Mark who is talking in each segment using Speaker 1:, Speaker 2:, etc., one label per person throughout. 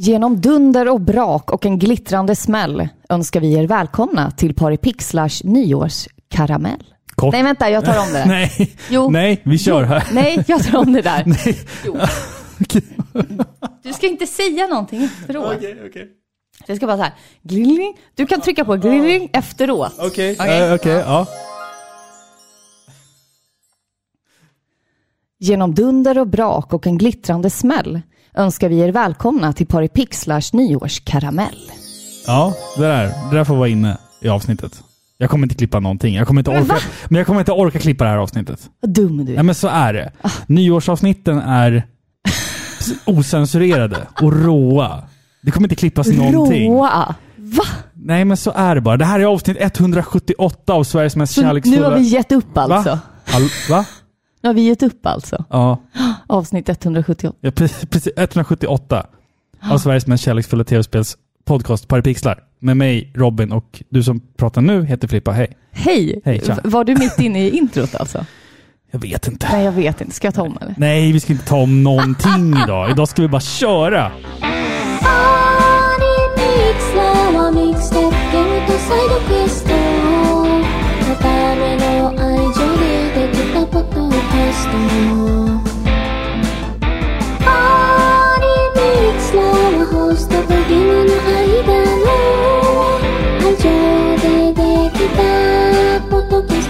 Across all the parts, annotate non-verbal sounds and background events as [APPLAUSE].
Speaker 1: Genom dunder och brak och en glittrande smäll önskar vi er välkomna till Paripixlars nyårskaramell.
Speaker 2: Kort.
Speaker 1: Nej, vänta, jag tar om det där.
Speaker 2: Nej,
Speaker 1: Jo.
Speaker 2: nej vi kör här.
Speaker 1: Nej, jag tar om det där.
Speaker 2: Nej.
Speaker 1: Jo. Du ska inte säga någonting efteråt.
Speaker 2: Okej, okej.
Speaker 1: Det ska vara så här. Glirring. Du kan trycka på glirring efteråt.
Speaker 2: Okej,
Speaker 1: Okej.
Speaker 2: eh, okej, ja.
Speaker 1: Genom dunder och brak och en glittrande smäll önskar vi er välkomna till Paripixlars nyårskaramell.
Speaker 2: Ja, det där. Det där får vara inne i avsnittet. Jag kommer inte klippa någonting. Jag kommer inte
Speaker 1: Men
Speaker 2: orka,
Speaker 1: va?
Speaker 2: men jag kommer inte orka klippa det här avsnittet.
Speaker 1: Vad dum du
Speaker 2: Ja,
Speaker 1: är.
Speaker 2: men så är det.
Speaker 1: Ah.
Speaker 2: Nyårsavsnitten är osensurerade och råa. Det kommer inte klippas någonting.
Speaker 1: Råa. Va?
Speaker 2: Nej, men så är det bara. Det här är avsnitt 178 av Sveriges mest
Speaker 1: Så
Speaker 2: kärleksfulla...
Speaker 1: nu har vi gett upp alltså.
Speaker 2: Va? All... Va?
Speaker 1: Nu har vi gett upp alltså.
Speaker 2: Ja.
Speaker 1: Avsnitt 178.
Speaker 2: Ja, precis, precis. 178 av Sveriges mest kärleksfulla tv-spels podcast Paripixlar. Med mig, Robin och du som pratar nu heter Filippa. Hej.
Speaker 1: Hej!
Speaker 2: Hej, tja.
Speaker 1: V- Var du mitt inne i introt alltså?
Speaker 2: Jag vet inte.
Speaker 1: [LAUGHS] Nej, jag vet inte. Ska jag ta om eller?
Speaker 2: Nej, vi ska inte ta om någonting idag. Idag ska vi bara köra.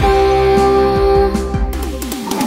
Speaker 3: Podcast.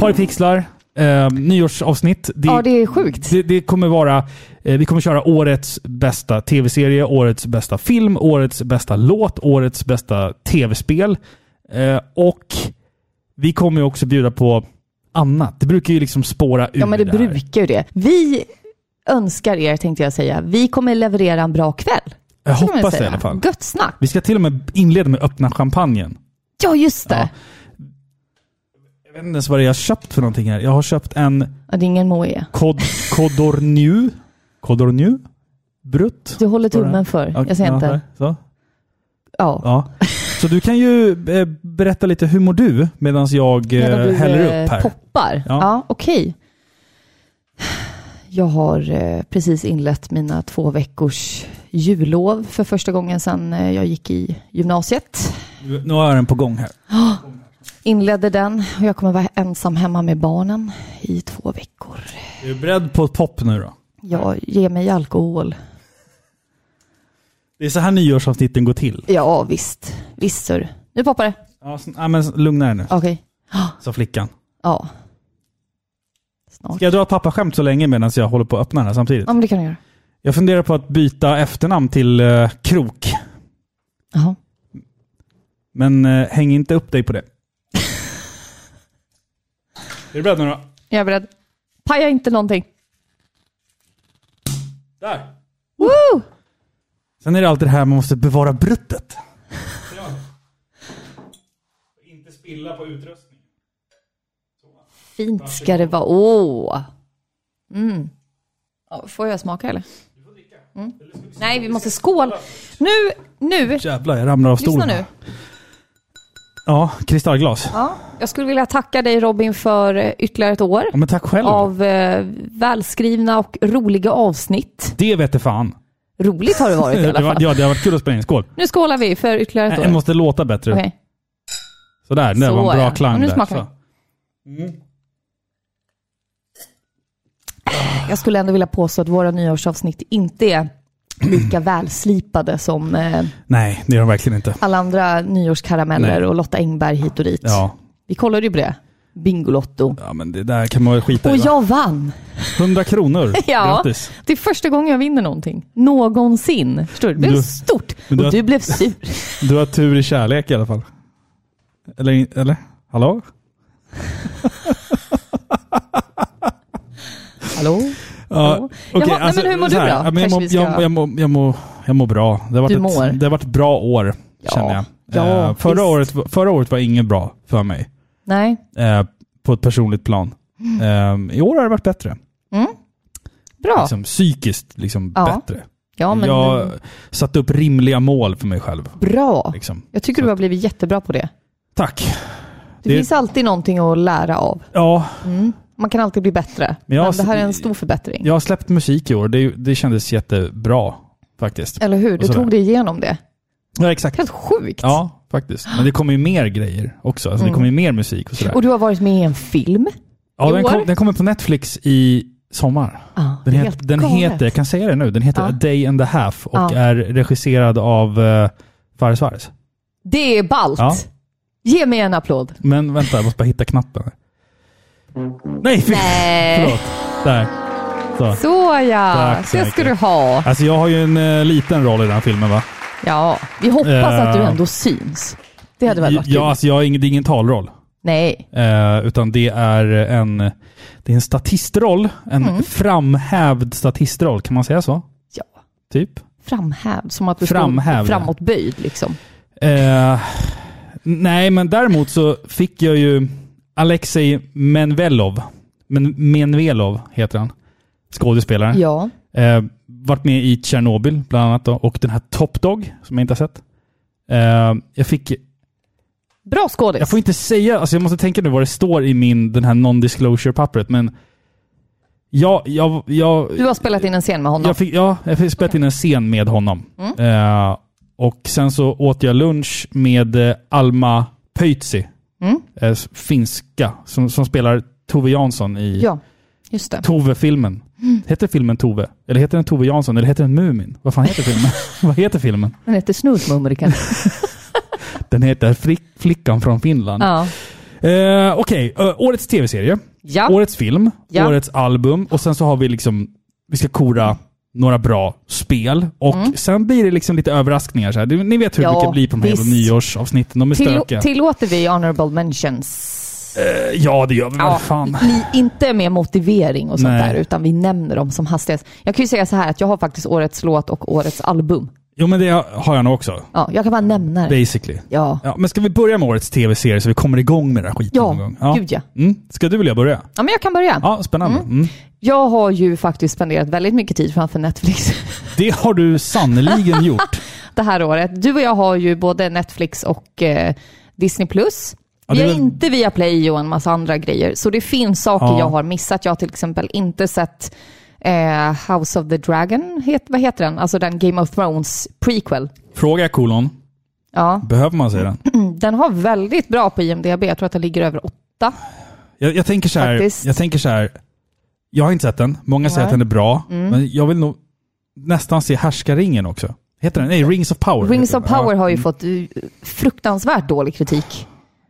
Speaker 2: Paripixlar, eh, nyårsavsnitt. Det,
Speaker 1: Ja, det är sjukt.
Speaker 2: det, det kommer vara... Eh, vi kommer köra årets bästa tv-serie, årets bästa film, årets bästa låt, årets bästa tv-spel. Eh, och vi kommer ju också bjuda på annat. Det brukar ju liksom spåra ur
Speaker 1: Ja, men det
Speaker 2: här.
Speaker 1: brukar ju det. Vi önskar er, tänkte jag säga, vi kommer leverera en bra kväll.
Speaker 2: Jag
Speaker 1: Kan man
Speaker 2: hoppas det i
Speaker 1: säga.
Speaker 2: alla fall.
Speaker 1: Gött snack.
Speaker 2: Vi ska till och med inleda med att öppna champagnen.
Speaker 1: Ja, just det.
Speaker 2: Jag vet inte ens vad det är jag har köpt för någonting här. Jag har köpt en
Speaker 1: Ja. Det är ingen moe.
Speaker 2: Cod Codornu. Codornu? Brutt?
Speaker 1: Du håller
Speaker 2: Står det här?
Speaker 1: tummen för.
Speaker 2: Ja,
Speaker 1: Jag säger
Speaker 2: ja,
Speaker 1: inte.
Speaker 2: Så,
Speaker 1: Ja.
Speaker 2: ja. så du kan ju eh, berätta lite, hur mår du? Medan jag eh,
Speaker 1: Medan du
Speaker 2: häller
Speaker 1: eh,
Speaker 2: upp här.
Speaker 1: poppar.
Speaker 2: Ja.
Speaker 1: Ja, okej. Jag har eh, precis inlett mina två veckors jullov för första gången sedan eh, jag gick i gymnasiet.
Speaker 2: Nu har jag den på gång här.
Speaker 1: Inledde den och jag kommer vara ensam hemma med barnen i två veckor.
Speaker 2: Är du beredd på pop nu då?
Speaker 1: Jag ger mig alkohol.
Speaker 2: Det är så här nyårsavsnitten går till.
Speaker 1: Ja, visst. Visst, sir. Nu poppar det.
Speaker 2: Ja, så, ja, men lugna dig nu,
Speaker 1: Okej.
Speaker 2: sa flickan.
Speaker 1: Ja. Snart.
Speaker 2: Ska jag dra ett pappaskämt så länge medan jag håller på att öppna den här samtidigt?
Speaker 1: Ja, men det kan du göra.
Speaker 2: Jag funderar på att byta efternamn till eh, Krok.
Speaker 1: Jaha.
Speaker 2: Men eh, häng inte upp dig på det.
Speaker 1: [LAUGHS]
Speaker 2: är du beredd nu då?
Speaker 1: Jag är beredd. Paja inte någonting.
Speaker 2: Där!
Speaker 1: Woo!
Speaker 2: Sen är det alltid det här man måste bevara bruttet. Inte spilla på utrustning.
Speaker 1: Fint ska det vara. Åh! Mm. Ja, får jag smaka eller? Mm. Nej, vi måste skål. Nu, nu,
Speaker 2: Jävlar, jag ramlar av
Speaker 1: lyssna
Speaker 2: stolen.
Speaker 1: nu.
Speaker 2: Ja, kristallglas.
Speaker 1: Ja, jag skulle vilja tacka dig Robin för eh, ytterligare ett år
Speaker 2: Ja, men tack själv.
Speaker 1: av eh, välskrivna och roliga avsnitt.
Speaker 2: Det vete fan.
Speaker 1: Roligt har det varit
Speaker 2: [LAUGHS]
Speaker 1: i
Speaker 2: Det,
Speaker 1: alla
Speaker 2: var,
Speaker 1: fall.
Speaker 2: ja, det har varit kul att spela in. Skål.
Speaker 1: Nu skålar vi för ytterligare ett
Speaker 2: Den
Speaker 1: år.
Speaker 2: måste låta bättre.
Speaker 1: Okej.
Speaker 2: Sådär, det
Speaker 1: Så,
Speaker 2: var en bra
Speaker 1: ja.
Speaker 2: klang
Speaker 1: Ja, nu
Speaker 2: där.
Speaker 1: smakar
Speaker 2: Så.
Speaker 1: Jag skulle ändå vilja påstå att våra nyårsavsnitt inte är lika välslipade som eh,
Speaker 2: Nej, det är de verkligen inte.
Speaker 1: alla andra nyårskarameller
Speaker 2: Nej.
Speaker 1: och Lotta Engberg hit och dit.
Speaker 2: Ja,
Speaker 1: Vi kollade ju på det. Bingolotto.
Speaker 2: ja men det där kan man väl skita
Speaker 1: Och
Speaker 2: i. va?
Speaker 1: jag vann! [LAUGHS]
Speaker 2: 100 kronor.
Speaker 1: Ja.
Speaker 2: Grattis.
Speaker 1: Det är första gången jag vinner någonting. Någonsin. Förstår du? Det blev
Speaker 2: Du-
Speaker 1: stort.
Speaker 2: men du-
Speaker 1: och du blev
Speaker 2: [LAUGHS]
Speaker 1: sur.
Speaker 2: Du har tur i kärlek i alla fall. Eller? eller? Hallå?
Speaker 1: Hallå?
Speaker 2: Ja,
Speaker 1: Jaha,
Speaker 2: okej, alltså,
Speaker 1: nej, men hur mår
Speaker 2: så
Speaker 1: du
Speaker 2: här,
Speaker 1: då?
Speaker 2: ja, men Jag
Speaker 1: Kanske
Speaker 2: mår
Speaker 1: vi ska-
Speaker 2: jag- jag mår- jag mår- jag mår bra. Det har varit
Speaker 1: Du mår.
Speaker 2: ett, det har varit ett bra år,
Speaker 1: Ja,
Speaker 2: känner jag.
Speaker 1: Ja,
Speaker 2: Eh, förra,
Speaker 1: visst.
Speaker 2: året, förra året var inget bra för mig.
Speaker 1: Nej.
Speaker 2: Eh, på ett personligt plan.
Speaker 1: Mm.
Speaker 2: Eh, I år har det varit bättre.
Speaker 1: Bra.
Speaker 2: Liksom, psykiskt liksom,
Speaker 1: Ja,
Speaker 2: bättre.
Speaker 1: Ja, men
Speaker 2: Jag satte upp rimliga mål för mig själv.
Speaker 1: bra.
Speaker 2: Liksom.
Speaker 1: Jag tycker du har blivit jättebra på det.
Speaker 2: Tack.
Speaker 1: Det,
Speaker 2: Det-
Speaker 1: finns alltid någonting att lära av.
Speaker 2: Ja,
Speaker 1: Man kan alltid bli bättre.
Speaker 2: Men
Speaker 1: Men,
Speaker 2: jag-
Speaker 1: det här är en stor förbättring.
Speaker 2: jag har släppt musik i år. Det, det kändes jättebra faktiskt.
Speaker 1: Eller hur? Du
Speaker 2: Och sådär.
Speaker 1: tog dig igenom det.
Speaker 2: Ja, exakt.
Speaker 1: Eh, Helt sjukt.
Speaker 2: Ja, faktiskt. Men det kommer ju mer grejer också. Alltså,
Speaker 1: Mm.
Speaker 2: Det kommer ju mer musik och sådär.
Speaker 1: Och du har varit med i en film.
Speaker 2: ja,
Speaker 1: i
Speaker 2: den, kom,
Speaker 1: år?
Speaker 2: den kommer på Netflix i sommar.
Speaker 1: Ah,
Speaker 2: Den,
Speaker 1: det är
Speaker 2: het,
Speaker 1: helt
Speaker 2: den
Speaker 1: galet.
Speaker 2: heter, jag kan säga det nu, den heter
Speaker 1: Ja.
Speaker 2: A Day and a Half och
Speaker 1: Ja.
Speaker 2: är regisserad av uh, Fares Fares.
Speaker 1: Det är ballt.
Speaker 2: Ja.
Speaker 1: Ge mig en applåd.
Speaker 2: Men vänta, jag måste bara hitta knappen. Nej, [LAUGHS] för,
Speaker 1: Nej.
Speaker 2: förlåt. Där. Så.
Speaker 1: Så ja,
Speaker 2: Tack så
Speaker 1: det ska
Speaker 2: mycket.
Speaker 1: du ha.
Speaker 2: Alltså jag har ju en eh, liten roll i den här filmen va?
Speaker 1: Ja, vi hoppas
Speaker 2: Eh.
Speaker 1: att du ändå syns. Det hade väl varit kul?
Speaker 2: Ja, alltså jag har ingen, det är ingen talroll.
Speaker 1: Nej.
Speaker 2: Eh, utan det är en, det är en statistroll. En framhävd statistroll, kan man säga så?
Speaker 1: Mm. Ja.
Speaker 2: Typ.
Speaker 1: Framhävd, som att du
Speaker 2: Framhävd,
Speaker 1: stod
Speaker 2: ja.
Speaker 1: framåtböjd liksom.
Speaker 2: Eh, nej, men däremot så fick jag ju Alexej Menvelov. Men, Menvelov heter han. Skådespelaren.
Speaker 1: Ja.
Speaker 2: Eh, varit med i Tjernobyl bland annat då, och den här Top Dog som jag inte har sett. Eh, jag, fick,
Speaker 1: Bra skådis.
Speaker 2: jag får inte säga, alltså jag måste tänka nu vad det står i min, den här non-disclosure-pappret, men jag, jag, jag,
Speaker 1: Du har spelat in en scen med honom.
Speaker 2: jag fick, ja, jag fick spela in en scen med honom.
Speaker 1: Mm.
Speaker 2: Eh, och sen så åt jag lunch med eh, Alma Pöytsi,
Speaker 1: Mm.
Speaker 2: eh, s- finska, som, som spelar Tove Jansson i
Speaker 1: Ja, Mm. just det.
Speaker 2: Tove-filmen. Heter filmen Tove? Eller heter den Tove Jansson? Eller heter den Mumin? Vad fan
Speaker 1: [LAUGHS]
Speaker 2: heter filmen? Vad heter filmen?
Speaker 1: Den heter Snusmumriken.
Speaker 2: Den heter Frick- Flickan från
Speaker 1: [LAUGHS]
Speaker 2: Finland.
Speaker 1: ja.
Speaker 2: Eh, Okej, eh, årets tv-serie,
Speaker 1: Ja.
Speaker 2: årets film,
Speaker 1: Ja.
Speaker 2: årets album och sen så har vi liksom, vi ska kora några bra spel och sen blir det liksom lite överraskningar. Så här. Du- Ni vet hur
Speaker 1: Mm. Ja,
Speaker 2: det brukar bli på de här jävla
Speaker 1: visst.
Speaker 2: nyårsavsnitten. De är
Speaker 1: Till,
Speaker 2: stökiga.
Speaker 1: tillåter vi honorable mentions?
Speaker 2: Eh, ja, det gör vi. Ja. Fan.
Speaker 1: ni, inte med motivering och sånt
Speaker 2: Nej.
Speaker 1: där, utan vi nämner dem som hastigast. Jag kan ju säga så här att jag har faktiskt årets låt och årets album.
Speaker 2: Jo, men det har jag nog också.
Speaker 1: Ja, jag kan bara nämna det.
Speaker 2: Basically.
Speaker 1: Ja,
Speaker 2: Ja, men ska vi börja med årets tv-serie så vi kommer igång med den här skiten någon
Speaker 1: ja.
Speaker 2: gång?
Speaker 1: gud ja.
Speaker 2: Mm. Ska du vilja börja?
Speaker 1: Ja, men jag kan börja.
Speaker 2: Ja, spännande. Mm.
Speaker 1: Jag har ju faktiskt spenderat väldigt mycket tid framför Netflix [LAUGHS]
Speaker 2: Det har du sannoliken gjort.
Speaker 1: det här året. Du och jag har ju både Netflix och eh, Disney+. Plus.
Speaker 2: Ja,
Speaker 1: vi
Speaker 2: det är
Speaker 1: har
Speaker 2: väl-
Speaker 1: inte via Play och en massa andra grejer. Så det finns saker
Speaker 2: Ja.
Speaker 1: jag har missat. Jag har till exempel inte sett eh, House of the Dragon, het, vad heter den? Alltså den Game of Thrones prequel.
Speaker 2: Fråga kolon.
Speaker 1: Ja,
Speaker 2: Behöver man säga den?
Speaker 1: den har väldigt bra på IMDB. Jag tror att den ligger över åtta.
Speaker 2: Jag, jag, tänker, så här,
Speaker 1: Faktiskt.
Speaker 2: jag tänker så här. Jag har inte sett den. Många säger
Speaker 1: Nej. Mm.
Speaker 2: att den är bra. Men jag vill nog nästan se Härskaringen också. Heter den? Nej, Rings of Power.
Speaker 1: Rings
Speaker 2: heter
Speaker 1: of
Speaker 2: den. Ja.
Speaker 1: Power har ju fått eh, fruktansvärt dålig kritik.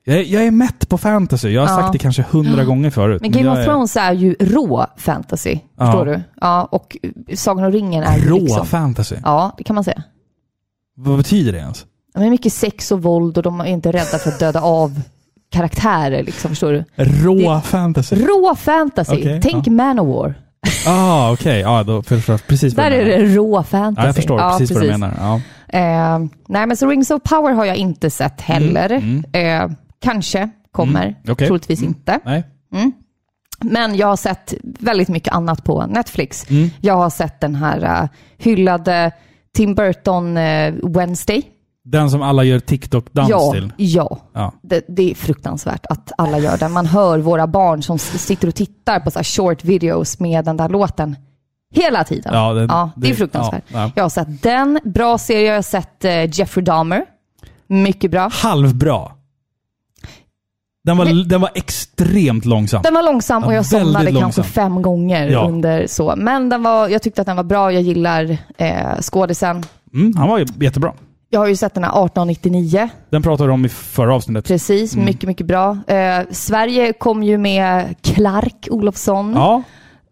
Speaker 2: Jag, är- jag är mätt på fantasy. Jag har
Speaker 1: Ja.
Speaker 2: sagt det kanske hundra gånger förut.
Speaker 1: Men Game
Speaker 2: jag
Speaker 1: of
Speaker 2: är
Speaker 1: Thrones är ju rå fantasy.
Speaker 2: Ja.
Speaker 1: Förstår du? Ja, och eh, Sagan om ringen är ju
Speaker 2: Rå
Speaker 1: liksom...
Speaker 2: fantasy.
Speaker 1: Ja, det kan man säga.
Speaker 2: Vad betyder det ens?
Speaker 1: Ja, Men mycket sex och våld och de är inte rädda för att döda av karaktärer. Liksom, förstår du?
Speaker 2: Rå fantasy.
Speaker 1: Rå fantasy.
Speaker 2: Okej,
Speaker 1: Tänk
Speaker 2: ja.
Speaker 1: Manowar.
Speaker 2: Ah, okej. Ja, då förstår jag precis vad
Speaker 1: Där
Speaker 2: du
Speaker 1: är
Speaker 2: menar.
Speaker 1: det rå fantasy.
Speaker 2: Ja, jag förstår
Speaker 1: Ja,
Speaker 2: precis, vad du menar. Ja.
Speaker 1: Eh, nej, men så Rings of Power har jag inte sett heller. Eh, kanske kommer.
Speaker 2: Mm, okej. Mm.
Speaker 1: Troligtvis inte.
Speaker 2: Nej.
Speaker 1: Men jag har sett väldigt mycket annat på Netflix.
Speaker 2: Mm.
Speaker 1: Jag har sett den här eh, hyllade Tim Burton eh, Wednesday.
Speaker 2: Den som alla gör TikTok-dans
Speaker 1: Ja,
Speaker 2: till.
Speaker 1: ja.
Speaker 2: Ja.
Speaker 1: Det, det är fruktansvärt att alla gör den. Man hör våra barn som s- sitter och tittar på så här short videos med den där låten hela tiden.
Speaker 2: Ja, det-
Speaker 1: det är
Speaker 2: det-
Speaker 1: fruktansvärt.
Speaker 2: ja, ja.
Speaker 1: Jag har sett den. Bra serie. Jag har sett eh, Jeffrey Dahmer. Mycket bra.
Speaker 2: halvbra. Den var, den var extremt långsam.
Speaker 1: Den var långsam och
Speaker 2: Ja,
Speaker 1: jag somnade
Speaker 2: väldigt
Speaker 1: kanske
Speaker 2: långsam.
Speaker 1: fem gånger
Speaker 2: Ja.
Speaker 1: under så. Men den var, jag tyckte att den var bra. Jag gillar eh, skådisen.
Speaker 2: Mm, han var ju jättebra.
Speaker 1: Jag har ju sett den här 1899.
Speaker 2: Den pratade vi om i förra avsnittet.
Speaker 1: Precis,
Speaker 2: Mm.
Speaker 1: mycket, mycket bra. Eh, Sverige kom ju med Clark Olofsson.
Speaker 2: Ja,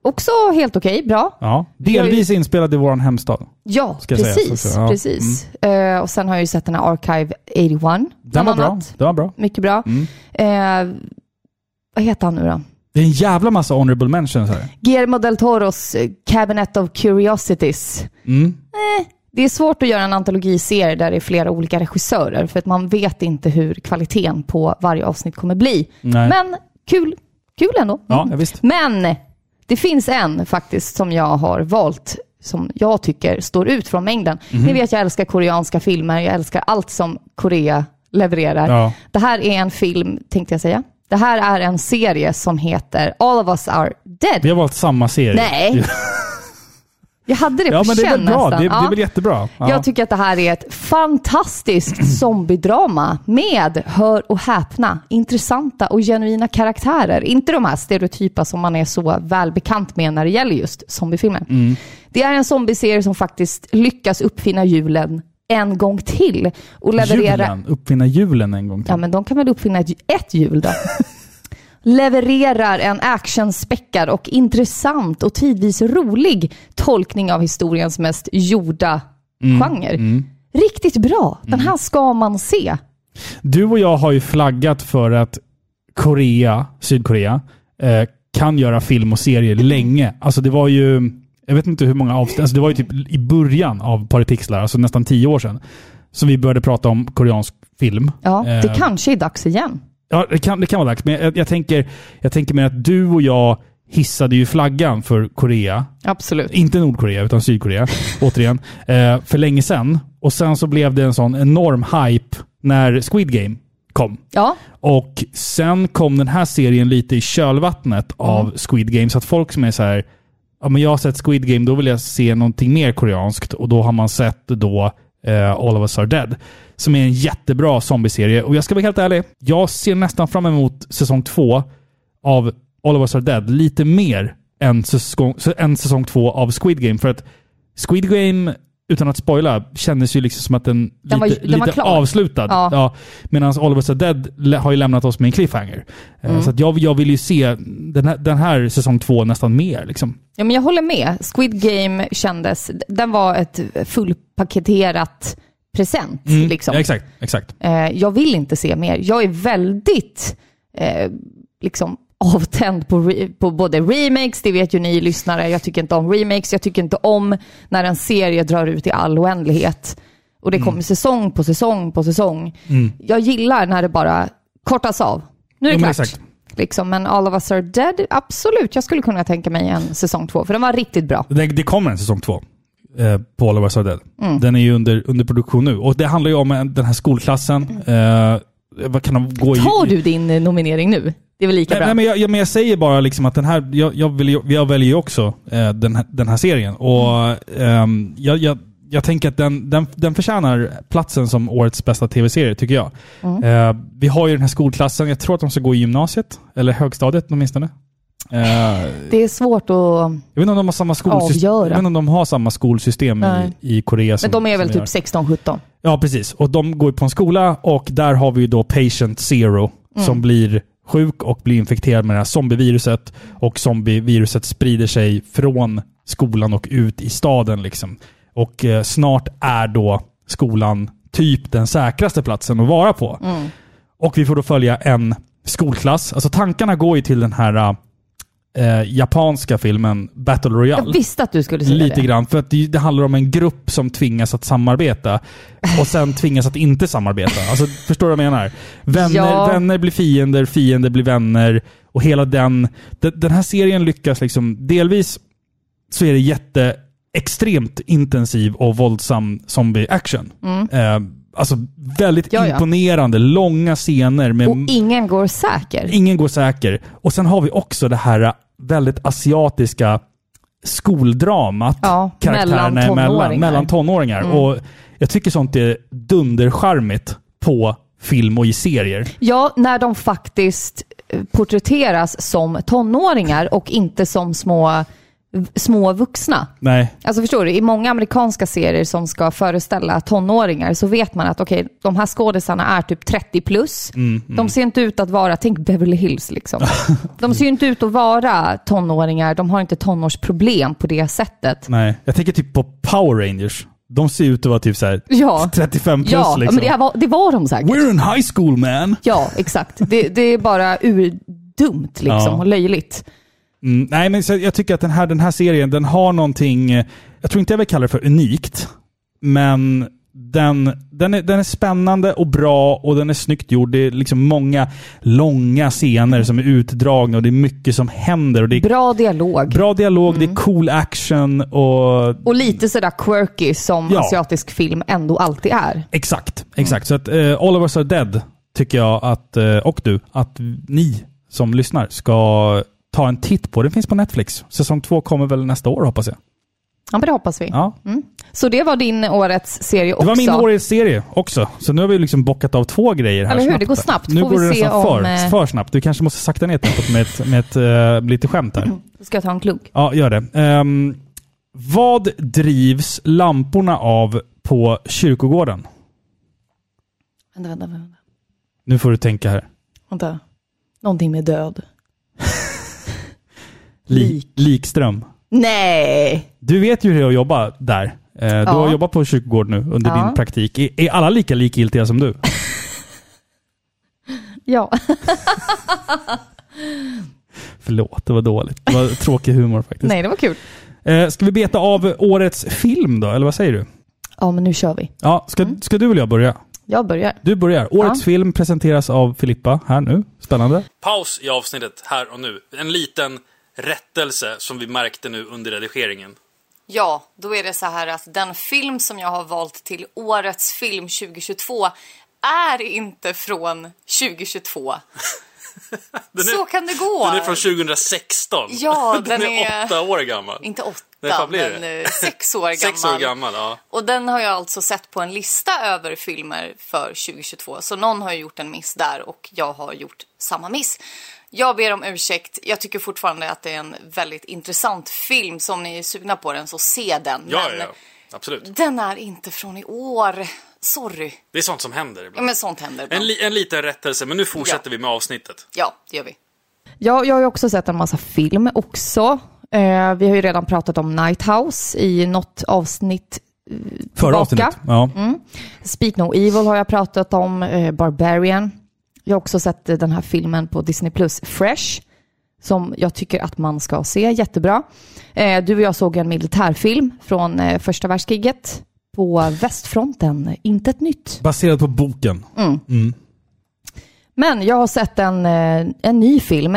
Speaker 1: Också helt okej, bra.
Speaker 2: ja. Delvis inspelad i vår hemstad.
Speaker 1: Ja,
Speaker 2: Ska jag säga,
Speaker 1: precis.
Speaker 2: så- så- ja. Mm.
Speaker 1: precis. Eh, och sen har jag ju sett den här Archive 81.
Speaker 2: Den
Speaker 1: bland
Speaker 2: var bra. Mm.
Speaker 1: annat.
Speaker 2: Den var bra.
Speaker 1: Mycket bra. Eh, vad heter han nu då?
Speaker 2: Det är en jävla massa honorable
Speaker 1: Mm.
Speaker 2: mentions här.
Speaker 1: Guillermo del Toros eh, Cabinet of Curiosities.
Speaker 2: Mm.
Speaker 1: det är svårt att göra en antologiserie där det är flera olika regissörer, för att man vet inte hur kvaliteten på varje avsnitt kommer bli.
Speaker 2: Nej.
Speaker 1: Men kul, kul ändå.
Speaker 2: Ja,
Speaker 1: Mm.
Speaker 2: ja, visst.
Speaker 1: Men det finns en faktiskt som jag har valt som jag tycker står ut från mängden.
Speaker 2: Mhm.
Speaker 1: Ni vet jag älskar koreanska filmer, jag älskar allt som Korea levererar.
Speaker 2: Ja.
Speaker 1: Det här är en film, tänkte jag säga. Det här är en serie som heter All of us are dead.
Speaker 2: Vi har valt samma serie.
Speaker 1: Nej. Jag hade det
Speaker 2: Ja,
Speaker 1: på
Speaker 2: men det är väl
Speaker 1: känn
Speaker 2: bra. Det,
Speaker 1: nästan.
Speaker 2: det
Speaker 1: Ja.
Speaker 2: är väl jättebra. Ja.
Speaker 1: Jag tycker att det här är ett fantastiskt zombiedrama med, hör och häpna, intressanta och genuina karaktärer. Inte de här stereotypa som man är så välbekant med när det gäller just zombiefilmer. Det är en zombieserie som faktiskt lyckas uppfinna hjulen en gång till och leverera...
Speaker 2: Julen. Uppfinna julen en gång till.
Speaker 1: Ja, men de kan väl uppfinna ett, ett hjul då? levererar en actionspäckad och intressant och tidvis rolig tolkning av historiens mest gjorda genre. Riktigt bra. Den här ska man se.
Speaker 2: Du och jag har ju flaggat för att Korea, Sydkorea, eh, kan göra film och serier länge. Alltså det var ju, jag vet inte hur många avsnitt, alltså det var ju typ i början av Paripixlar, alltså nästan tio år sedan, som vi började prata om koreansk film.
Speaker 1: Ja, det
Speaker 2: Eh,
Speaker 1: kanske är dags igen.
Speaker 2: Ja, det kan, det kan vara dags. Men jag, jag tänker, jag tänker mer att du och jag hissade ju flaggan för Korea
Speaker 1: Absolut.
Speaker 2: inte Nordkorea,
Speaker 1: [LAUGHS]
Speaker 2: utan Sydkorea, återigen, eh, för länge sedan. Och sen så blev det en sån enorm hype när Squid Game kom.
Speaker 1: Ja,
Speaker 2: Och sen kom den här serien lite i kölvattnet
Speaker 1: Mm.
Speaker 2: av Squid Game, så att folk som är så här, ja men jag har sett Squid Game, då vill jag se någonting mer koreanskt. Och då har man sett då eh, All of us are dead, som är en jättebra zombieserie. Och jag ska vara helt ärlig, jag ser nästan fram emot säsong två av All of us are dead lite mer än säsong, än säsong två av Squid Game. För att Squid Game, utan att spoila, kändes ju liksom som att den,
Speaker 1: Den var-
Speaker 2: lite,
Speaker 1: den var
Speaker 2: lite
Speaker 1: klar.
Speaker 2: avslutad.
Speaker 1: Ja.
Speaker 2: Medan All of us are dead lä- har ju lämnat oss med en cliffhanger. Eh, Så att jag, jag vill ju se den här, den här säsong två nästan mer. Liksom.
Speaker 1: Ja, men jag håller med. Squid Game kändes... Den var ett fullpaketerat present. liksom.
Speaker 2: Ja, exakt, exakt.
Speaker 1: Eh, jag vill inte se mer. Jag är väldigt eh, liksom avtänd på, re- på både remakes, det vet ju ni lyssnare. Jag tycker inte om remakes. Jag tycker inte om när en serie drar ut i all oändlighet. Och
Speaker 2: Mm.
Speaker 1: det kommer säsong på säsong på säsong. Jag gillar när det bara kortas av. Nu är det
Speaker 2: Jo, men
Speaker 1: klart.
Speaker 2: exakt.
Speaker 1: Liksom, men All of us are dead, absolut. Jag skulle kunna tänka mig en säsong två, för den var riktigt bra.
Speaker 2: Det, det kommer en säsong två eh, på All of Us Are Dead. Den är ju under, under produktion nu. Och det handlar ju om en, den här skolklassen. Eh, vad kan de gå i-
Speaker 1: Tar du din eh, nominering nu? Det är väl lika
Speaker 2: Nej,
Speaker 1: bra?
Speaker 2: nej, men, jag, jag, men jag säger bara liksom att den här, jag, jag, vill, ju- jag väljer ju också eh, den, här, den här serien. Och ehm, jag, jag, jag tänker att den, den, den förtjänar platsen som årets bästa tv-serie, tycker jag.
Speaker 1: Mm.
Speaker 2: Eh, vi har ju den här skolklassen, jag tror att de ska gå i gymnasiet, eller högstadiet åtminstone. Eh,
Speaker 1: Det är svårt att...
Speaker 2: jag vet inte om de har samma skolsystem, jag
Speaker 1: Avgöra.
Speaker 2: vet inte om de har samma skolsystem
Speaker 1: Nej.
Speaker 2: i, i Korea. Som,
Speaker 1: Men de är väl
Speaker 2: som vi har.
Speaker 1: typ 16-17?
Speaker 2: Ja, precis. Och de går ju på en skola och där har vi ju då patient zero som blir sjuk och blir infekterad med det här zombieviruset. Och zombieviruset sprider sig från skolan och ut i staden. Liksom. Och eh, snart är då skolan typ den säkraste platsen att vara på. Och vi får då följa en skolklass. Alltså tankarna går ju till den här eh, japanska filmen Battle Royale.
Speaker 1: Jag visste att du skulle säga
Speaker 2: Lite
Speaker 1: det.
Speaker 2: grann, för att det, det handlar om en grupp som tvingas att samarbeta
Speaker 1: [LAUGHS]
Speaker 2: och sen tvingas att inte samarbeta. Alltså, förstår du vad jag menar? Vänner,
Speaker 1: Ja.
Speaker 2: vänner blir fiender, fiender blir vänner och hela den... de- Den här serien lyckas liksom... Delvis så är det jätte extremt intensiv och våldsam zombie-action. Eh, alltså väldigt
Speaker 1: Mm. Ja, ja.
Speaker 2: imponerande, långa scener med
Speaker 1: Och ingen går säker.
Speaker 2: Ingen går säker. Och sen har vi också det här eh, väldigt asiatiska skoldramat
Speaker 1: Ja,
Speaker 2: karaktärerna
Speaker 1: mellan tonåringar. Mm.
Speaker 2: emellan, mellan tonåringar. Och jag tycker sånt är dundercharmigt på film och i serier.
Speaker 1: ja, när de faktiskt eh, porträtteras som tonåringar och inte som små, små vuxna.
Speaker 2: Nej.
Speaker 1: Alltså förstår du, i många amerikanska serier som ska föreställa tonåringar så vet man att okej, de här skådisarna är typ 30 plus.
Speaker 2: Mm,
Speaker 1: De ser inte ut att vara, tänk Beverly Hills
Speaker 2: [LAUGHS]
Speaker 1: liksom. De ser ju inte ut att vara tonåringar, de har inte tonårsproblem på det sättet.
Speaker 2: Nej. Jag tänker typ på Power Rangers. De ser ut att vara typ så här
Speaker 1: Ja.
Speaker 2: 35 plus
Speaker 1: Ja,
Speaker 2: liksom.
Speaker 1: men det var, det var de säkert.
Speaker 2: We're in high school man!
Speaker 1: Ja, exakt. Det, det är bara urdumt liksom
Speaker 2: Ja.
Speaker 1: och löjligt.
Speaker 2: Mm, nej, men så jag tycker att den här, den här serien, den har någonting... eh, Jag tror inte jag vill kalla det för unikt, Men den, den, är, den är spännande och bra och den är snyggt gjord. Det är liksom många långa scener som är utdragna och det är mycket som händer. Och det är
Speaker 1: Bra dialog.
Speaker 2: bra dialog, det är cool action och
Speaker 1: Och lite sådär quirky som
Speaker 2: Ja.
Speaker 1: asiatisk film ändå alltid är.
Speaker 2: Exakt, exakt. Så att eh, All of us are dead tycker jag att, eh, och du, att ni som lyssnar ska ta en titt på. Den finns på Netflix. Säsong två kommer väl nästa år hoppas jag.
Speaker 1: Ja, men det hoppas vi.
Speaker 2: Ja.
Speaker 1: Så det var din årets serie också.
Speaker 2: Det var min årets serie också. Så nu har vi liksom bockat av två grejer här
Speaker 1: Eller hur? Det går snabbt.
Speaker 2: Nu
Speaker 1: Får vi
Speaker 2: går det
Speaker 1: se
Speaker 2: nästan
Speaker 1: om,
Speaker 2: för,
Speaker 1: eh,
Speaker 2: för snabbt. Du kanske måste sakta ner tempot med ett, med ett eh, lite skämt här.
Speaker 1: Då ska jag ta en klunk.
Speaker 2: Ja, gör det. Ehm, vad drivs lamporna av på kyrkogården?
Speaker 1: Vänta, vänta, vänta.
Speaker 2: Nu får du tänka här.
Speaker 1: vänta. Någonting med död.
Speaker 2: Li- Likström.
Speaker 1: Nej!
Speaker 2: Du vet ju hur jag jobbar där. Eh, Du
Speaker 1: Ja.
Speaker 2: har jobbat på kyrkogård nu under
Speaker 1: Ja.
Speaker 2: din praktik. Är, är alla lika likgiltiga som du?
Speaker 1: Ja. [LAUGHS]
Speaker 2: Förlåt, det var dåligt. Det var tråkig humor faktiskt.
Speaker 1: Nej, det var kul.
Speaker 2: Eh, Ska vi beta av årets film då, eller vad säger du?
Speaker 1: Ja, men nu kör vi.
Speaker 2: Ja, ska,
Speaker 4: Mm.
Speaker 2: ska du eller jag börja?
Speaker 1: Jag börjar.
Speaker 2: Du börjar. Årets film presenteras av Filippa här nu. Spännande.
Speaker 5: paus i avsnittet här och nu. En liten rättelse som vi märkte nu under redigeringen.
Speaker 4: Ja, då är det så här att den film som jag har valt till årets film 2022 är inte från 2022.
Speaker 5: Den
Speaker 4: Så kan det gå.
Speaker 5: Den är från 2016. [LAUGHS]
Speaker 4: Ja, den är-
Speaker 5: åtta år gammal.
Speaker 4: Inte åtta,
Speaker 5: Nej, vad blir
Speaker 4: men
Speaker 5: det?
Speaker 4: eh, sex år
Speaker 5: [LAUGHS]
Speaker 4: gammal.
Speaker 5: Sex år gammal, ja.
Speaker 4: Och den har jag alltså sett på en lista över filmer för 2022. Så någon har ju gjort en miss där och jag har gjort samma miss. Jag ber om ursäkt. Jag tycker fortfarande att det är en väldigt intressant film. Så om ni är sugna på den så se den.
Speaker 5: Ja,
Speaker 4: men
Speaker 5: ja, ja. Absolut.
Speaker 4: den är inte från i år. Sorry.
Speaker 5: Det är sånt som händer
Speaker 4: Ja,
Speaker 5: ibland.
Speaker 4: men sånt händer ibland.
Speaker 5: En, li- en liten rättelse, men nu fortsätter
Speaker 4: Ja.
Speaker 5: vi med avsnittet.
Speaker 4: Ja, det gör vi.
Speaker 1: Ja, jag har ju också sett en massa film också. Eh, vi har ju redan pratat om Nighthouse i något avsnitt.
Speaker 2: Förra
Speaker 1: Tillbaka.
Speaker 2: avsnittet. Ja.
Speaker 4: Mm.
Speaker 1: Speak No Evil har jag pratat om, eh, Barbarian. Jag har också sett eh, den här filmen på Disney Plus, Fresh, som jag tycker att man ska se, jättebra. Eh, du och jag såg en militärfilm från eh, första världskriget på västfronten, inte ett nytt.
Speaker 2: Baserat på boken.
Speaker 4: Mm.
Speaker 1: Men jag har sett en, eh, en ny film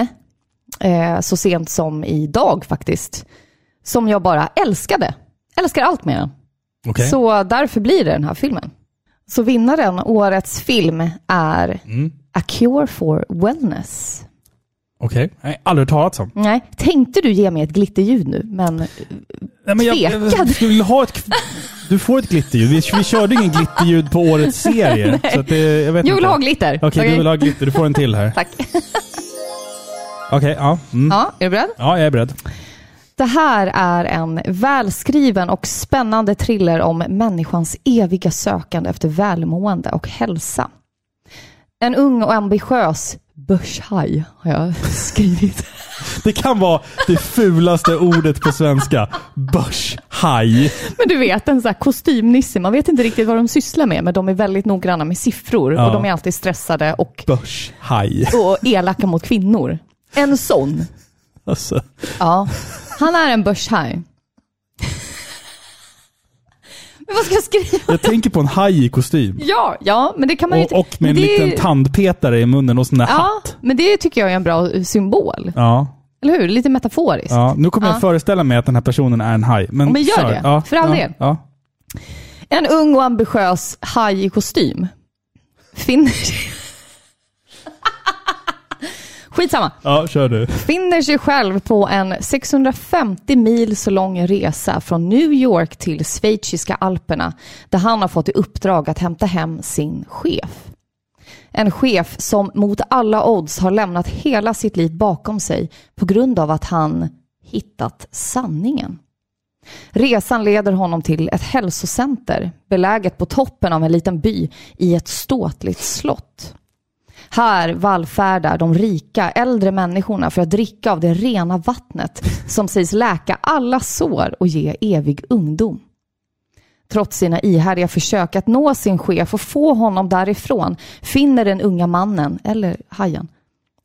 Speaker 1: eh, så sent som idag faktiskt. Som jag bara älskade. Älskar allt med den.
Speaker 2: Okej.
Speaker 1: Så därför blir det den här filmen. Så vinnaren, årets film, är
Speaker 2: Mm.
Speaker 1: A Cure for Wellness.
Speaker 2: Okej. Nej, Aldrig hört talas om.
Speaker 1: Nej, tänkte du ge mig ett glitterljud nu, men
Speaker 2: Nej, men jag, jag,
Speaker 1: Tvekad.
Speaker 2: skulle vilja ha ett,
Speaker 1: [LAUGHS]
Speaker 2: k- du får ett glitterljud. Vi, vi körde ingen glitterljud på årets
Speaker 1: [LAUGHS]
Speaker 2: serie. så att det, jag vet
Speaker 1: jag vill
Speaker 2: inte.
Speaker 1: ha glitter.
Speaker 2: Okej, du vill ha glitter. Du får en till här.
Speaker 1: Tack.
Speaker 2: Okej, ja. Mm.
Speaker 1: Ja, är du beredd?
Speaker 2: Ja, jag är beredd.
Speaker 1: Det här är en välskriven och spännande thriller om människans eviga sökande efter välmående och hälsa. En ung och ambitiös börshaj har jag [LAUGHS] skrivit.
Speaker 2: Det kan vara det fulaste ordet på svenska. Börshaj.
Speaker 1: Men du vet, en sån här kostymnisse. Man vet inte riktigt vad de sysslar med, men de är väldigt noggranna med siffror
Speaker 2: Ja.
Speaker 1: och de är alltid stressade och,
Speaker 2: Börshaj.
Speaker 1: och elaka mot kvinnor. En sån.
Speaker 2: Alltså.
Speaker 1: Ja, han är en börshaj. Men vad ska jag skriva?
Speaker 2: Jag tänker på en haj i kostym.
Speaker 1: Ja, ja, men det kan man ju
Speaker 2: Och,
Speaker 1: inte-
Speaker 2: och med en
Speaker 1: det är ju-
Speaker 2: liten tandpetare i munnen och sån där
Speaker 1: Ja,
Speaker 2: hatt.
Speaker 1: men det tycker jag är en bra symbol.
Speaker 2: Ja,
Speaker 1: Eller hur? Lite metaforiskt.
Speaker 2: ja. Nu kommer jag
Speaker 1: Ja.
Speaker 2: föreställa mig att den här personen är en haj. Men,
Speaker 1: Men gör
Speaker 2: kör.
Speaker 1: det. För all
Speaker 2: ja,
Speaker 1: del.
Speaker 2: Ja.
Speaker 1: En ung och ambitiös haj i kostym. Finner... [LAUGHS] Skitsamma.
Speaker 2: ja, kör du.
Speaker 1: Finner sig själv på en 650 mil så lång resa från New York till schweiziska alperna där han har fått i uppdrag att hämta hem sin chef. En chef som mot alla odds har lämnat hela sitt liv bakom sig på grund av att han hittat sanningen. Resan leder honom till ett hälsocenter beläget på toppen av en liten by i ett ståtligt slott. Här vallfärdar de rika äldre människorna för att dricka av det rena vattnet som sägs läka alla sår och ge evig ungdom. Trots sina ihärdiga försök att nå sin chef och få honom därifrån finner den unga mannen, eller hajen,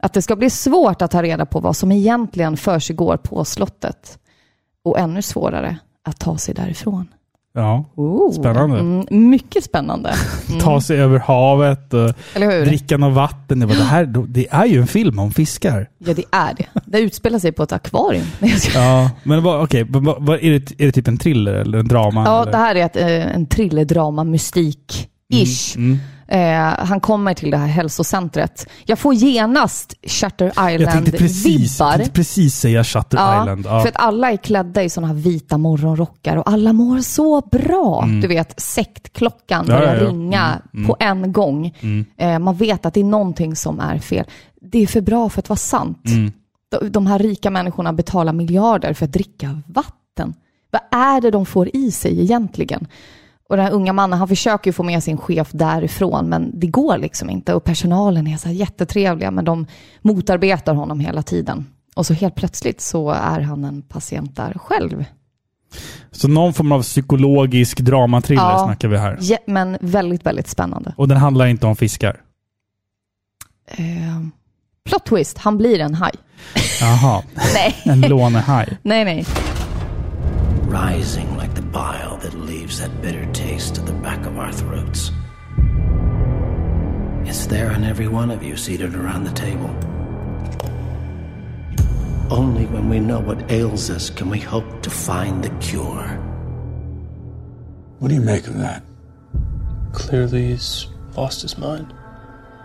Speaker 1: att det ska bli svårt att ta reda på vad som egentligen försiggår på slottet. Och ännu svårare att ta sig därifrån.
Speaker 2: Ja.
Speaker 1: Oh.
Speaker 2: Spännande.
Speaker 1: Mm, mycket spännande.
Speaker 2: Ta sig över havet, eh,
Speaker 1: Mm. Eller hur?
Speaker 2: drickan av vatten. Det, var det, här, det är ju en film om fiskar.
Speaker 1: Ja, det är det. Det utspelar sig på ett akvarium. Nej, jag ska-
Speaker 2: Ja, men vad, okej, vad- vad- vad- är, det, är det typ en thriller eller en drama?
Speaker 1: Ja,
Speaker 2: eller?
Speaker 1: det här är ett, eh, en thrillerdrama, mystik-ish.
Speaker 2: Mm,
Speaker 1: Eh, han kommer till det här hälsocentret. Jag får genast Shutter
Speaker 2: jag tänkte precis,
Speaker 1: Island-vibbar.
Speaker 2: tänkte precis säga Shutter Island. Ja.
Speaker 1: För att alla är klädda i sådana här vita morgonrockar och alla mår så bra.
Speaker 2: Mm.
Speaker 1: Du vet, sektklockan
Speaker 2: Ja,
Speaker 1: börjar
Speaker 2: ja, Mm, ja.
Speaker 1: ringa på en gång. Eh, man vet att det är någonting som är fel. Det är för bra för att vara sant.
Speaker 2: Mm.
Speaker 1: De, de här rika människorna betalar miljarder för att dricka vatten. Vad är det de får i sig egentligen? Och den här unga mannen, han försöker ju få med sin chef därifrån, men det går liksom inte. Och personalen är så här jättetrevliga, men de motarbetar honom hela tiden. Och så helt plötsligt så är han en patient där själv.
Speaker 2: Så någon form av psykologisk dramathriller
Speaker 1: Ja.
Speaker 2: snackar vi här.
Speaker 1: Ja, men väldigt, väldigt spännande.
Speaker 2: Och den handlar inte om fiskar.
Speaker 1: Eh, plot twist, han blir en haj.
Speaker 2: Jaha,
Speaker 1: Nej,
Speaker 2: [LAUGHS] en lånehaj.
Speaker 1: nej, nej.
Speaker 6: rising like the bile that leaves that bitter taste at the back of our throats. It's there in every one of you seated around the table. Only when we know what ails us can we hope to find the cure.
Speaker 7: What do you make of that?
Speaker 8: Clearly, he's lost his mind.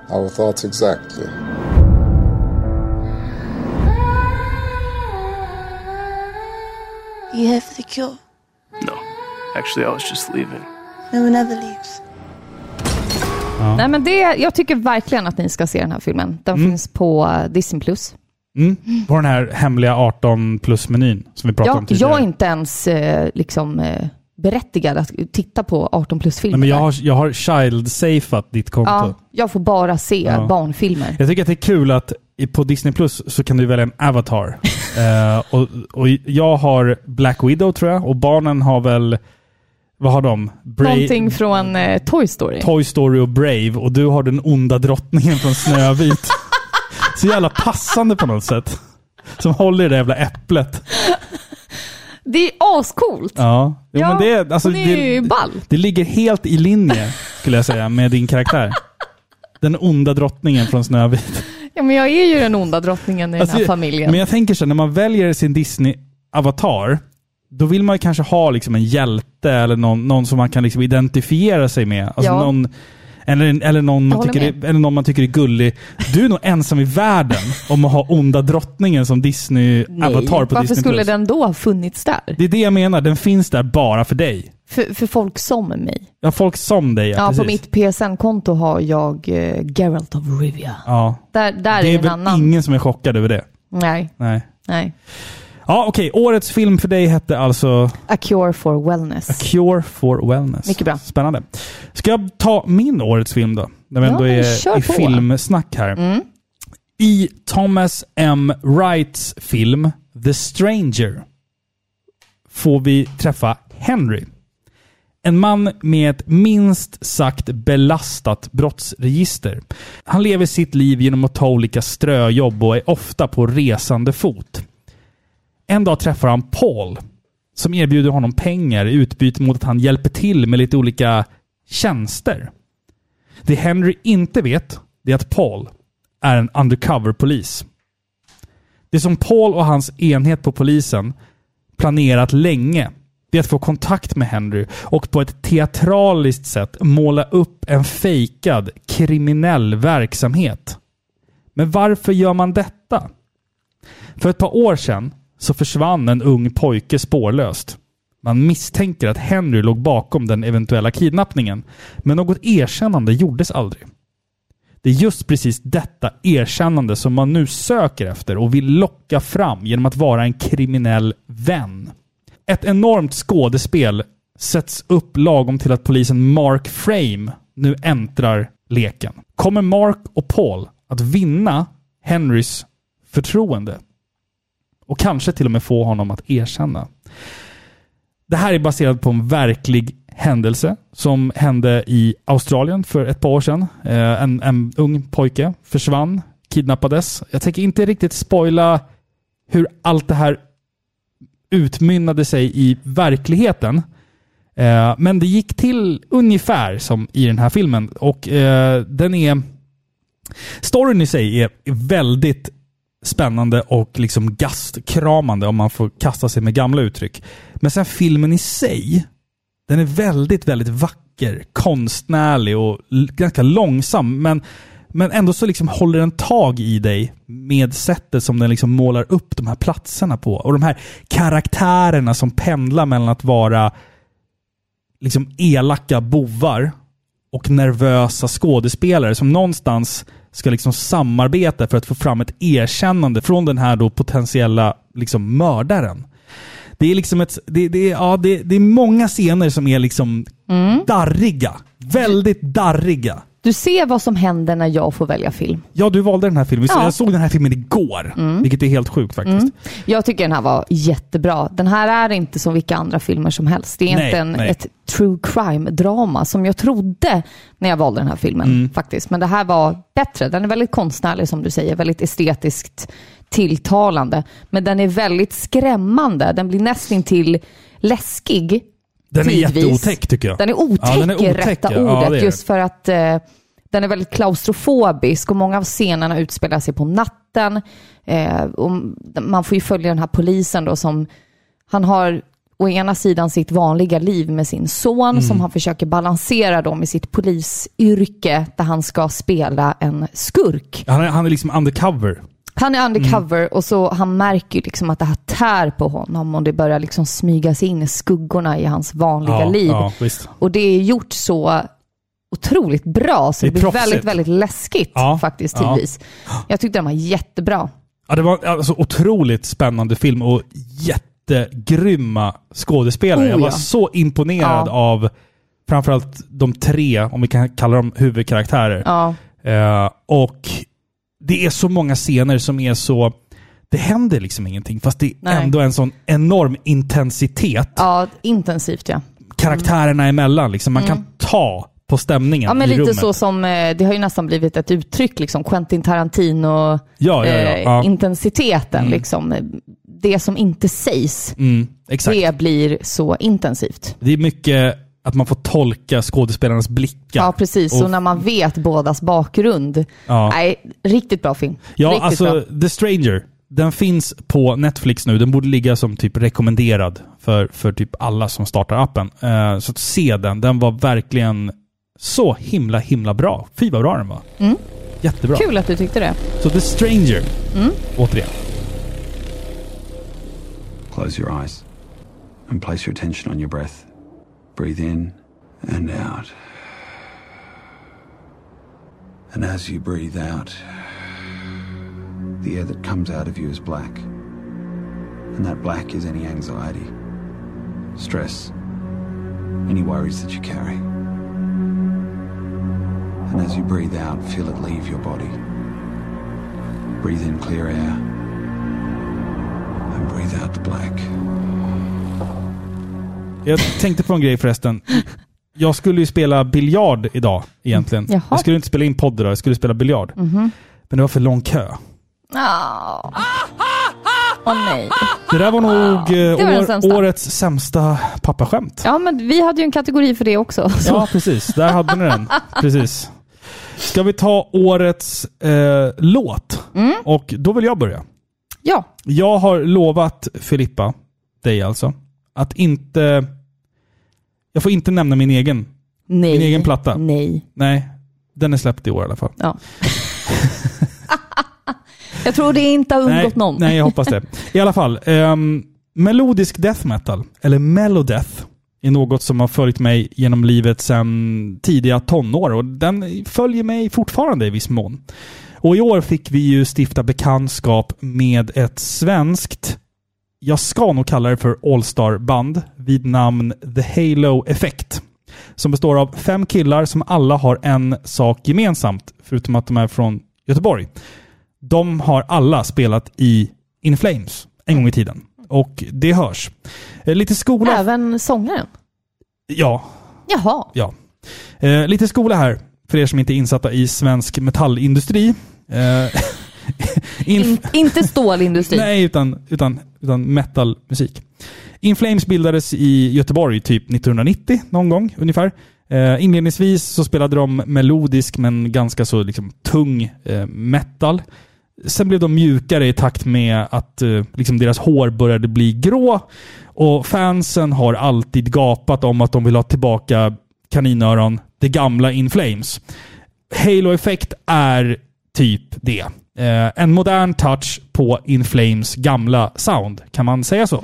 Speaker 7: Our thoughts exactly.
Speaker 9: You here for the cure?
Speaker 8: No. Actually, I was just leaving.
Speaker 9: No one ever leaves.
Speaker 1: nej men det, jag tycker verkligen att ni ska se den här filmen. Den
Speaker 2: Mm.
Speaker 1: finns på eh, Disney+. Plus.
Speaker 2: På den här hemliga 18 plus-menyn som vi pratade
Speaker 1: Ja,
Speaker 2: om tidigare.
Speaker 1: jag är inte ens eh, liksom, eh, berättigad att titta på 18 plus-filmer.
Speaker 2: Nej, men jag har, jag har child-safeat ditt konto.
Speaker 1: ja, jag får bara se
Speaker 2: Ja.
Speaker 1: barnfilmer.
Speaker 2: Jag tycker att det är kul att i- på Disney Plus så kan du välja en
Speaker 1: [LAUGHS]
Speaker 2: avatar. Eh, och, och jag har Black Widow tror jag och barnen har väl, vad har de? Bra-
Speaker 1: Någonting från eh, Toy Story.
Speaker 2: Toy Story och Brave och du har den onda drottningen
Speaker 1: [LAUGHS]
Speaker 2: från Snövit. så jävla passande på något sätt. Som håller i det jävla äpplet.
Speaker 1: Det är ascoolt!
Speaker 2: Ja, jo,
Speaker 1: Ja,
Speaker 2: men det, är- alltså,
Speaker 1: hon är ju ball.
Speaker 2: det ligger helt i linje skulle jag säga med
Speaker 1: [LAUGHS]
Speaker 2: din karaktär. Den onda drottningen från Snövit.
Speaker 1: Ja, men jag är ju den onda drottningen i den här
Speaker 2: Alltså,
Speaker 1: familjen.
Speaker 2: Men jag tänker så här, när man väljer sin Disney-avatar, då vill man ju kanske ha liksom en hjälte eller någon, någon som man kan liksom identifiera sig med. Alltså
Speaker 1: Ja.
Speaker 2: någon, eller, eller, någon man
Speaker 1: håller
Speaker 2: tycker
Speaker 1: med.
Speaker 2: är, eller någon man tycker är gullig. Du är nog ensam i världen om att ha onda drottningen som Disney-avatar på
Speaker 1: Varför
Speaker 2: Disney+.
Speaker 1: skulle
Speaker 2: Plus.
Speaker 1: den då ha funnits där?
Speaker 2: Det är det jag menar, den finns där bara för dig.
Speaker 1: För, för folk som mig.
Speaker 2: Ja, folk som dig. Ja,
Speaker 1: Ja, på
Speaker 2: precis.
Speaker 1: mitt PSN-konto har jag eh, Geralt of Rivia.
Speaker 2: Ja.
Speaker 1: Där, där
Speaker 2: Det
Speaker 1: är
Speaker 2: är
Speaker 1: en
Speaker 2: väl
Speaker 1: annan.
Speaker 2: ingen som är chockad över det.
Speaker 1: Nej,
Speaker 2: Nej.
Speaker 1: nej.
Speaker 2: Ja, okej. Årets film för dig hette alltså...
Speaker 1: A Cure for Wellness.
Speaker 2: Cure for Wellness.
Speaker 1: Mycket bra.
Speaker 2: Spännande. Ska jag ta min årets film då? När vi
Speaker 1: Ja,
Speaker 2: ändå
Speaker 1: men kör
Speaker 2: är i
Speaker 1: på. Mm.
Speaker 2: filmsnack här. I Thomas M. Wrights film The Stranger får vi träffa Henry. En man med ett minst sagt belastat brottsregister. Han lever sitt liv genom att ta olika ströjobb och är ofta på resande fot. En dag träffar han Paul som erbjuder honom pengar i utbyte mot att han hjälper till med lite olika tjänster. Det Henry inte vet, det är att Paul är en undercover-polis. Det som Paul och hans enhet på polisen planerat länge, det är att få kontakt med Henry och på ett teatraliskt sätt måla upp en fejkad kriminell verksamhet. Men varför gör man detta? För ett par år sedan så försvann en ung pojke spårlöst. Man misstänker att Henry låg bakom den eventuella kidnappningen, men något erkännande gjordes aldrig. Det är just precis detta erkännande som man nu söker efter och vill locka fram genom att vara en kriminell vän. Ett enormt skådespel sätts upp lagom till att polisen Mark Frame nu äntrar leken. Kommer Mark och Paul att vinna Henrys förtroende? Och kanske till och med få honom att erkänna. Det här är baserat på en verklig händelse som hände i Australien för ett par år sedan. Eh, En, en ung pojke försvann, kidnappades. Jag tänker inte riktigt spoila hur allt det här utmynnade sig i verkligheten. Eh, men det gick till ungefär som i den här filmen. Och eh, den är... Storyn i sig är väldigt spännande och liksom gastkramande om man får kasta sig med gamla uttryck. Men sen filmen i sig, den är väldigt, väldigt vacker, konstnärlig och l- ganska långsam. Men, men ändå så liksom håller den tag i dig med sättet som den liksom målar upp de här platserna på. Och de här karaktärerna som pendlar mellan att vara liksom elaka bovar och nervösa skådespelare som någonstans ska liksom samarbeta för att få fram ett erkännande från den här då potentiella liksom mördaren. Det är liksom ett, det, det, är- ja, det, det är många scener som är liksom
Speaker 1: Mm.
Speaker 2: darriga. Väldigt darriga.
Speaker 1: Du ser vad som händer när jag får välja film.
Speaker 2: Ja, du valde den här filmen.
Speaker 1: Ja. Mm.
Speaker 2: Jag såg den här filmen igår, vilket är helt sjukt faktiskt.
Speaker 1: Jag tycker den här var jättebra. Den här är inte som vilka andra filmer som helst. Det är
Speaker 2: Nej,
Speaker 1: inte en,
Speaker 2: nej.
Speaker 1: ett true crime-drama som jag trodde när jag valde den här filmen faktiskt. Men det här var bättre. Den är väldigt konstnärlig som du säger, väldigt estetiskt tilltalande. Men den är väldigt skrämmande. Den blir nästintill läskig.
Speaker 2: Den är
Speaker 1: tidvis.
Speaker 2: jätteotäck tycker jag.
Speaker 1: Den är otäck,
Speaker 2: Ja, den är
Speaker 1: är
Speaker 2: otäck,
Speaker 1: rätta
Speaker 2: ja. Ja, det är
Speaker 1: ordet.
Speaker 2: den.
Speaker 1: just för att eh, den är väldigt klaustrofobisk och många av scenerna utspelar sig på natten. Eh, och man får ju följa den här polisen då som, han har å ena sidan sitt vanliga liv med sin son
Speaker 2: Mm.
Speaker 1: som han försöker balansera då med sitt polisyrke där han ska spela en skurk.
Speaker 2: Han, är, han är liksom undercover.
Speaker 1: Han är undercover
Speaker 2: Mm.
Speaker 1: och så han märker ju liksom att det här tär på honom och det börjar liksom smyga sig in i skuggorna i hans vanliga
Speaker 2: Ja,
Speaker 1: liv.
Speaker 2: ja, visst.
Speaker 1: Och det är gjort så otroligt bra så det,
Speaker 2: Det är
Speaker 1: blir
Speaker 2: proffsigt.
Speaker 1: väldigt, väldigt läskigt
Speaker 2: Ja,
Speaker 1: faktiskt
Speaker 2: ja.
Speaker 1: tidvis. Jag tyckte den var jättebra.
Speaker 2: Ja, det var alltså otroligt spännande film och jättegrymma skådespelare.
Speaker 1: Oh,
Speaker 2: jag var
Speaker 1: ja.
Speaker 2: så imponerad
Speaker 1: Ja.
Speaker 2: av framförallt de tre, om vi kan kalla dem huvudkaraktärer.
Speaker 1: Ja.
Speaker 2: Eh, och det är så många scener som är så... Det händer liksom ingenting, fast det är
Speaker 1: Nej.
Speaker 2: ändå en sån enorm intensitet
Speaker 1: ja, intensivt ja.
Speaker 2: karaktärerna emellan. Liksom. Man kan ta på stämningen
Speaker 1: Mm. Ja, men
Speaker 2: i
Speaker 1: lite
Speaker 2: rummet.
Speaker 1: så som, eh, det har ju nästan blivit ett uttryck, liksom Quentin Tarantino,
Speaker 2: Ja, ja, ja.
Speaker 1: eh,
Speaker 2: Ja.
Speaker 1: intensiteten, liksom. Det som inte sägs,
Speaker 2: Mm, exakt.
Speaker 1: det blir så intensivt.
Speaker 2: Det är mycket att man får tolka skådespelarnas blickar.
Speaker 1: Ja, precis.
Speaker 2: Och-
Speaker 1: Och när man vet bådas bakgrund.
Speaker 2: Ja.
Speaker 1: Nej, riktigt bra film.
Speaker 2: Ja,
Speaker 1: riktigt
Speaker 2: alltså
Speaker 1: bra.
Speaker 2: The Stranger. Den finns på Netflix nu. Den borde ligga som typ rekommenderad för, för typ alla som startar appen. Eh, så att se den. Den var verkligen så himla, himla bra. Fy vad bra den var. Jättebra.
Speaker 1: Mm. Kul Mm. att du tyckte det.
Speaker 2: Så The Stranger. Återigen.
Speaker 10: Close your eyes and place your attention on your breath. Breathe in and out. And as you breathe out, the air that comes out of you is black. And that black is any anxiety, stress, any worries that you carry. And as you breathe out, feel it leave your body. Breathe in clear air and breathe out the black.
Speaker 2: Jag tänkte på en grej förresten. Jag skulle ju spela biljard idag egentligen.
Speaker 1: Jaha. Mhm.
Speaker 2: Jag skulle inte spela in podd idag. Jag skulle spela biljard. Men det var för lång kö.
Speaker 1: Åh Ah. nej.
Speaker 2: Det där var nog eh,
Speaker 1: Ah, var den
Speaker 2: år,
Speaker 1: sämsta.
Speaker 2: årets sämsta pappaskämt.
Speaker 1: Ja, men vi hade ju en kategori för det också. Så.
Speaker 2: Ja, precis. Där hade ni den. Precis. Ska vi ta årets eh, låt? Och då vill jag börja.
Speaker 1: [LAUGHS] Ja.
Speaker 2: Jag har lovat Filippa, dig alltså, att inte... Jag får inte nämna min egen.
Speaker 1: Nej.
Speaker 2: Min egen platta.
Speaker 1: Nej.
Speaker 2: Nej, den är släppt i år i alla fall.
Speaker 1: Ja. [LAUGHS] Jag tror det inte har undgått
Speaker 2: Nej,
Speaker 1: någon.
Speaker 2: nej, jag hoppas det. I alla fall, ehm, melodisk death metal, eller melodeath, är något som har följt mig genom livet sedan tidiga tonår och den följer mig fortfarande i viss mån. Och i år fick vi ju stifta bekantskap med ett svenskt, jag ska nog kalla det för All-Star-band, vid namn The Halo Effect. Som består av fem killar som alla har en sak gemensamt, förutom att de är från Göteborg de har alla spelat i In Flames en gång i tiden. Och det hörs. Eh, Lite skola...
Speaker 1: Även sångaren.
Speaker 2: Ja,
Speaker 1: Jaha.
Speaker 2: ja. Eh, lite skola här, för er som inte är insatta i svensk metallindustri. Eh, [LAUGHS] in,
Speaker 1: In, inte stålindustrin.
Speaker 2: nej, utan, utan, utan metalmusik. In Flames bildades i Göteborg typ 1990 någon gång ungefär. Eh, inledningsvis så spelade de melodisk men ganska så liksom, tung eh, metal. Sen blev de mjukare i takt med att eh, liksom deras hår började bli grå. Och fansen har alltid gapat om att de vill ha tillbaka kaninöron, det gamla In Flames. Halo Effect är typ det. Eh, en modern touch på In Flames gamla sound. Kan man säga så?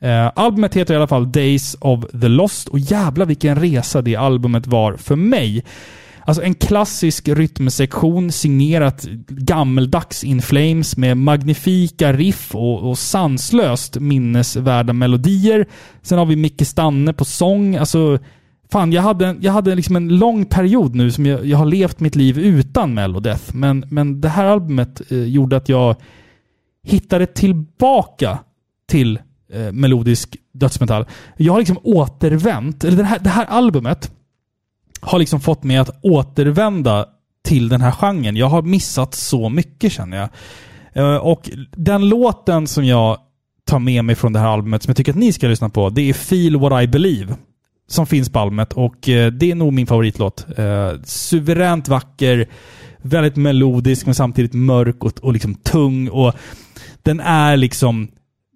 Speaker 2: Eh, albumet heter i alla fall Days of the Lost och jävla vilken resa det albumet var för mig. Alltså en klassisk rytmsektion signerat gammeldags In Flames med magnifika riff och, och sanslöst minnesvärda melodier. Sen har vi Micke Stanne på sång. Alltså, fan, jag hade, en- jag hade liksom en lång period nu som jag, jag har levt mitt liv utan Melodeath. Men, men det här albumet eh, gjorde att jag hittade tillbaka till eh, melodisk dödsmetall. Jag har liksom återvänt, eller det här, det här albumet har liksom fått mig att återvända till den här genren. Jag har missat så mycket känner jag. Eh, Och den låten som jag tar med mig från det här albumet, som jag tycker att ni ska lyssna på, det är Feel What I Believe. Som finns på albumet och eh, det är nog min favoritlåt. Eh, Suveränt vacker, väldigt melodisk men samtidigt mörk och, och liksom tung. Och den är liksom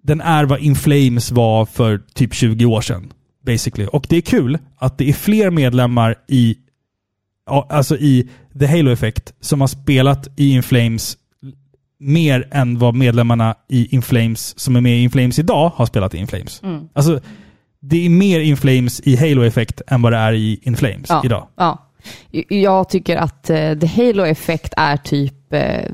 Speaker 2: den är vad In Flames var för typ 20 år sedan. Basically. Och det är kul att det är fler medlemmar i, ja, alltså i The Halo Effect som har spelat i In Flames mer än vad medlemmarna i In Flames som är med i In Flames idag har spelat i In Flames. Alltså, det är mer In Flames i Halo Effect än vad det är i In Flames
Speaker 1: Ja,
Speaker 2: idag.
Speaker 1: Ja. J- Jag tycker att eh, The Halo Effect är typ eh,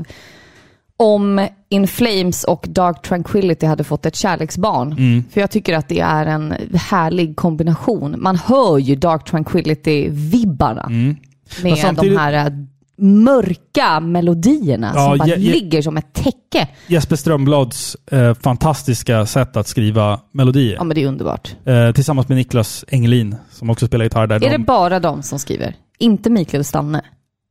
Speaker 1: om In Flames och Dark Tranquility hade fått ett kärleksbarn.
Speaker 2: Mm.
Speaker 1: För jag tycker att det är en härlig kombination. Man hör ju Dark Tranquility-vibbarna med
Speaker 2: Mm. Men samtidigt-
Speaker 1: de här eh, mörka melodierna
Speaker 2: Ja,
Speaker 1: som bara
Speaker 2: ja, ja.
Speaker 1: ligger som ett täcke.
Speaker 2: Jesper Strömblads eh, fantastiska sätt att skriva melodier.
Speaker 1: Ja men det är underbart.
Speaker 2: Eh, tillsammans med Niklas Engelin som också spelar gitarr där.
Speaker 1: Är
Speaker 2: De-
Speaker 1: det bara de som skriver? Inte Mikael och Stanne?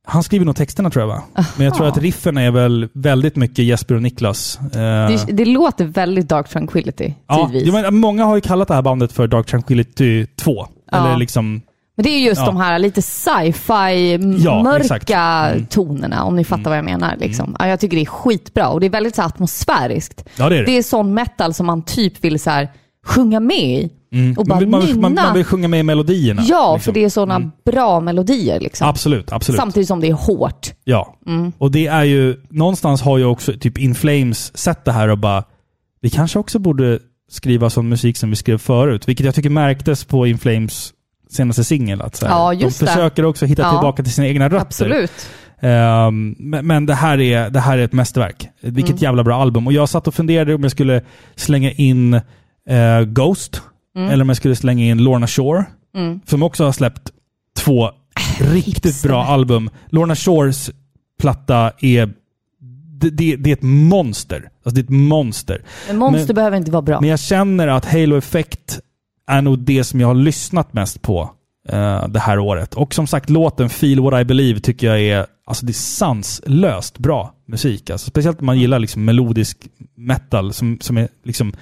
Speaker 2: Han skriver nog texterna tror jag va? Men jag tror att riffen är väl väldigt mycket Jesper och Niklas. Eh,
Speaker 1: Det, det låter väldigt Dark Tranquility
Speaker 2: ja,
Speaker 1: tidvis.
Speaker 2: jo, men många har ju kallat det här bandet för Dark Tranquility 2.
Speaker 1: Ja.
Speaker 2: Eller liksom,
Speaker 1: Men det är just
Speaker 2: Ja.
Speaker 1: de här lite sci-fi, m-
Speaker 2: Ja, exakt.
Speaker 1: mörka
Speaker 2: Mm.
Speaker 1: tonerna, om ni fattar vad jag menar. Liksom. Ja, jag tycker det är skitbra och det är väldigt så här, atmosfäriskt.
Speaker 2: ja det är det.
Speaker 1: Det är sån metal som man typ vill så här, sjunga med i.
Speaker 2: Mm.
Speaker 1: och bara
Speaker 2: man, vill- man,
Speaker 1: nynna.
Speaker 2: man vill sjunga med i melodierna.
Speaker 1: Ja,
Speaker 2: liksom.
Speaker 1: för det är såna bra melodier. Liksom.
Speaker 2: Absolut, absolut.
Speaker 1: Samtidigt som det är hårt.
Speaker 2: Ja.
Speaker 1: Mm.
Speaker 2: Och det är ju, någonstans har ju också typ In Flames sett det här och bara, vi kanske också borde skriva sån musik som vi skrev förut. Vilket jag tycker märktes på In Flames senaste singel. att så här,
Speaker 1: Ja, just
Speaker 2: de
Speaker 1: det.
Speaker 2: försöker också hitta
Speaker 1: Ja.
Speaker 2: tillbaka till sina egna rötter.
Speaker 1: Absolut.
Speaker 2: Ehm, men men det, här är, det här är ett mästerverk. Vilket jävla bra album. Och jag satt och funderade om jag skulle slänga in eh, Ghost. Eller om jag skulle slänga in Lorna Shore. Som också har släppt två riktigt bra album. Lorna Shores platta är... Det, det, det är ett monster. Alltså det är ett monster.
Speaker 1: Men monster
Speaker 2: Men-
Speaker 1: behöver inte vara bra.
Speaker 2: Men jag känner att Halo Effect är nog det som jag har lyssnat mest på eh, det här året. Och som sagt, låten Feel What I Believe tycker jag är, alltså det är sanslöst bra musik. Alltså, speciellt om man gillar liksom melodisk metal som, som är liksom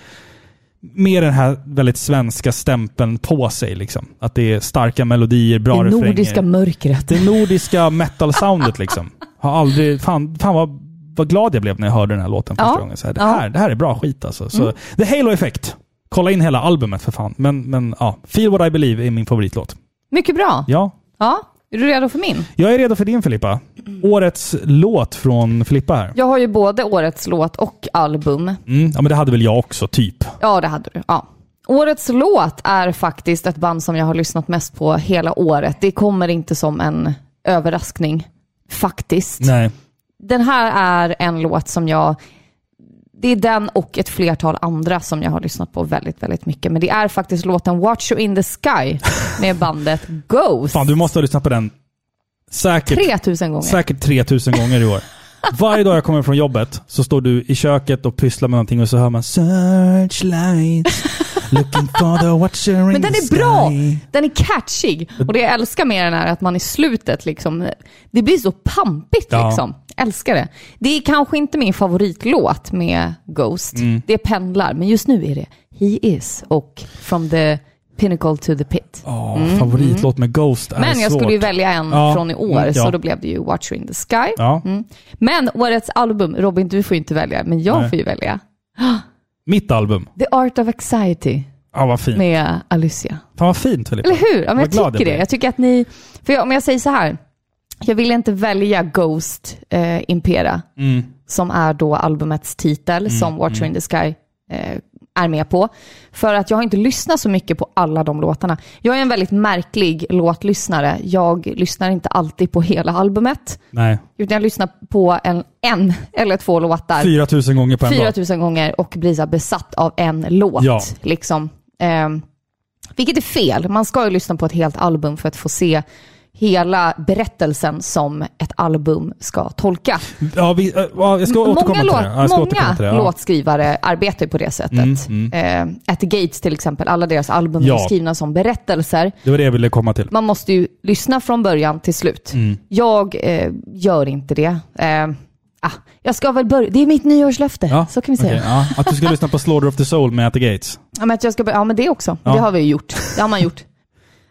Speaker 2: med den här väldigt svenska stämpeln på sig. Liksom. Att det är starka melodier, bra
Speaker 1: det
Speaker 2: refränger.
Speaker 1: nordiska mörkret.
Speaker 2: Det nordiska metal-soundet liksom. Har aldrig... Fan, fan vad, vad glad jag blev när jag hörde den här låten första
Speaker 1: Ja.
Speaker 2: gången. Så här, det,
Speaker 1: Ja. Mm.
Speaker 2: här, det här är bra skit alltså. Så, The Halo Effect. Kolla in hela albumet för fan. Men, men ja, Feel What I Believe är min favoritlåt.
Speaker 1: Mycket bra.
Speaker 2: Ja.
Speaker 1: Ja. Är du redo för min?
Speaker 2: Jag är redo för din Filippa. Årets låt från Filippa här.
Speaker 1: Jag har ju både årets låt och album.
Speaker 2: Mm, ja, men det hade väl jag också, typ.
Speaker 1: Ja, det hade du. Ja. Årets låt är faktiskt ett band som jag har lyssnat mest på hela året. Det kommer inte som en överraskning, faktiskt.
Speaker 2: Nej.
Speaker 1: Den här är en låt som jag... Det är den och ett flertal andra som jag har lyssnat på väldigt, väldigt mycket. Men det är faktiskt låten Watch You In The Sky med bandet Ghost.
Speaker 2: [LAUGHS] Fan, du måste ha lyssnat på den säkert
Speaker 1: 3000 gånger.
Speaker 2: Säkert 3000 gånger i år. Varje dag jag kommer från jobbet så står du i köket och pysslar med någonting och så hör man Searchlights, looking for the watcher in
Speaker 1: Men den
Speaker 2: the
Speaker 1: är bra! Mm.
Speaker 2: sky."
Speaker 1: Den är catchig. Och det jag älskar med den är att man i slutet liksom... Det blir så pampigt
Speaker 2: Ja.
Speaker 1: liksom. Älskar det. Det är kanske inte min favoritlåt med Ghost.
Speaker 2: Mm.
Speaker 1: Det pendlar, men just nu är det He is och From the Pinnacle to the Pit.
Speaker 2: Ja, favoritlåt med Ghost är
Speaker 1: Men jag
Speaker 2: svårt.
Speaker 1: skulle ju välja en
Speaker 2: Ja,
Speaker 1: från i år,
Speaker 2: mm, ja.
Speaker 1: så då blev det ju Watcher in the Sky.
Speaker 2: Ja.
Speaker 1: Mm. Men årets album, Robin du får ju inte välja, men jag
Speaker 2: Nej.
Speaker 1: får ju välja.
Speaker 2: Mitt album.
Speaker 1: The Art of Anxiety
Speaker 2: Ja, vad fint.
Speaker 1: med Alicia.
Speaker 2: Fan vad fint Filippa.
Speaker 1: Eller hur? Ja, men
Speaker 2: Vad
Speaker 1: jag
Speaker 2: glad jag
Speaker 1: tycker det.
Speaker 2: blev.
Speaker 1: Jag tycker att ni... För jag, om jag säger så här, jag ville inte välja Ghost eh, Impera,
Speaker 2: Mm.
Speaker 1: som är då albumets titel, som Watcher in the Sky eh, är med på. För att jag har inte lyssnat så mycket på alla de låtarna. Jag är en väldigt märklig låtlyssnare. Jag lyssnar inte alltid på hela albumet,
Speaker 2: Nej.
Speaker 1: utan jag lyssnar på en, en eller två låtar.
Speaker 2: 4000 gånger på en dag.
Speaker 1: 4000 gånger och blir så här besatt av en låt.
Speaker 2: Ja.
Speaker 1: Liksom. Ehm, vilket är fel. Man ska ju lyssna på ett helt album för att få se hela berättelsen som ett album ska tolka.
Speaker 2: Ja, vi, äh, ja, jag ska återkomma
Speaker 1: många
Speaker 2: till det. Ja, jag ska återkomma
Speaker 1: många
Speaker 2: till det. Ja. Mm,
Speaker 1: låtskrivare arbetar ju på det sättet. Ehm, At the Gates till exempel, alla deras album
Speaker 2: Ja.
Speaker 1: är skrivna som berättelser.
Speaker 2: Det var det jag ville komma till.
Speaker 1: Man måste ju lyssna från början till slut.
Speaker 2: Mm.
Speaker 1: Jag eh, gör inte det. Ehm, ah, jag ska väl börja. Det är mitt nyårslöfte,
Speaker 2: Ja,
Speaker 1: så kan vi säga.
Speaker 2: okej, ja. Att du ska lyssna på Slaughter of the Soul med At the Gates.
Speaker 1: Ja, men, att jag ska, börja- ja, men det också.
Speaker 2: Ja.
Speaker 1: Det har vi ju gjort. Det har man gjort. [LAUGHS]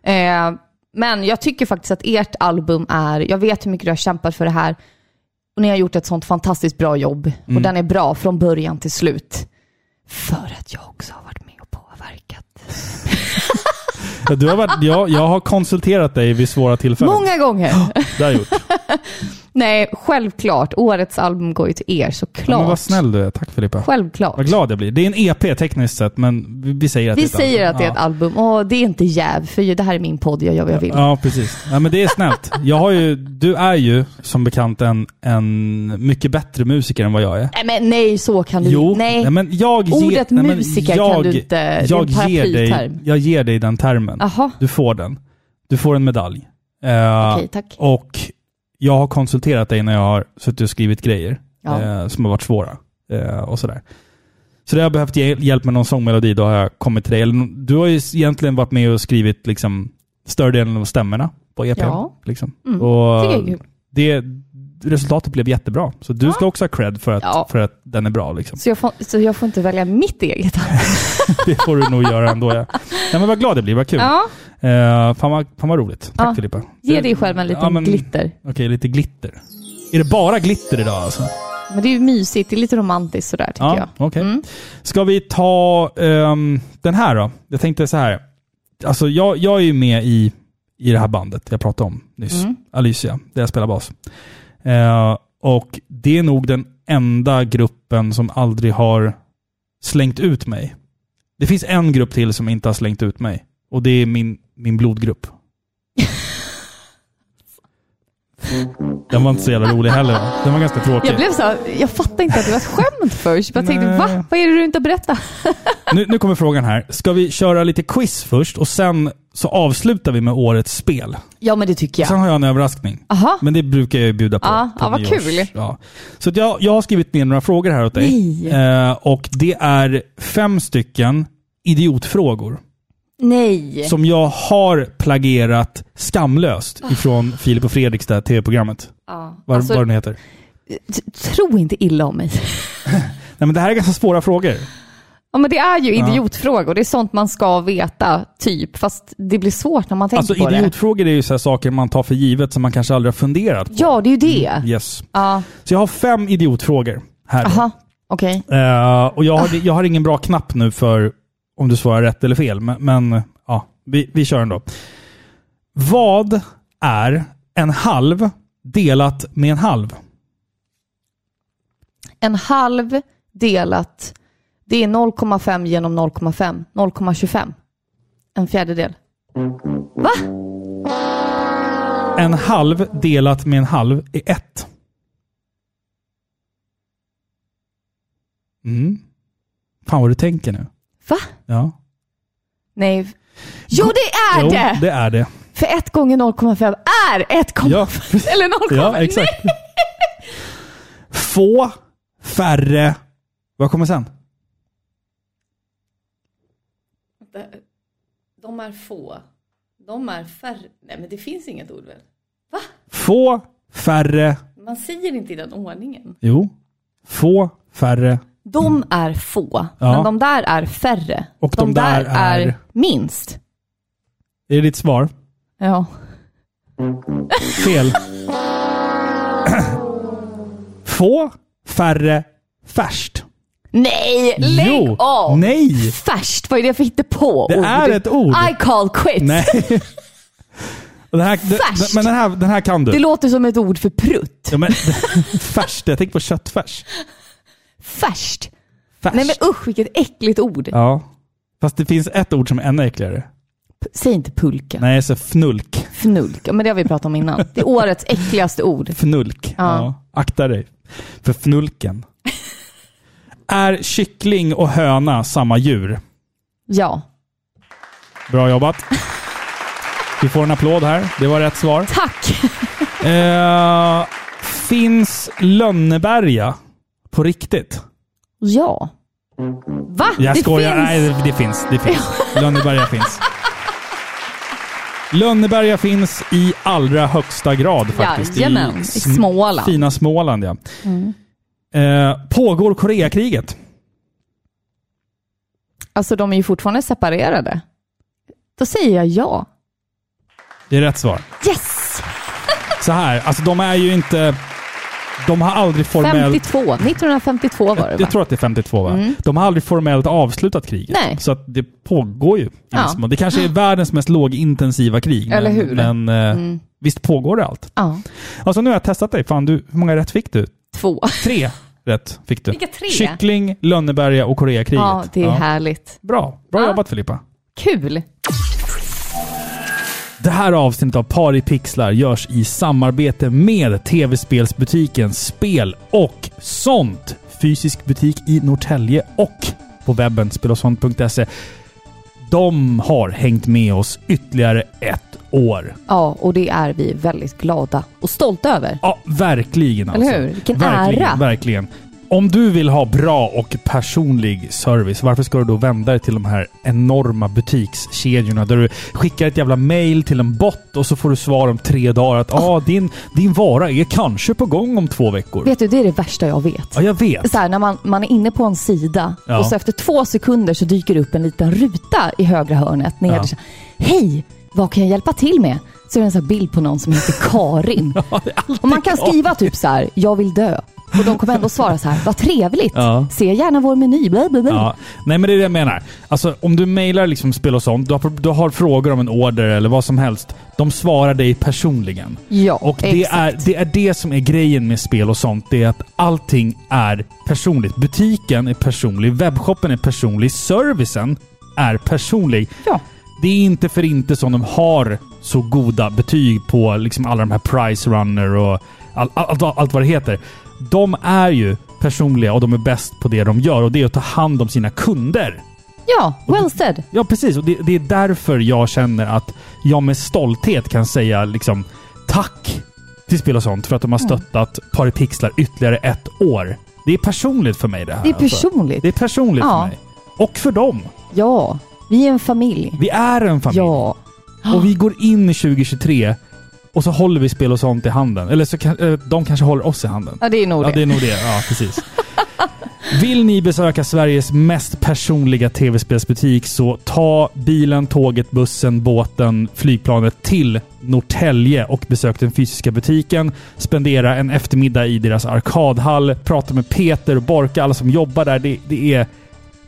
Speaker 1: Eh, men jag tycker faktiskt att ert album är, jag vet hur mycket du har kämpat för det här, och ni har gjort ett sånt fantastiskt bra jobb. Och
Speaker 2: Mm.
Speaker 1: den är bra från början till slut. För att jag också har varit med och påverkat.
Speaker 2: Du har varit, jag, jag har konsulterat dig vid svåra tillfällen.
Speaker 1: Många gånger.
Speaker 2: Det har jag gjort.
Speaker 1: [LAUGHS] Nej, självklart. Årets album går ju till er,
Speaker 2: Ja,
Speaker 1: såklart.
Speaker 2: Men vad snäll du är. Tack Filippa.
Speaker 1: Självklart.
Speaker 2: Vad glad jag blir. Det är en EP tekniskt sett, men vi, vi säger att
Speaker 1: Vi
Speaker 2: det är ett
Speaker 1: säger
Speaker 2: album.
Speaker 1: att det är
Speaker 2: Ja.
Speaker 1: ett album, och det är inte jäv, för ju- det här är min podd, jag gör vad jag vill.
Speaker 2: Ja, precis. Ja, men det är snällt. Jag har ju, du är ju som bekant en, en mycket bättre musiker än vad jag är.
Speaker 1: Nej, men nej, så kan du
Speaker 2: Jo,
Speaker 1: Nej.
Speaker 2: men jag ge-
Speaker 1: Ordet
Speaker 2: nej, men
Speaker 1: musiker kan du inte- det är
Speaker 2: Jag,
Speaker 1: en
Speaker 2: ger dig,
Speaker 1: paraplyterm. Ah.
Speaker 2: jag ger dig den termen.
Speaker 1: Aha.
Speaker 2: Du får den. Du får en medalj. Eh,
Speaker 1: Okej, tack.
Speaker 2: Och jag har konsulterat dig när jag har suttit och skrivit grejer
Speaker 1: Ja.
Speaker 2: eh, som har varit svåra. Eh, och sådär. Så det har jag behövt ge, hjälp med någon sångmelodi, då har jag kommit till dig. Eller, Du har ju egentligen varit med och skrivit liksom, större delen av stämmorna på EPn.
Speaker 1: Ja.
Speaker 2: Liksom.
Speaker 1: Mm,
Speaker 2: Och
Speaker 1: tycker jag är kul.
Speaker 2: det, resultatet blev jättebra. Så du ska också ha cred för att,
Speaker 1: Ja.
Speaker 2: för att den är bra. Liksom. [LAUGHS]
Speaker 1: Så jag, får, så jag får inte välja mitt eget album?
Speaker 2: Det får du nog göra ändå. Ja. Nej, men vad glad det blir, vad kul.
Speaker 1: Ja,
Speaker 2: Eh, fan, vad, fan vad roligt. Tack
Speaker 1: Ja.
Speaker 2: Filippa.
Speaker 1: ge
Speaker 2: Det-
Speaker 1: dig själv en liten
Speaker 2: Ja, men-
Speaker 1: glitter.
Speaker 2: Okej, lite glitter. Är det bara glitter idag alltså?
Speaker 1: Men det är ju mysigt, det är lite romantiskt sådär tycker jag. Mm.
Speaker 2: okej. Ska vi ta ehm, den här då? Jag tänkte så här. Alltså jag, jag är ju med i, i det här bandet jag pratade om nyss. Alicia, där jag spelar bas. Eh, och det är nog den enda gruppen som aldrig har slängt ut mig. Det finns en grupp till som inte har slängt ut mig. Och det är min, min blodgrupp. Den var inte så jävla rolig heller. va? Den var ganska tråkig.
Speaker 1: Jag blev så här, jag fattade inte att det var ett skämt först. Jag tänkte,
Speaker 2: Nej.
Speaker 1: va? Vad är det du inte har berättat?
Speaker 2: Nu, nu kommer frågan här. Ska vi köra lite quiz först och sen så avslutar vi med årets spel?
Speaker 1: Ja, men det tycker
Speaker 2: Sen
Speaker 1: jag.
Speaker 2: har jag en överraskning.
Speaker 1: Aha.
Speaker 2: Men det brukar jag ju bjuda på.
Speaker 1: Ja,
Speaker 2: på
Speaker 1: ja, vad
Speaker 2: nyårs-
Speaker 1: kul.
Speaker 2: Ja. Så att jag, jag har skrivit ner några frågor här åt dig.
Speaker 1: Nej.
Speaker 2: Eh, och det är fem stycken idiotfrågor
Speaker 1: Nej.
Speaker 2: som jag har plagierat skamlöst ifrån Filip och Fredriks där tv-programmet.
Speaker 1: Ja.
Speaker 2: Vad
Speaker 1: Ah. Alltså,
Speaker 2: vad den heter.
Speaker 1: t- tro inte illa om mig.
Speaker 2: Nej, men det här är ganska svåra frågor.
Speaker 1: Ja, men det är ju idiotfrågor. Det är sånt man ska veta, typ. Fast det blir svårt när man tänker
Speaker 2: Alltså
Speaker 1: på det.
Speaker 2: idiotfrågor är ju så här saker man tar för givet som man kanske aldrig har funderat på.
Speaker 1: Ja, det är ju det.
Speaker 2: Yes.
Speaker 1: Ja.
Speaker 2: Så jag har fem idiotfrågor här.
Speaker 1: Aha, okej.
Speaker 2: Eh, och jag har, jag har ingen bra knapp nu för om du svarar rätt eller fel, men, men ja, vi, vi kör ändå. Vad är en halv delat med en halv?
Speaker 1: En halv delat, det är 0,5 genom 0,5. 0,25. En fjärdedel.
Speaker 2: En halv delat med en halv är ett. Mm. Fan vad du tänker nu.
Speaker 1: Va?
Speaker 2: Ja.
Speaker 1: Nej. Jo, det är
Speaker 2: jo,
Speaker 1: det!
Speaker 2: det är det.
Speaker 1: För 1 gånger 0,5 är 1,5.
Speaker 2: Ja,
Speaker 1: [LAUGHS] Eller 0,5.
Speaker 2: Ja, exakt. Få, färre... Vad kommer sen?
Speaker 1: De är få. De är färre. Nej, men det finns inget ord väl?
Speaker 2: Få, färre,
Speaker 1: Man säger inte i den ordningen.
Speaker 2: Jo. Få, färre.
Speaker 1: De är få,
Speaker 2: Ja.
Speaker 1: men de där är färre.
Speaker 2: Och de där är-
Speaker 1: minst.
Speaker 2: Är det ditt svar?
Speaker 1: Ja.
Speaker 2: Fel. [CLEARS THROAT] Få, färre, färst.
Speaker 1: Nej, lägg
Speaker 2: Jo.
Speaker 1: av!
Speaker 2: Nej!
Speaker 1: Färst, vad är det för hittepå?
Speaker 2: Det
Speaker 1: ord?
Speaker 2: är ett ord.
Speaker 1: I call quits.
Speaker 2: Nej. [LAUGHS] Och Den här, den,
Speaker 1: Färst.
Speaker 2: men den här, den här kan
Speaker 1: Det
Speaker 2: du.
Speaker 1: låter som ett ord för prutt.
Speaker 2: Ja, men, [LAUGHS] färst, jag tänker på köttfärs.
Speaker 1: Färst.
Speaker 2: Färst.
Speaker 1: Nej men usch, vilket äckligt ord.
Speaker 2: Ja. Fast det finns ett ord som är ännu äckligare.
Speaker 1: Säg inte pulka.
Speaker 2: Nej, så fnulk.
Speaker 1: Fnulk. Ja, men det har vi pratat om innan. Det är årets äckligaste ord.
Speaker 2: Fnulk.
Speaker 1: Ja.
Speaker 2: Ja. Akta dig för fnulken. är kyckling och höna samma djur?
Speaker 1: Ja.
Speaker 2: Bra jobbat. Vi får en applåd här. Det var rätt svar.
Speaker 1: Tack!
Speaker 2: Eh, finns Lönneberga på riktigt?
Speaker 1: Ja. Va?
Speaker 2: Jag
Speaker 1: det
Speaker 2: skojar.
Speaker 1: finns?
Speaker 2: Nej, det- det finns. Det finns.
Speaker 1: [LAUGHS]
Speaker 2: Lönneberga finns. Lönneberga finns i allra högsta grad faktiskt.
Speaker 1: Jajamän, i
Speaker 2: Sm-
Speaker 1: Småland. Mm.
Speaker 2: Fina Småland, ja. Eh, pågår Koreakriget?
Speaker 1: Alltså de är ju fortfarande separerade. Då säger jag ja.
Speaker 2: Det är rätt svar.
Speaker 1: Yes!
Speaker 2: Så här, alltså de är ju inte... De har aldrig formellt...
Speaker 1: 52. 1952 var det va? Mm.
Speaker 2: Jag tror att det är 52 va? De har aldrig formellt avslutat kriget.
Speaker 1: Nej.
Speaker 2: Så att det pågår ju. i
Speaker 1: Ja.
Speaker 2: viss mån. Det kanske är världens mest lågintensiva krig.
Speaker 1: Eller
Speaker 2: men,
Speaker 1: hur? Mm.
Speaker 2: Men eh, visst pågår det allt.
Speaker 1: Ja.
Speaker 2: Alltså nu har jag testat dig. Fan, du, hur många rätt fick du?
Speaker 1: Två.
Speaker 2: Tre rätt fick du.
Speaker 1: Vilka tre?
Speaker 2: Kyckling, Lönneberga och Koreakriget.
Speaker 1: Ja, det är härligt.
Speaker 2: Bra. Bra
Speaker 1: Ja.
Speaker 2: jobbat Filippa.
Speaker 1: Kul!
Speaker 2: Det här avsnittet av Par i pixlar görs i samarbete med tv-spelsbutiken Spel och sånt. Fysisk butik i Norrtälje och på webben spelosont.se. De har hängt med oss ytterligare ett år.
Speaker 1: Ja, och det är vi väldigt glada och stolta över.
Speaker 2: Ja, verkligen alltså.
Speaker 1: Eller hur? Vilken
Speaker 2: verkligen,
Speaker 1: ära.
Speaker 2: Verkligen. Om du vill ha bra och personlig service, varför ska du då vända dig till de här enorma butikskedjorna där du skickar ett jävla mail till en bot och så får du svar om tre dagar att ah, din, din vara är kanske på gång om två veckor.
Speaker 1: Oh. Vet du, det är det värsta jag vet.
Speaker 2: Ja, jag vet.
Speaker 1: Så här, när man, man är inne på en sida
Speaker 2: Ja.
Speaker 1: och så efter två sekunder så dyker det upp en liten ruta i högra hörnet. Ner.
Speaker 2: Ja.
Speaker 1: Så här, Hej, vad kan jag hjälpa till med? Så är det en sån här bild på någon som heter
Speaker 2: [LAUGHS]
Speaker 1: Karin. och man kan skriva typ så här, jag vill dö. Och de kommer ändå svara så här, vad trevligt.
Speaker 2: Ja.
Speaker 1: Se gärna vår meny. Bla, bla, bla.
Speaker 2: Ja. Nej, men det är det jag menar. Alltså, om du mejlar liksom spel och sånt, du har, du har frågor om en order eller vad som helst. De svarar dig personligen.
Speaker 1: Ja,
Speaker 2: Och det
Speaker 1: exakt.
Speaker 2: är, det är det som är grejen med spel och sånt. Det är att allting är personligt. Butiken är personlig, webbshoppen är personlig, servicen är personlig.
Speaker 1: Ja.
Speaker 2: Det är inte för inte som de har så goda betyg på liksom alla de här Price Runner och all, all, all, allt vad det heter. De är ju personliga och de är bäst på det de gör och det är att ta hand om sina kunder.
Speaker 1: Ja, well said.
Speaker 2: Ja, precis. Och det, det är därför jag känner att jag med stolthet kan säga liksom tack till Spel och sånt för att de har
Speaker 1: Mm.
Speaker 2: stöttat Paripixlar ytterligare ett år. Det är personligt för mig det här.
Speaker 1: Det är
Speaker 2: alltså.
Speaker 1: personligt.
Speaker 2: Det är personligt
Speaker 1: Ja.
Speaker 2: för mig. Och för dem.
Speaker 1: Ja, vi är en familj.
Speaker 2: Vi är en familj.
Speaker 1: Ja,
Speaker 2: Och vi går in i 2023 och så håller vi Spel och sånt i handen. Eller så kan, eh, de kanske håller oss i handen.
Speaker 1: ja det är nog
Speaker 2: Ja,
Speaker 1: det.
Speaker 2: det är nog det. Ja, precis. Vill ni besöka Sveriges mest personliga tv-spelsbutik så ta bilen, tåget, bussen, båten, flygplanet till Norrtälje och besök den fysiska butiken. Spendera en eftermiddag i deras arkadhall, prata med Peter och Borka, alla som jobbar där. Det, det, är,